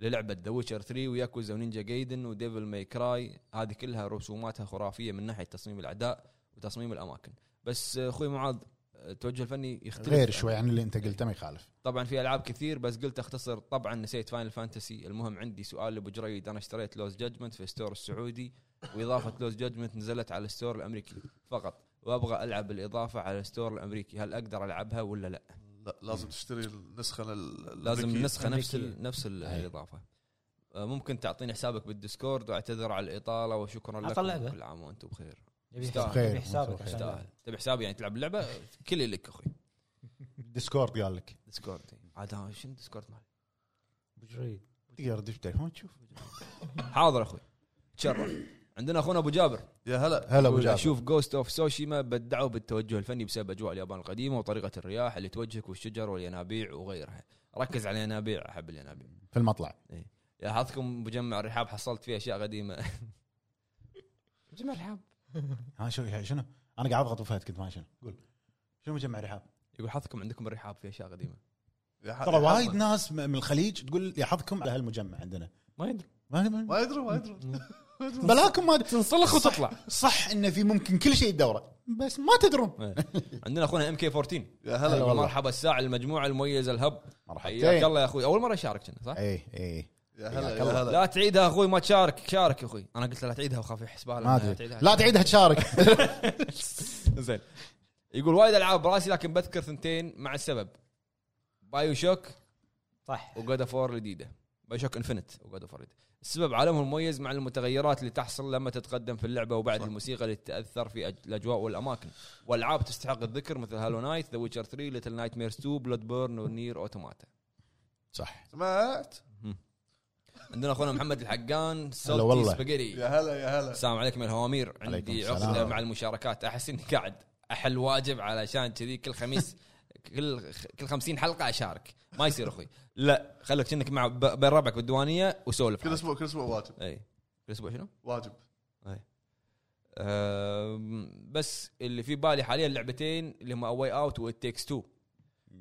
Speaker 1: للعبه ذا ويتشر 3 وياكوزا ونينجا جايدن وديفل ماي كراي هذه كلها رسوماتها خرافيه من ناحيه تصميم الاعداء وتصميم الاماكن بس اخوي معاذ التوجه الفني يختلف
Speaker 3: غير شوي عن اللي انت قلته ما يخالف
Speaker 1: طبعا في العاب كثير بس قلت اختصر طبعا نسيت فاينل فانتسي المهم عندي سؤال لابو جريد انا اشتريت لوز جادجمنت في ستور السعودي واضافه لوز جادجمنت نزلت على الستور الامريكي فقط وابغى العب الاضافه على الستور الامريكي هل اقدر العبها ولا لا
Speaker 4: لا لازم تشتري النسخه لل-
Speaker 1: لازم
Speaker 4: الأمريكية.
Speaker 1: نسخه نفس
Speaker 6: أمريكية.
Speaker 1: ال نفس ال-
Speaker 3: أي.
Speaker 1: الاضافه آه، ممكن تعطيني حسابك بالديسكورد واعتذر على الاطاله وشكرا لك
Speaker 6: عطل لعبة.
Speaker 1: كل عام وانتم بخير
Speaker 6: يبي
Speaker 1: يستاهل.
Speaker 6: حساب- يبي
Speaker 3: خير،
Speaker 6: حسابك
Speaker 3: مساء الخير.
Speaker 6: عشان
Speaker 1: تستاهل تبي حسابي يعني تلعب اللعبه كل لك اخوي
Speaker 3: ديسكورد قال لك
Speaker 1: ديسكورد عاد ها، شنو ديسكورد مالي
Speaker 6: بجريد
Speaker 3: تقدر تدش بالتليفون تشوف
Speaker 1: حاضر اخوي تشرف عندنا اخونا ابو جابر
Speaker 4: يا هلا
Speaker 3: هلا ابو
Speaker 1: يقول
Speaker 3: جابر
Speaker 1: اشوف جوست اوف سوشيما بدعوا بالتوجه الفني بسبب اجواء اليابان القديمه وطريقه الرياح اللي توجهك والشجر والينابيع وغيرها ركز على الينابيع احب الينابيع
Speaker 3: في المطلع
Speaker 1: لاحظتكم مجمع الرحاب حصلت فيه اشياء قديمه مجمع الرحاب
Speaker 3: ها شو شنو انا قاعد اضغط وفهد كنت ما شنو قول شنو مجمع رحاب
Speaker 1: يقول حظكم عندكم الرحاب فيه اشياء قديمه
Speaker 4: يا ح-
Speaker 3: ترى
Speaker 4: يا
Speaker 3: وايد
Speaker 4: حظك.
Speaker 3: ناس م- من الخليج تقول يا حظكم على هالمجمع عندنا
Speaker 1: ما يدري
Speaker 3: ما- ما-
Speaker 4: ما يدري ما يدري
Speaker 3: بلاكم ما
Speaker 1: تنسلخ وتطلع
Speaker 3: صح انه في ممكن كل شيء يدوره بس ما تدرون
Speaker 1: عندنا اخونا ام كي 14
Speaker 4: يا هلا
Speaker 3: والله.
Speaker 1: مرحبا الساعه المجموعه المميزه الهب حياك
Speaker 3: مرحبا
Speaker 1: الله يا اخوي اول مره يشارك كنا صح؟
Speaker 3: اي اي
Speaker 4: يا هلا
Speaker 3: حياك
Speaker 4: يا
Speaker 3: الله.
Speaker 4: هلا
Speaker 1: لا تعيدها اخوي ما تشارك شارك يا اخوي انا قلت له لا تعيدها وخاف يحسبها
Speaker 3: ما
Speaker 1: لأنها
Speaker 3: ادري لا تعيدها تشارك
Speaker 1: زين يقول وايد العاب براسي لكن بذكر ثنتين مع السبب بايو شوك
Speaker 6: صح
Speaker 1: وجود اوف وور الجديده بايو شوك انفنت وجود اوف وور الجديدة. السبب عالمه المميز مع المتغيرات اللي تحصل لما تتقدم في اللعبه وبعد
Speaker 4: صح.
Speaker 1: الموسيقى اللي تاثر في أج- الاجواء والاماكن والعاب تستحق الذكر مثل هالو نايت ذا ويتشر 3 ليتل نايت ميرز 2 بلود بيرن ونير اوتوماتا
Speaker 3: صح
Speaker 4: سمعت
Speaker 1: عندنا اخونا محمد الحقان
Speaker 3: هلا
Speaker 1: سولتي
Speaker 3: والله.
Speaker 1: سباجيتي
Speaker 4: يا هلا يا هلا
Speaker 1: السلام عليكم يا الهوامير
Speaker 3: عليكم
Speaker 1: عندي
Speaker 3: السلام.
Speaker 1: عقده مع المشاركات احس اني قاعد احل واجب علشان كذي كل خميس كل كل 50 حلقه اشارك ما يصير اخوي لا خليك كأنك مع ب- بين ربعك بالديوانيه وسولف
Speaker 4: كل اسبوع كل اسبوع واجب
Speaker 1: اي كل اسبوع شنو؟
Speaker 4: واجب
Speaker 1: أم، بس اللي في بالي حاليا لعبتين اللي هم اواي اوت والتيكس تو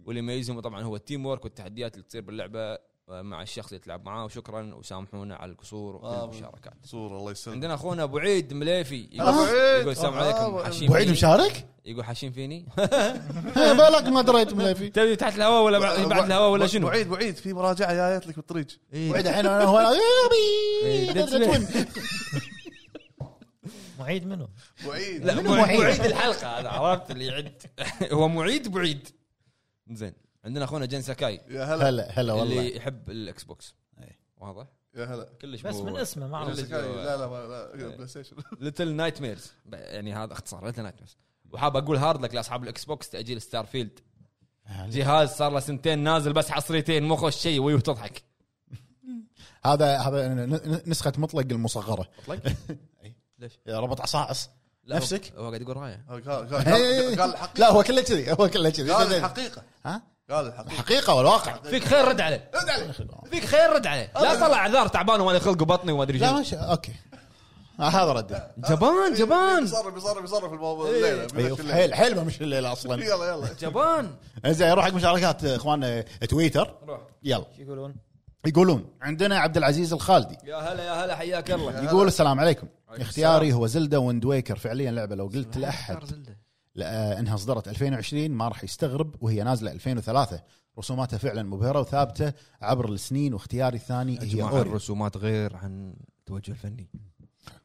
Speaker 1: واللي يميزهم طبعا هو التيم ورك والتحديات اللي تصير باللعبه أه، مع الشخص اللي تلعب معاه وشكرا وسامحونا على القصور
Speaker 4: آه.
Speaker 1: والمشاركات
Speaker 4: صور الله يسلمك
Speaker 1: عندنا اخونا ابو عيد مليفي يقول-
Speaker 4: هلا أبو عيد.
Speaker 1: يقول السلام
Speaker 4: آه،
Speaker 1: عليكم
Speaker 4: أبو
Speaker 1: حاشين
Speaker 3: ابو عيد
Speaker 1: فيني؟
Speaker 3: مشارك؟
Speaker 1: يقول حاشين فيني
Speaker 3: إيه، بالك ما دريت من في
Speaker 1: تبي تحت الهواء ولا بعد بعد الهواء ولا شنو؟
Speaker 4: بعيد بعيد في مراجعه جايت لك بالطريق
Speaker 3: ابو عيد الحين انا هو
Speaker 1: إيه، that's
Speaker 3: يابي
Speaker 6: معيد منو؟
Speaker 4: بعيد
Speaker 1: لا
Speaker 3: منو
Speaker 1: مو عيد
Speaker 3: معيد؟
Speaker 1: مو عيد الحلقه هذا عرفت اللي يعد هو معيد بعيد زين عندنا اخونا جن ساكاي
Speaker 4: يا هلا
Speaker 3: هلا هلا والله
Speaker 1: اللي يحب الاكس بوكس
Speaker 3: إيه.
Speaker 1: واضح
Speaker 4: يا هلا
Speaker 1: كلش
Speaker 6: بس من اسمه ما اعرف
Speaker 1: اللي-
Speaker 4: لا لا ما-
Speaker 1: إيه.
Speaker 4: لا بلاي ستيشن
Speaker 1: ليتل نايت ميرز يعني هذا اختصار ليتل نايت ميرز وحاب اقول هارد لك لاصحاب الاكس بوكس تاجيل ستار فيلد جهاز صار له سنتين نازل بس حصريتين مو خوش شيء وهي بتضحك
Speaker 3: هذا هذا ن- ن- نسخه مطلق المصغره
Speaker 1: مطلق
Speaker 3: يا ربط عصاعص
Speaker 1: لا، هو-
Speaker 3: نفسك؟
Speaker 1: هو قاعد يقول رايه
Speaker 4: قال قال-
Speaker 3: إيه،
Speaker 4: قال قال الحقيقه
Speaker 3: لا هو كله كذي هو كله كذي
Speaker 4: قال الحقيقه
Speaker 3: ها
Speaker 4: قال الحقيقه
Speaker 3: الحقيقه والواقع
Speaker 1: فيك خير رد عليه فيك خير رد عليه لا طلع اعذار تعبان وما لي خلق وبطني وما ادري
Speaker 3: لا
Speaker 1: شنو
Speaker 3: ماشي اوكي آه، هذا رده
Speaker 1: جبان
Speaker 4: إيه،
Speaker 1: جبان
Speaker 4: يصرف يصرف يصرف الموضوع الليله
Speaker 3: أيوه،
Speaker 4: بيمشي الليل.
Speaker 3: حيل حيل ما مش الليل اصلا
Speaker 4: يلا يلا
Speaker 1: جبان
Speaker 3: زين نروح حق مشاركات آه، اخواننا تويتر
Speaker 1: روح
Speaker 3: يلا
Speaker 6: شو يقولون؟
Speaker 3: يقولون عندنا عبد العزيز الخالدي
Speaker 1: يا هلا يا هلا حياك الله
Speaker 3: يقول السلام عليكم اختياري هو زلدا ويند ويكر فعليا لعبه لو قلت لاحد لأ- انها صدرت 2020 ما راح يستغرب وهي نازله 2003 رسوماتها فعلا مبهره وثابته عبر السنين واختياري الثاني هي
Speaker 1: جماعة
Speaker 3: اوري
Speaker 1: الرسومات غير عن التوجه الفني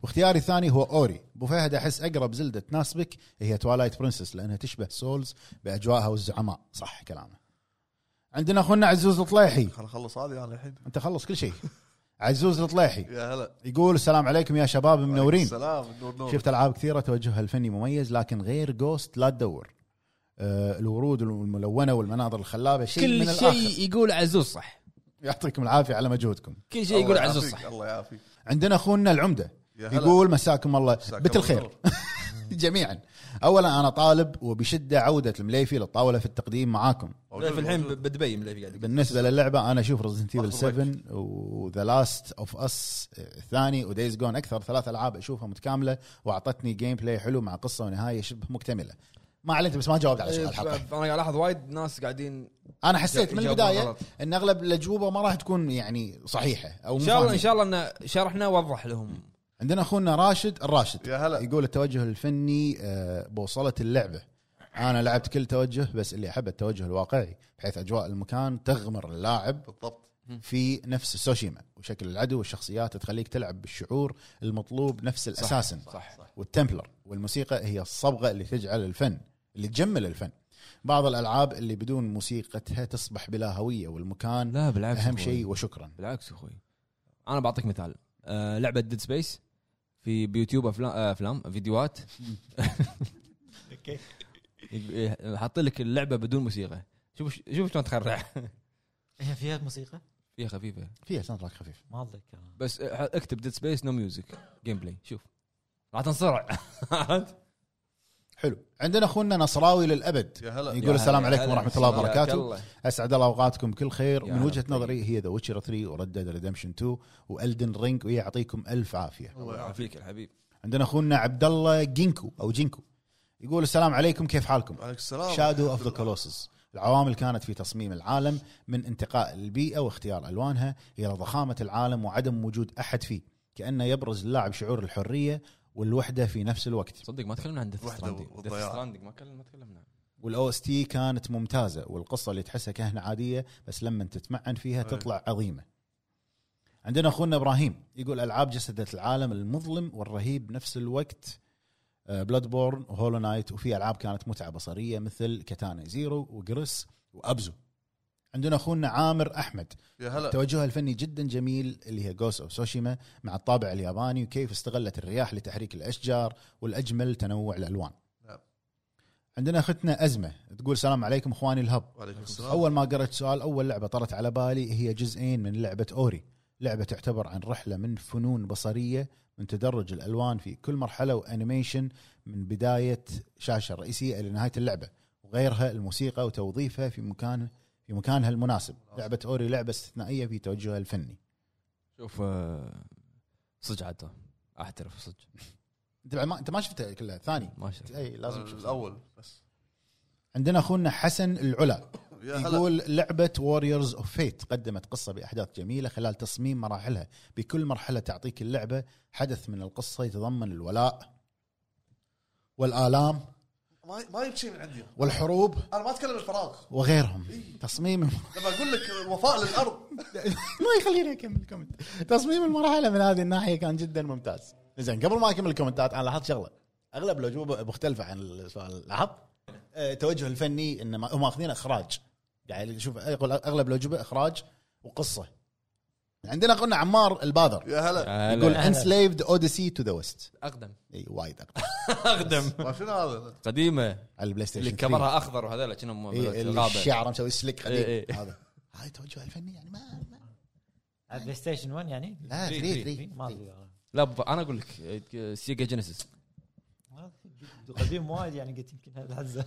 Speaker 3: واختياري الثاني هو اوري ابو فهد احس اقرب زلده تناسبك هي توالايت برنسس لانها تشبه سولز باجواءها والزعماء صح كلامه عندنا اخونا عزوز الطليحي
Speaker 4: خلنا نخلص هذه انا الحين
Speaker 3: انت خلص كل شيء عزوز الطليحي
Speaker 4: يا هلا
Speaker 3: يقول السلام عليكم يا شباب منورين
Speaker 4: سلام نور نور
Speaker 3: شفت العاب كثيره توجهها الفني مميز لكن غير جوست لا تدور آه الورود الملونه والمناظر الخلابه شيء كل من
Speaker 1: كل
Speaker 3: شيء
Speaker 1: شيء يقول عزوز صح
Speaker 3: يعطيكم العافيه على مجهودكم
Speaker 1: كل
Speaker 4: الله
Speaker 1: شيء يقول عزوز
Speaker 4: يعافيك،
Speaker 1: صح
Speaker 4: الله يعافيك
Speaker 3: عندنا اخونا العمده
Speaker 4: يا هلا.
Speaker 3: يقول مساكم الله
Speaker 4: مساك
Speaker 3: بت
Speaker 4: الله
Speaker 3: الخير
Speaker 4: بالنور.
Speaker 3: جميعا اولا انا طالب وبشده عوده المليفي للطاوله في التقديم معاكم
Speaker 4: موجود،
Speaker 1: في الحين
Speaker 4: موجود.
Speaker 1: بدبي مليفي قاعد يقول
Speaker 3: بالنسبه للعبه انا اشوف ريزنت ايفل
Speaker 4: أخذ
Speaker 3: 7 وذا لاست اوف اس آه، الثاني ودايز جون اكثر ثلاث العاب اشوفها متكامله واعطتني جيم بلاي حلو مع قصه ونهايه شبه مكتمله ما عليت بس ما جاوبت على سؤال الحلقه
Speaker 1: انا قاعد الاحظ وايد ناس قاعدين
Speaker 3: انا حسيت من
Speaker 1: إيه، إجابة
Speaker 3: البدايه
Speaker 1: غلط.
Speaker 3: ان اغلب الاجوبه ما راح تكون يعني صحيحه او
Speaker 1: ان شاء الله
Speaker 3: مفاهمة.
Speaker 1: ان شاء الله ان شرحنا ووضح لهم
Speaker 3: عندنا اخونا راشد الراشد
Speaker 4: يا هلا.
Speaker 3: يقول التوجه الفني آه، بوصله اللعبه انا لعبت كل توجه بس اللي احب التوجه الواقعي بحيث اجواء المكان تغمر اللاعب
Speaker 4: بالضبط
Speaker 3: في نفس السوشيما وشكل العدو والشخصيات تخليك تلعب بالشعور المطلوب نفس الاساسن
Speaker 4: صح صح
Speaker 3: والتمبلر والموسيقى هي الصبغه اللي تجعل الفن اللي تجمل الفن بعض الالعاب اللي بدون موسيقتها تصبح بلا هويه والمكان
Speaker 1: لا بالعكس
Speaker 3: اهم
Speaker 1: أخوي.
Speaker 3: شيء وشكرا
Speaker 1: بالعكس اخوي انا بعطيك مثال آه لعبه ديد سبيس في بيوتيوب افلام آه، افلام فيديوهات
Speaker 2: اوكي
Speaker 1: يق- حاطين لك اللعبه بدون موسيقى شوف شوف شلون تخرع
Speaker 6: هي فيها إيه، موسيقى؟
Speaker 1: فيها خفيفه
Speaker 3: فيها ساوند تراك خفيف
Speaker 6: ما اتذكر
Speaker 1: بس آه، اكتب ديد سبيس نو ميوزك جيم بلاي شوف راح تنصرع عرفت؟
Speaker 3: حلو عندنا اخونا نصراوي للابد
Speaker 4: يا هلا
Speaker 3: يقول السلام
Speaker 1: يا
Speaker 3: عليكم
Speaker 1: هلا.
Speaker 3: ورحمه الله
Speaker 1: يا
Speaker 3: وبركاته
Speaker 1: كلا.
Speaker 3: اسعد الله اوقاتكم بكل خير
Speaker 1: يا
Speaker 3: من وجهه
Speaker 4: طيب.
Speaker 1: هلا.
Speaker 3: نظري هي ذا ويتشر 3 وريد ديد ريدمشن 2 والدن رينج ويعطيكم الف عافيه
Speaker 1: الله يعافيك الحبيب
Speaker 3: عندنا اخونا عبد الله جينكو او جينكو يقول السلام عليكم كيف حالكم
Speaker 4: عليك السلام
Speaker 3: شادو اوف ذا كولوسس العوامل كانت في تصميم العالم من انتقاء البيئه واختيار الوانها الى ضخامه العالم وعدم وجود احد فيه كانه يبرز اللاعب شعور الحريه والوحده في نفس الوقت
Speaker 1: صدق ما تكلمنا عن ديث
Speaker 4: وحدة
Speaker 1: ستراندنج ديث
Speaker 4: والضياع.
Speaker 1: ستراندنج ما كلمنا ما تكلمنا
Speaker 3: والاو اس تي كانت ممتازه والقصه اللي تحسها كهنه عاديه بس لما تتمعن فيها تطلع عظيمه. عندنا اخونا ابراهيم يقول العاب جسدت العالم المظلم والرهيب بنفس الوقت آه، بلاد بورن وهولو نايت وفي العاب كانت متعه بصريه مثل كاتانا زيرو وجريس وابزو. عندنا اخونا عامر احمد
Speaker 4: يا هلا
Speaker 3: توجهها الفني جدا جميل اللي هي جوس اوف سوشيما مع الطابع الياباني وكيف استغلت الرياح لتحريك الاشجار والاجمل تنوع الالوان.
Speaker 4: نعم.
Speaker 3: عندنا اختنا ازمه تقول السلام عليكم اخواني الهب
Speaker 4: وعليكم السلام
Speaker 3: اول ما قرأت سؤال اول لعبه طرت على بالي هي جزئين من لعبه اوري لعبه تعتبر عن رحله من فنون بصريه من تدرج الالوان في كل مرحله وانيميشن من بدايه شاشه رئيسيه الى نهايه اللعبه وغيرها الموسيقى وتوظيفها في مكان في مكانها المناسب لعبه اوري لعبه استثنائيه في توجهها الفني
Speaker 1: شوف آه، صدق عاد اعترف صدق
Speaker 3: انت بعد ما انت ما شفتها كلها ثاني
Speaker 1: ما شفت
Speaker 3: اي لازم تشوفها.
Speaker 4: الاول بس
Speaker 3: عندنا اخونا حسن العلا
Speaker 4: يا هلا
Speaker 3: يقول لعبة ووريرز اوف فيت قدمت قصة بأحداث جميلة خلال تصميم مراحلها بكل مرحلة تعطيك اللعبة حدث من القصة يتضمن الولاء والآلام
Speaker 4: ما ما جبت شيء من عندي
Speaker 3: والحروب
Speaker 4: انا ما اتكلم الفراغ
Speaker 3: وغيرهم تصميم
Speaker 4: لما اقول لك الوفاء للارض
Speaker 3: ما يخليني اكمل كومنت تصميم المرحله من هذه الناحيه كان جدا ممتاز زين قبل ما اكمل الكومنتات انا لاحظت شغله اغلب الاجوبه مختلفه عن السؤال لاحظت آه، توجه الفني ان ما- هم ماخذين اخراج يعني شوف يقول اغلب الاجوبه اخراج وقصه عندنا قلنا عمار الباذر
Speaker 4: يا هلا
Speaker 3: يقول انسليفد اوديسي تو ذا ويست
Speaker 1: اقدم
Speaker 3: اي وايد أقدم.
Speaker 1: اقدم
Speaker 4: ما شنو هذا
Speaker 1: قديمه
Speaker 3: على البلاي
Speaker 1: اللي
Speaker 3: ستيشن 3.
Speaker 1: كبرها اخضر وهذول كانهم
Speaker 3: إي، إيه، اللي
Speaker 1: غابه
Speaker 3: الشعر مسوي سلك
Speaker 1: إي،
Speaker 3: قديم
Speaker 1: إي.
Speaker 3: هذا هاي توجه الفني يعني ما ما-
Speaker 6: على البلاي ستيشن 1 يعني؟
Speaker 3: لا
Speaker 1: ثري،
Speaker 3: 3
Speaker 1: ثري.
Speaker 3: 3
Speaker 6: ما ادري والله.
Speaker 1: لا ب- انا اقول لك آه، سيجا جينيسيس
Speaker 6: ما أدري. قديم وايد يعني قلت يمكن الحزه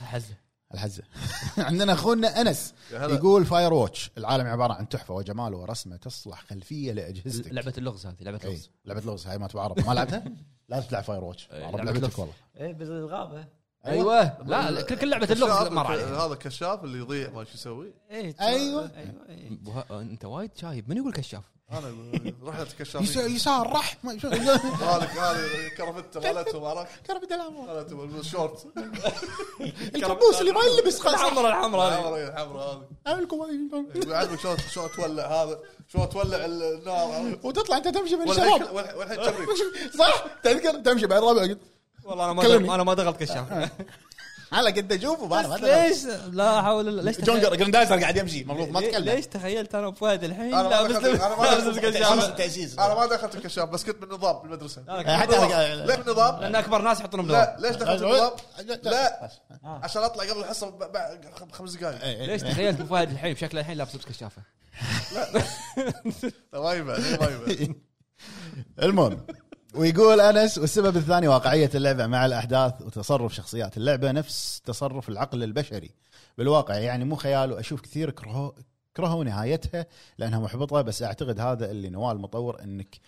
Speaker 1: حزه
Speaker 3: الحزه عندنا اخونا انس
Speaker 4: يا هلا
Speaker 3: يقول فاير واتش العالم عباره عن تحفه وجمال ورسمه تصلح خلفيه لاجهزتك
Speaker 1: لعبه اللغز هذه لعبه
Speaker 3: أي.
Speaker 1: اللغز
Speaker 3: لعبه لغز هاي ما تعرف ما لعبتها؟ لازم تلعب فاير واتش
Speaker 1: أي،
Speaker 3: عرب
Speaker 1: إيه، لعبة
Speaker 3: لعبتك
Speaker 1: لغز.
Speaker 3: والله
Speaker 6: ايه بالغابه
Speaker 3: أيوة.
Speaker 1: ايوه لا لا، كل كل لعبه اللغز
Speaker 4: كشاف،
Speaker 1: مر عليها
Speaker 3: يعني.
Speaker 4: هذا كشاف اللي يضيع ما شو يسوي
Speaker 6: ايه
Speaker 1: أيوه.
Speaker 3: أيوة.
Speaker 6: ايوه إيه.
Speaker 1: وه- انت وايد شايب من يقول كشاف
Speaker 4: انا أقول رحله
Speaker 3: يس-
Speaker 4: كشافين
Speaker 3: يسار راح ما- شو-
Speaker 4: هذا هذا كرفته مالتهم عرفت
Speaker 3: كرب الألعاب.
Speaker 4: مالتهم الشورت
Speaker 3: الكبوس اللي ما يلبس خلاص
Speaker 1: الحمراء الحمراء هذه
Speaker 4: الحمراء الحمراء هذه
Speaker 3: أعملكم-
Speaker 4: يعلمك شلون شلون تولع هذا شلون تولع النار عرفت؟
Speaker 3: وتطلع انت تمشي بين
Speaker 4: والحين
Speaker 3: الشباب
Speaker 4: والحين تمرين
Speaker 3: صح تذكر تمشي بين الربع
Speaker 1: والله انا ما
Speaker 3: كلمني.
Speaker 1: دخلت انا ما دخلت كشاف
Speaker 3: على قد اشوفه ما أنا- ما
Speaker 1: بس
Speaker 3: أدري.
Speaker 1: ليش لا حول الله ليش
Speaker 3: جون
Speaker 1: تخيل-
Speaker 3: جراندايزر قاعد يمشي المفروض ما
Speaker 1: ليه-
Speaker 3: تكلم
Speaker 1: ليش تخيلت انا وفهد الحين
Speaker 4: أنا ما
Speaker 1: لابس
Speaker 4: دخلت- أنا ما
Speaker 1: لابس
Speaker 4: دخلت-
Speaker 1: كشاف
Speaker 3: تأسيس
Speaker 4: انا ما دخلت الكشاف بس كنت بالنظام بالمدرسه
Speaker 3: حتى أنا-
Speaker 4: ليه بالنظام؟
Speaker 1: لان اكبر ناس يحطون بلوك
Speaker 4: لا ليش دخلت النظام؟ لا عشان اطلع قبل الحصه ب- ب- خم- خمس دقائق
Speaker 3: إي، إي.
Speaker 1: ليش تخيلت ابو فهد الحين شكله الحين لابس لبس كشافه
Speaker 4: طيب، ما يبع ما يبع
Speaker 3: المهم ويقول انس والسبب الثاني واقعيه اللعبه مع الاحداث وتصرف شخصيات اللعبه نفس تصرف العقل البشري بالواقع يعني مو خيال واشوف كثير كرهوا كرهوا نهايتها لانها محبطه بس اعتقد هذا اللي نواه المطور انك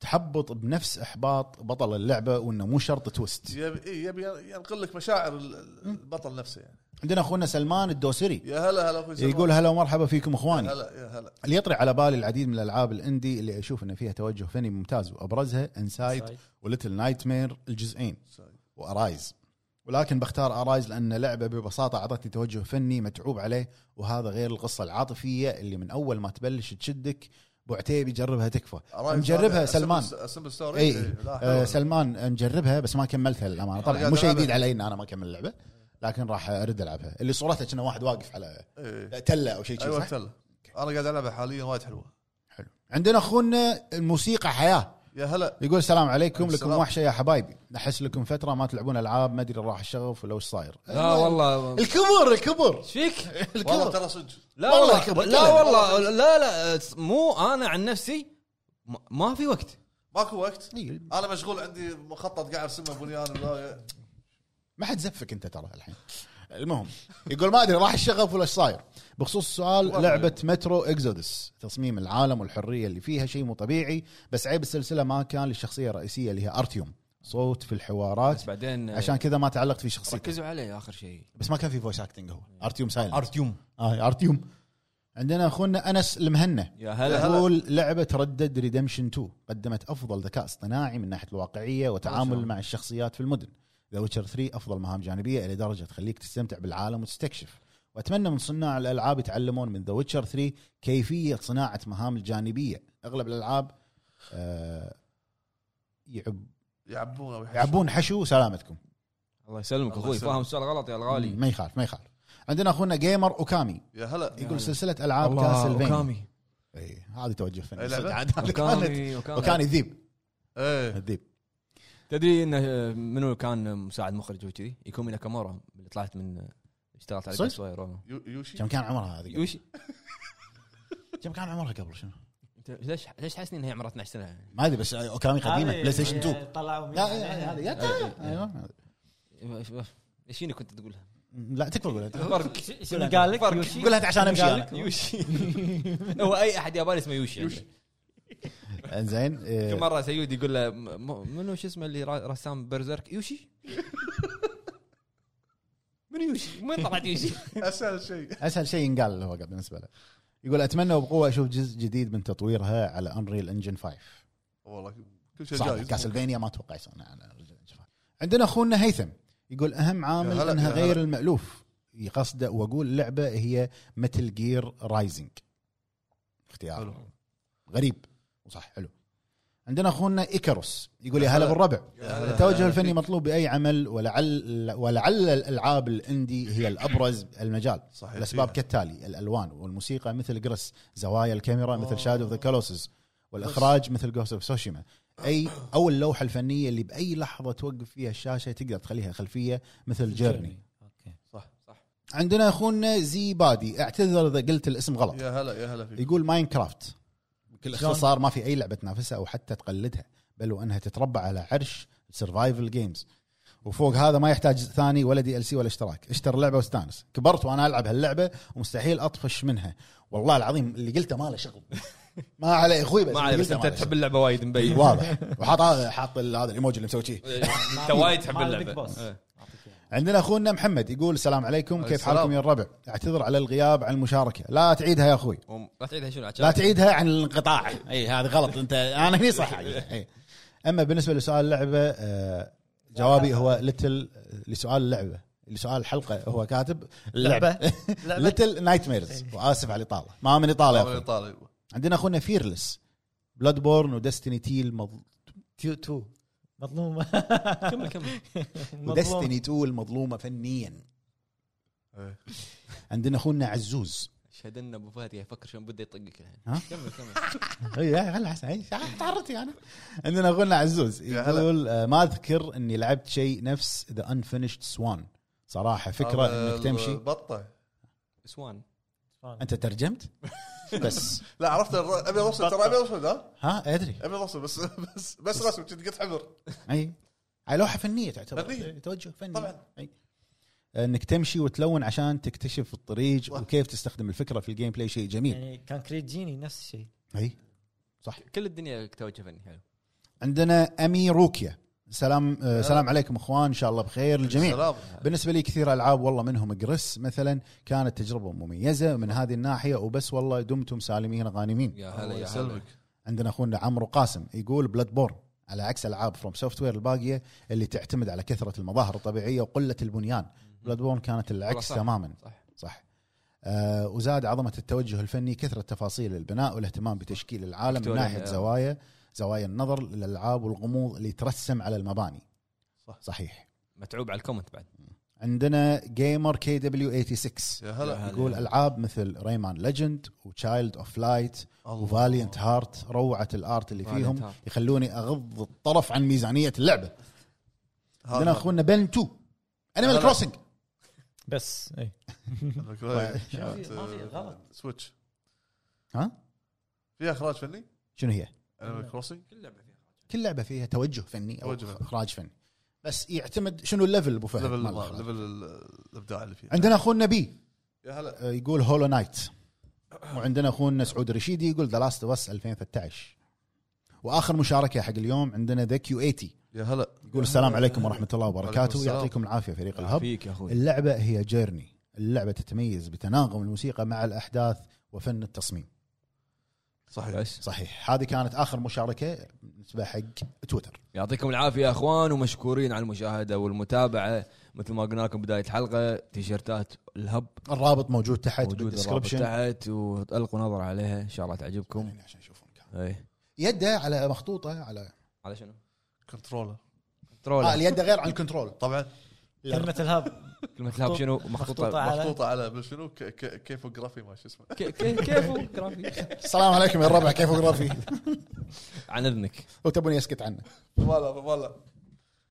Speaker 3: تحبط بنفس احباط بطل اللعبه وانه مو شرط تويست
Speaker 4: يبي إيه، يبي ينقل لك مشاعر ال- ال- البطل نفسه يعني
Speaker 3: عندنا اخونا سلمان الدوسري
Speaker 4: يا هلا هلا اخوي سلمان.
Speaker 3: يقول هلا ومرحبا فيكم اخواني
Speaker 4: هلا يا هلا
Speaker 3: اللي يطري على بالي العديد من الالعاب الاندي اللي اشوف ان فيها توجه فني
Speaker 1: طيب.
Speaker 6: طيب.
Speaker 3: ممتاز وابرزها انسايد وليتل نايت مير الجزئين
Speaker 4: سعيد.
Speaker 3: وارايز ولكن بختار ارايز لان لعبه ببساطه اعطتني توجه فني متعوب عليه وهذا غير القصه العاطفيه اللي من اول ما تبلش تشدك بعتيبي جربها تكفى مجربها سلمان
Speaker 4: سمبل ستوري
Speaker 3: اي آه سلمان مجربها بس ما كملتها للامانه طبعا
Speaker 4: قاعد
Speaker 3: مو شيء
Speaker 4: ألعبها.
Speaker 3: جديد علي ان انا ما اكمل اللعبه لكن راح ارد العبها اللي صورتها كنا واحد واقف على تله او شيء
Speaker 4: ايوه
Speaker 3: صح؟
Speaker 4: تلا انا قاعد العبها حاليا وايد حلوه
Speaker 3: حلو عندنا اخونا الموسيقى حياه
Speaker 4: يا هلا
Speaker 3: يقول السلام عليكم لكم
Speaker 4: السلام.
Speaker 3: وحشه يا حبايبي احس لكم فتره ما تلعبون العاب ما ادري راح الشغف ولا وش صاير
Speaker 1: لا والله
Speaker 3: الكبر الكبر
Speaker 1: ايش فيك؟
Speaker 4: والله ترى صدق
Speaker 1: لا
Speaker 3: والله
Speaker 1: والله
Speaker 3: كبر،
Speaker 1: لا
Speaker 3: كبر.
Speaker 1: والله لا لا مو انا عن نفسي ما- ما في وقت
Speaker 4: ماكو وقت
Speaker 3: إي.
Speaker 4: انا مشغول عندي مخطط قاعد ارسمه بنيان ولا-
Speaker 3: ما حد زفك انت ترى الحين المهم يقول ما ادري راح الشغف ولا ايش صاير بخصوص السؤال لعبه مترو اكزودس تصميم العالم والحريه اللي فيها شيء مو طبيعي بس عيب السلسله ما كان للشخصيه الرئيسيه اللي هي ارتيوم صوت في الحوارات
Speaker 1: بس بعدين آه،
Speaker 3: عشان كذا ما تعلقت في شخصيته
Speaker 1: ركزوا عليه اخر شيء
Speaker 3: بس ما كان في فويس اكتنج هو ارتيوم سايلنت
Speaker 1: ارتيوم
Speaker 3: آه ارتيوم عندنا اخونا انس المهنه
Speaker 1: يا هلا
Speaker 3: يقول لعبة ردد ريدمشن 2 قدمت أفضل ذكاء اصطناعي من ناحية الواقعية
Speaker 1: ما شاء
Speaker 3: وتعامل
Speaker 1: الله.
Speaker 3: مع الشخصيات في المدن ذا ويتشر 3 أفضل مهام جانبية إلى درجة تخليك تستمتع بالعالم وتستكشف وأتمنى من صناع الألعاب يتعلمون من ذا ويتشر 3 كيفية صناعة مهام الجانبية أغلب الألعاب آه، يعب
Speaker 4: يعبون ويحشون.
Speaker 3: يعبون حشو سلامتكم
Speaker 1: الله يسلمك
Speaker 4: الله
Speaker 1: اخوي
Speaker 4: يسلمك.
Speaker 1: فاهم السؤال غلط يا الغالي
Speaker 3: ما يخالف ما يخالف عندنا اخونا جيمر اوكامي
Speaker 4: يا هلا
Speaker 3: يقول سلسله العاب كاسلفينيا
Speaker 1: اوكامي
Speaker 3: إي، إيه، هذه توجه
Speaker 4: أي
Speaker 3: فني
Speaker 4: لعبة؟
Speaker 3: عاد هذه كانت-
Speaker 1: اوكامي اوكامي
Speaker 3: اوكامي ذيب
Speaker 4: ايه
Speaker 3: الذيب
Speaker 1: تدري انه آه، منو كان مساعد مخرج وكذي؟ يكومي ناكامورا اللي طلعت من آه، اشتغلت على
Speaker 3: صدق؟
Speaker 1: كاسواير
Speaker 4: يو- يوشي
Speaker 3: كم كان عمرها هذه
Speaker 1: يوشي
Speaker 3: كم كان عمرها قبل شنو؟
Speaker 1: انت ليش ليش حاسني انها هي عمرها 12 سنه؟
Speaker 3: ما ادري بس آه، اوكامي قديمه بلاي ستيشن 2
Speaker 2: طلعوا
Speaker 3: لا إيه، هذه يا-
Speaker 1: أيوة.
Speaker 3: ايوه
Speaker 1: ايش فيني كنت تقولها؟
Speaker 3: لا تكفى قولها تكفى.
Speaker 1: فرق
Speaker 2: شنو قال لك
Speaker 1: فرق.
Speaker 2: يوشي؟
Speaker 3: قولها أنت عشان امشي انا
Speaker 1: يوشي هو اي احد ياباني اسمه يوشي يوشي
Speaker 3: انزين إيه،
Speaker 1: كل مره سيود يقول له م- م- منو شو اسمه اللي را- رسام برزيرك يوشي من يوشي من طلعت يوشي
Speaker 4: اسهل شيء
Speaker 3: اسهل آه، شيء ينقال اللي هو قال بالنسبه له يقول اتمنى وبقوه اشوف جزء جديد من تطويرها على انريل انجن 5
Speaker 4: والله كل شيء
Speaker 3: صح
Speaker 4: جايز
Speaker 3: كاسلفينيا ما اتوقع يسوون على Unreal Engine 5. عندنا اخونا هيثم يقول اهم
Speaker 4: يا
Speaker 3: عامل
Speaker 4: هلا،
Speaker 3: انها
Speaker 4: يا
Speaker 3: غير
Speaker 4: هلا.
Speaker 3: المالوف قصده واقول اللعبه هي متل جير رايزنج اختيار
Speaker 4: حلو.
Speaker 3: غريب وصح حلو عندنا اخونا ايكاروس يقول يا هلا
Speaker 4: هلا.
Speaker 3: بالربع
Speaker 4: يا هلا.
Speaker 3: التوجه الفني مطلوب باي عمل ولعل ولعل الالعاب الاندي هي الابرز المجال
Speaker 4: صحيح
Speaker 3: الاسباب
Speaker 4: فيها.
Speaker 3: كالتالي الالوان والموسيقى مثل جرس زوايا الكاميرا
Speaker 4: آه.
Speaker 3: مثل شادو اوف ذا كولوسز والاخراج مثل جوست اوف سوشيما اي او اللوحه الفنيه اللي باي لحظه توقف فيها الشاشه تقدر تخليها خلفيه مثل جيرني
Speaker 4: صح صح
Speaker 3: عندنا اخونا زي بادي اعتذر اذا قلت الاسم غلط
Speaker 4: يا هلا يا هلا فيك
Speaker 3: يقول ماينكرافت بكل اختصار ما في اي لعبه تنافسها او حتى تقلدها بل وانها تتربع على عرش السرفايفل جيمز وفوق هذا ما يحتاج ثاني ولا دي ال سي ولا اشتراك اشتر اللعبه واستانس كبرت وانا العب هاللعبه ومستحيل اطفش منها والله العظيم اللي قلته ما له شغل ما عليه اخوي بس
Speaker 1: ما عليه
Speaker 3: اللي
Speaker 1: بس
Speaker 3: قلته
Speaker 1: انت
Speaker 3: ما له
Speaker 1: تحب اللعبه وايد
Speaker 3: شغل.
Speaker 1: مبين
Speaker 3: واضح وحاط هذا حاط ال- هذا الايموجي اللي مسوي شي
Speaker 1: انت وايد تحب
Speaker 2: مع البيج
Speaker 1: اللعبه
Speaker 2: بوس.
Speaker 1: إيه.
Speaker 3: عندنا اخونا محمد يقول السلام عليكم كيف
Speaker 4: السلام.
Speaker 3: حالكم يا الربع اعتذر على الغياب عن المشاركه لا تعيدها يا اخوي
Speaker 1: وم- لا تعيدها شنو
Speaker 3: لا تعيدها عن الانقطاع اي هذا غلط انت انا هني صح أي. اما بالنسبه لسؤال اللعبه آه، جوابي هو ليتل لسؤال اللعبه لسؤال الحلقه هو كاتب اللعبه ليتل نايت ميرز واسف على الاطاله ما من اطاله يا
Speaker 4: طالع
Speaker 3: أخوي.
Speaker 4: طالع
Speaker 3: عندنا اخونا فيرلس بلاد بورن ودستني تيل مظ...
Speaker 2: تيو تو مظلومه
Speaker 1: كمل كمل
Speaker 2: مظلوم.
Speaker 3: ودستني 2 المظلومه فنيا
Speaker 4: إيه.
Speaker 3: عندنا اخونا عزوز
Speaker 1: اشهد ان ابو فهد قاعد يفكر شلون بده يطقك الحين
Speaker 3: ها؟
Speaker 1: كمل كمل
Speaker 3: اي إيه، هلا حسن أي، تعرضت انا عندنا اخونا عزوز
Speaker 4: يا هلا.
Speaker 3: يقول آه، ما اذكر اني لعبت شيء نفس ذا انفينيشد سوان صراحه فكره
Speaker 4: هذا
Speaker 3: انك تمشي
Speaker 4: بطه
Speaker 1: اسوان
Speaker 2: يعني
Speaker 3: انت ترجمت بس
Speaker 4: لا عرفت الر- ابيض واسود ترى ابيض واسود ها
Speaker 3: ها ادري
Speaker 4: ابيض واسود بس بس بس رسم كنت قد حمر
Speaker 3: اي هاي لوحه فنيه تعتبر إيه،
Speaker 4: فنية.
Speaker 3: توجه فني
Speaker 4: طبعاً.
Speaker 3: أي. انك تمشي وتلون عشان تكتشف الطريق
Speaker 4: صح.
Speaker 3: وكيف تستخدم الفكره في الجيم بلاي شيء جميل
Speaker 2: يعني كان كريت جيني نفس الشيء
Speaker 3: اي صح
Speaker 1: كل الدنيا توجه فني حلو
Speaker 3: عندنا امي روكيا سلام آه، سلام عليكم اخوان ان شاء الله بخير الجميع
Speaker 4: سلام
Speaker 3: بالنسبه لي كثير العاب والله منهم جريس مثلا كانت تجربه مميزه من هذه الناحيه وبس والله دمتم سالمين غانمين
Speaker 1: يا هلا
Speaker 4: الله
Speaker 1: يا هلا
Speaker 4: يسلمك
Speaker 3: عندنا اخونا عمرو قاسم يقول بلاد بورن على عكس العاب فروم سوفت وير الباقيه اللي تعتمد على كثره المظاهر الطبيعيه وقله البنيان بلاد بورن كانت العكس
Speaker 1: صح.
Speaker 3: تماما
Speaker 1: صح.
Speaker 3: صح آه وزاد عظمه التوجه الفني كثره تفاصيل البناء والاهتمام بتشكيل العالم من
Speaker 1: فيكتوريا،
Speaker 3: ناحيه
Speaker 1: آه.
Speaker 3: زوايا زوايا النظر للالعاب والغموض اللي ترسم على المباني
Speaker 4: صح.
Speaker 3: صحيح
Speaker 1: متعوب على الكومنت بعد
Speaker 3: عندنا جيمر كي دبليو 86
Speaker 4: يا هلا
Speaker 3: يقول العاب مثل ريمان ليجند وتشايلد اوف لايت وفاليانت هارت روعه الارت اللي
Speaker 1: Valiant
Speaker 3: فيهم
Speaker 1: Heart.
Speaker 3: يخلوني اغض الطرف عن ميزانيه اللعبه
Speaker 4: هذا-
Speaker 3: عندنا اخونا بن 2 انيمال
Speaker 4: هلا.
Speaker 3: كروسنج
Speaker 6: بس اي
Speaker 2: إيه. في- ما في غلط.
Speaker 4: آه، سويتش
Speaker 3: ها؟
Speaker 4: في اخراج فني
Speaker 3: شنو هي؟
Speaker 4: انيمال كروسنج
Speaker 1: كل لعبه فيها
Speaker 3: كل لعبه فيها توجه فني او
Speaker 4: توجه.
Speaker 3: اخراج فني بس يعتمد شنو الليفل ابو فهد
Speaker 4: ليفل
Speaker 3: مال طيب، الإخراج.
Speaker 4: ليفل ال- الابداع اللي فيه
Speaker 3: عندنا اخونا بي
Speaker 4: يا هلا
Speaker 3: آه، يقول هولو نايت وعندنا اخونا سعود رشيدي يقول ذا لاست اوف اس 2013 واخر مشاركه حق اليوم عندنا ذا كيو 80
Speaker 4: يا هلا
Speaker 3: يقول السلام عليكم ورحمه الله
Speaker 4: وعليكم
Speaker 3: وبركاته
Speaker 4: السلام.
Speaker 3: يعطيكم العافيه فريق الهب
Speaker 1: فيك يا اخوي
Speaker 3: اللعبة هي جيرني اللعبة تتميز بتناغم الموسيقى مع الأحداث وفن التصميم
Speaker 4: صحيح
Speaker 1: بس
Speaker 3: صحيح هذه كانت آخر مشاركة بالنسبة حق تويتر
Speaker 1: يعطيكم العافيه يا اخوان ومشكورين على المشاهده والمتابعه مثل ما قلنا لكم بدايه الحلقه تيشيرتات الهب
Speaker 3: الرابط موجود تحت
Speaker 1: موجود الرابط
Speaker 3: بالدسكربشن
Speaker 1: تحت والقوا نظره عليها ان شاء الله تعجبكم إيه.
Speaker 3: يعني عشان يشوفون كامل.
Speaker 1: اي
Speaker 3: يده على مخطوطة على
Speaker 1: على شنو؟
Speaker 4: كنترولر
Speaker 3: آه
Speaker 1: كنترول
Speaker 3: اليد غير عن الكنترول
Speaker 4: طبعا
Speaker 2: كلمه الهب
Speaker 1: كلمه الهب شنو
Speaker 2: مخطوطة
Speaker 1: مخطوطه
Speaker 2: على-
Speaker 4: مخطوطه على بل شنو ك- ك- كيفوغرافي ما شو اسمه
Speaker 1: كي- كي- كيفه جرافي.
Speaker 3: السلام عليكم يا الربع كيف جرافي
Speaker 1: عن اذنك
Speaker 3: وتبوني اسكت عنه
Speaker 4: والله والله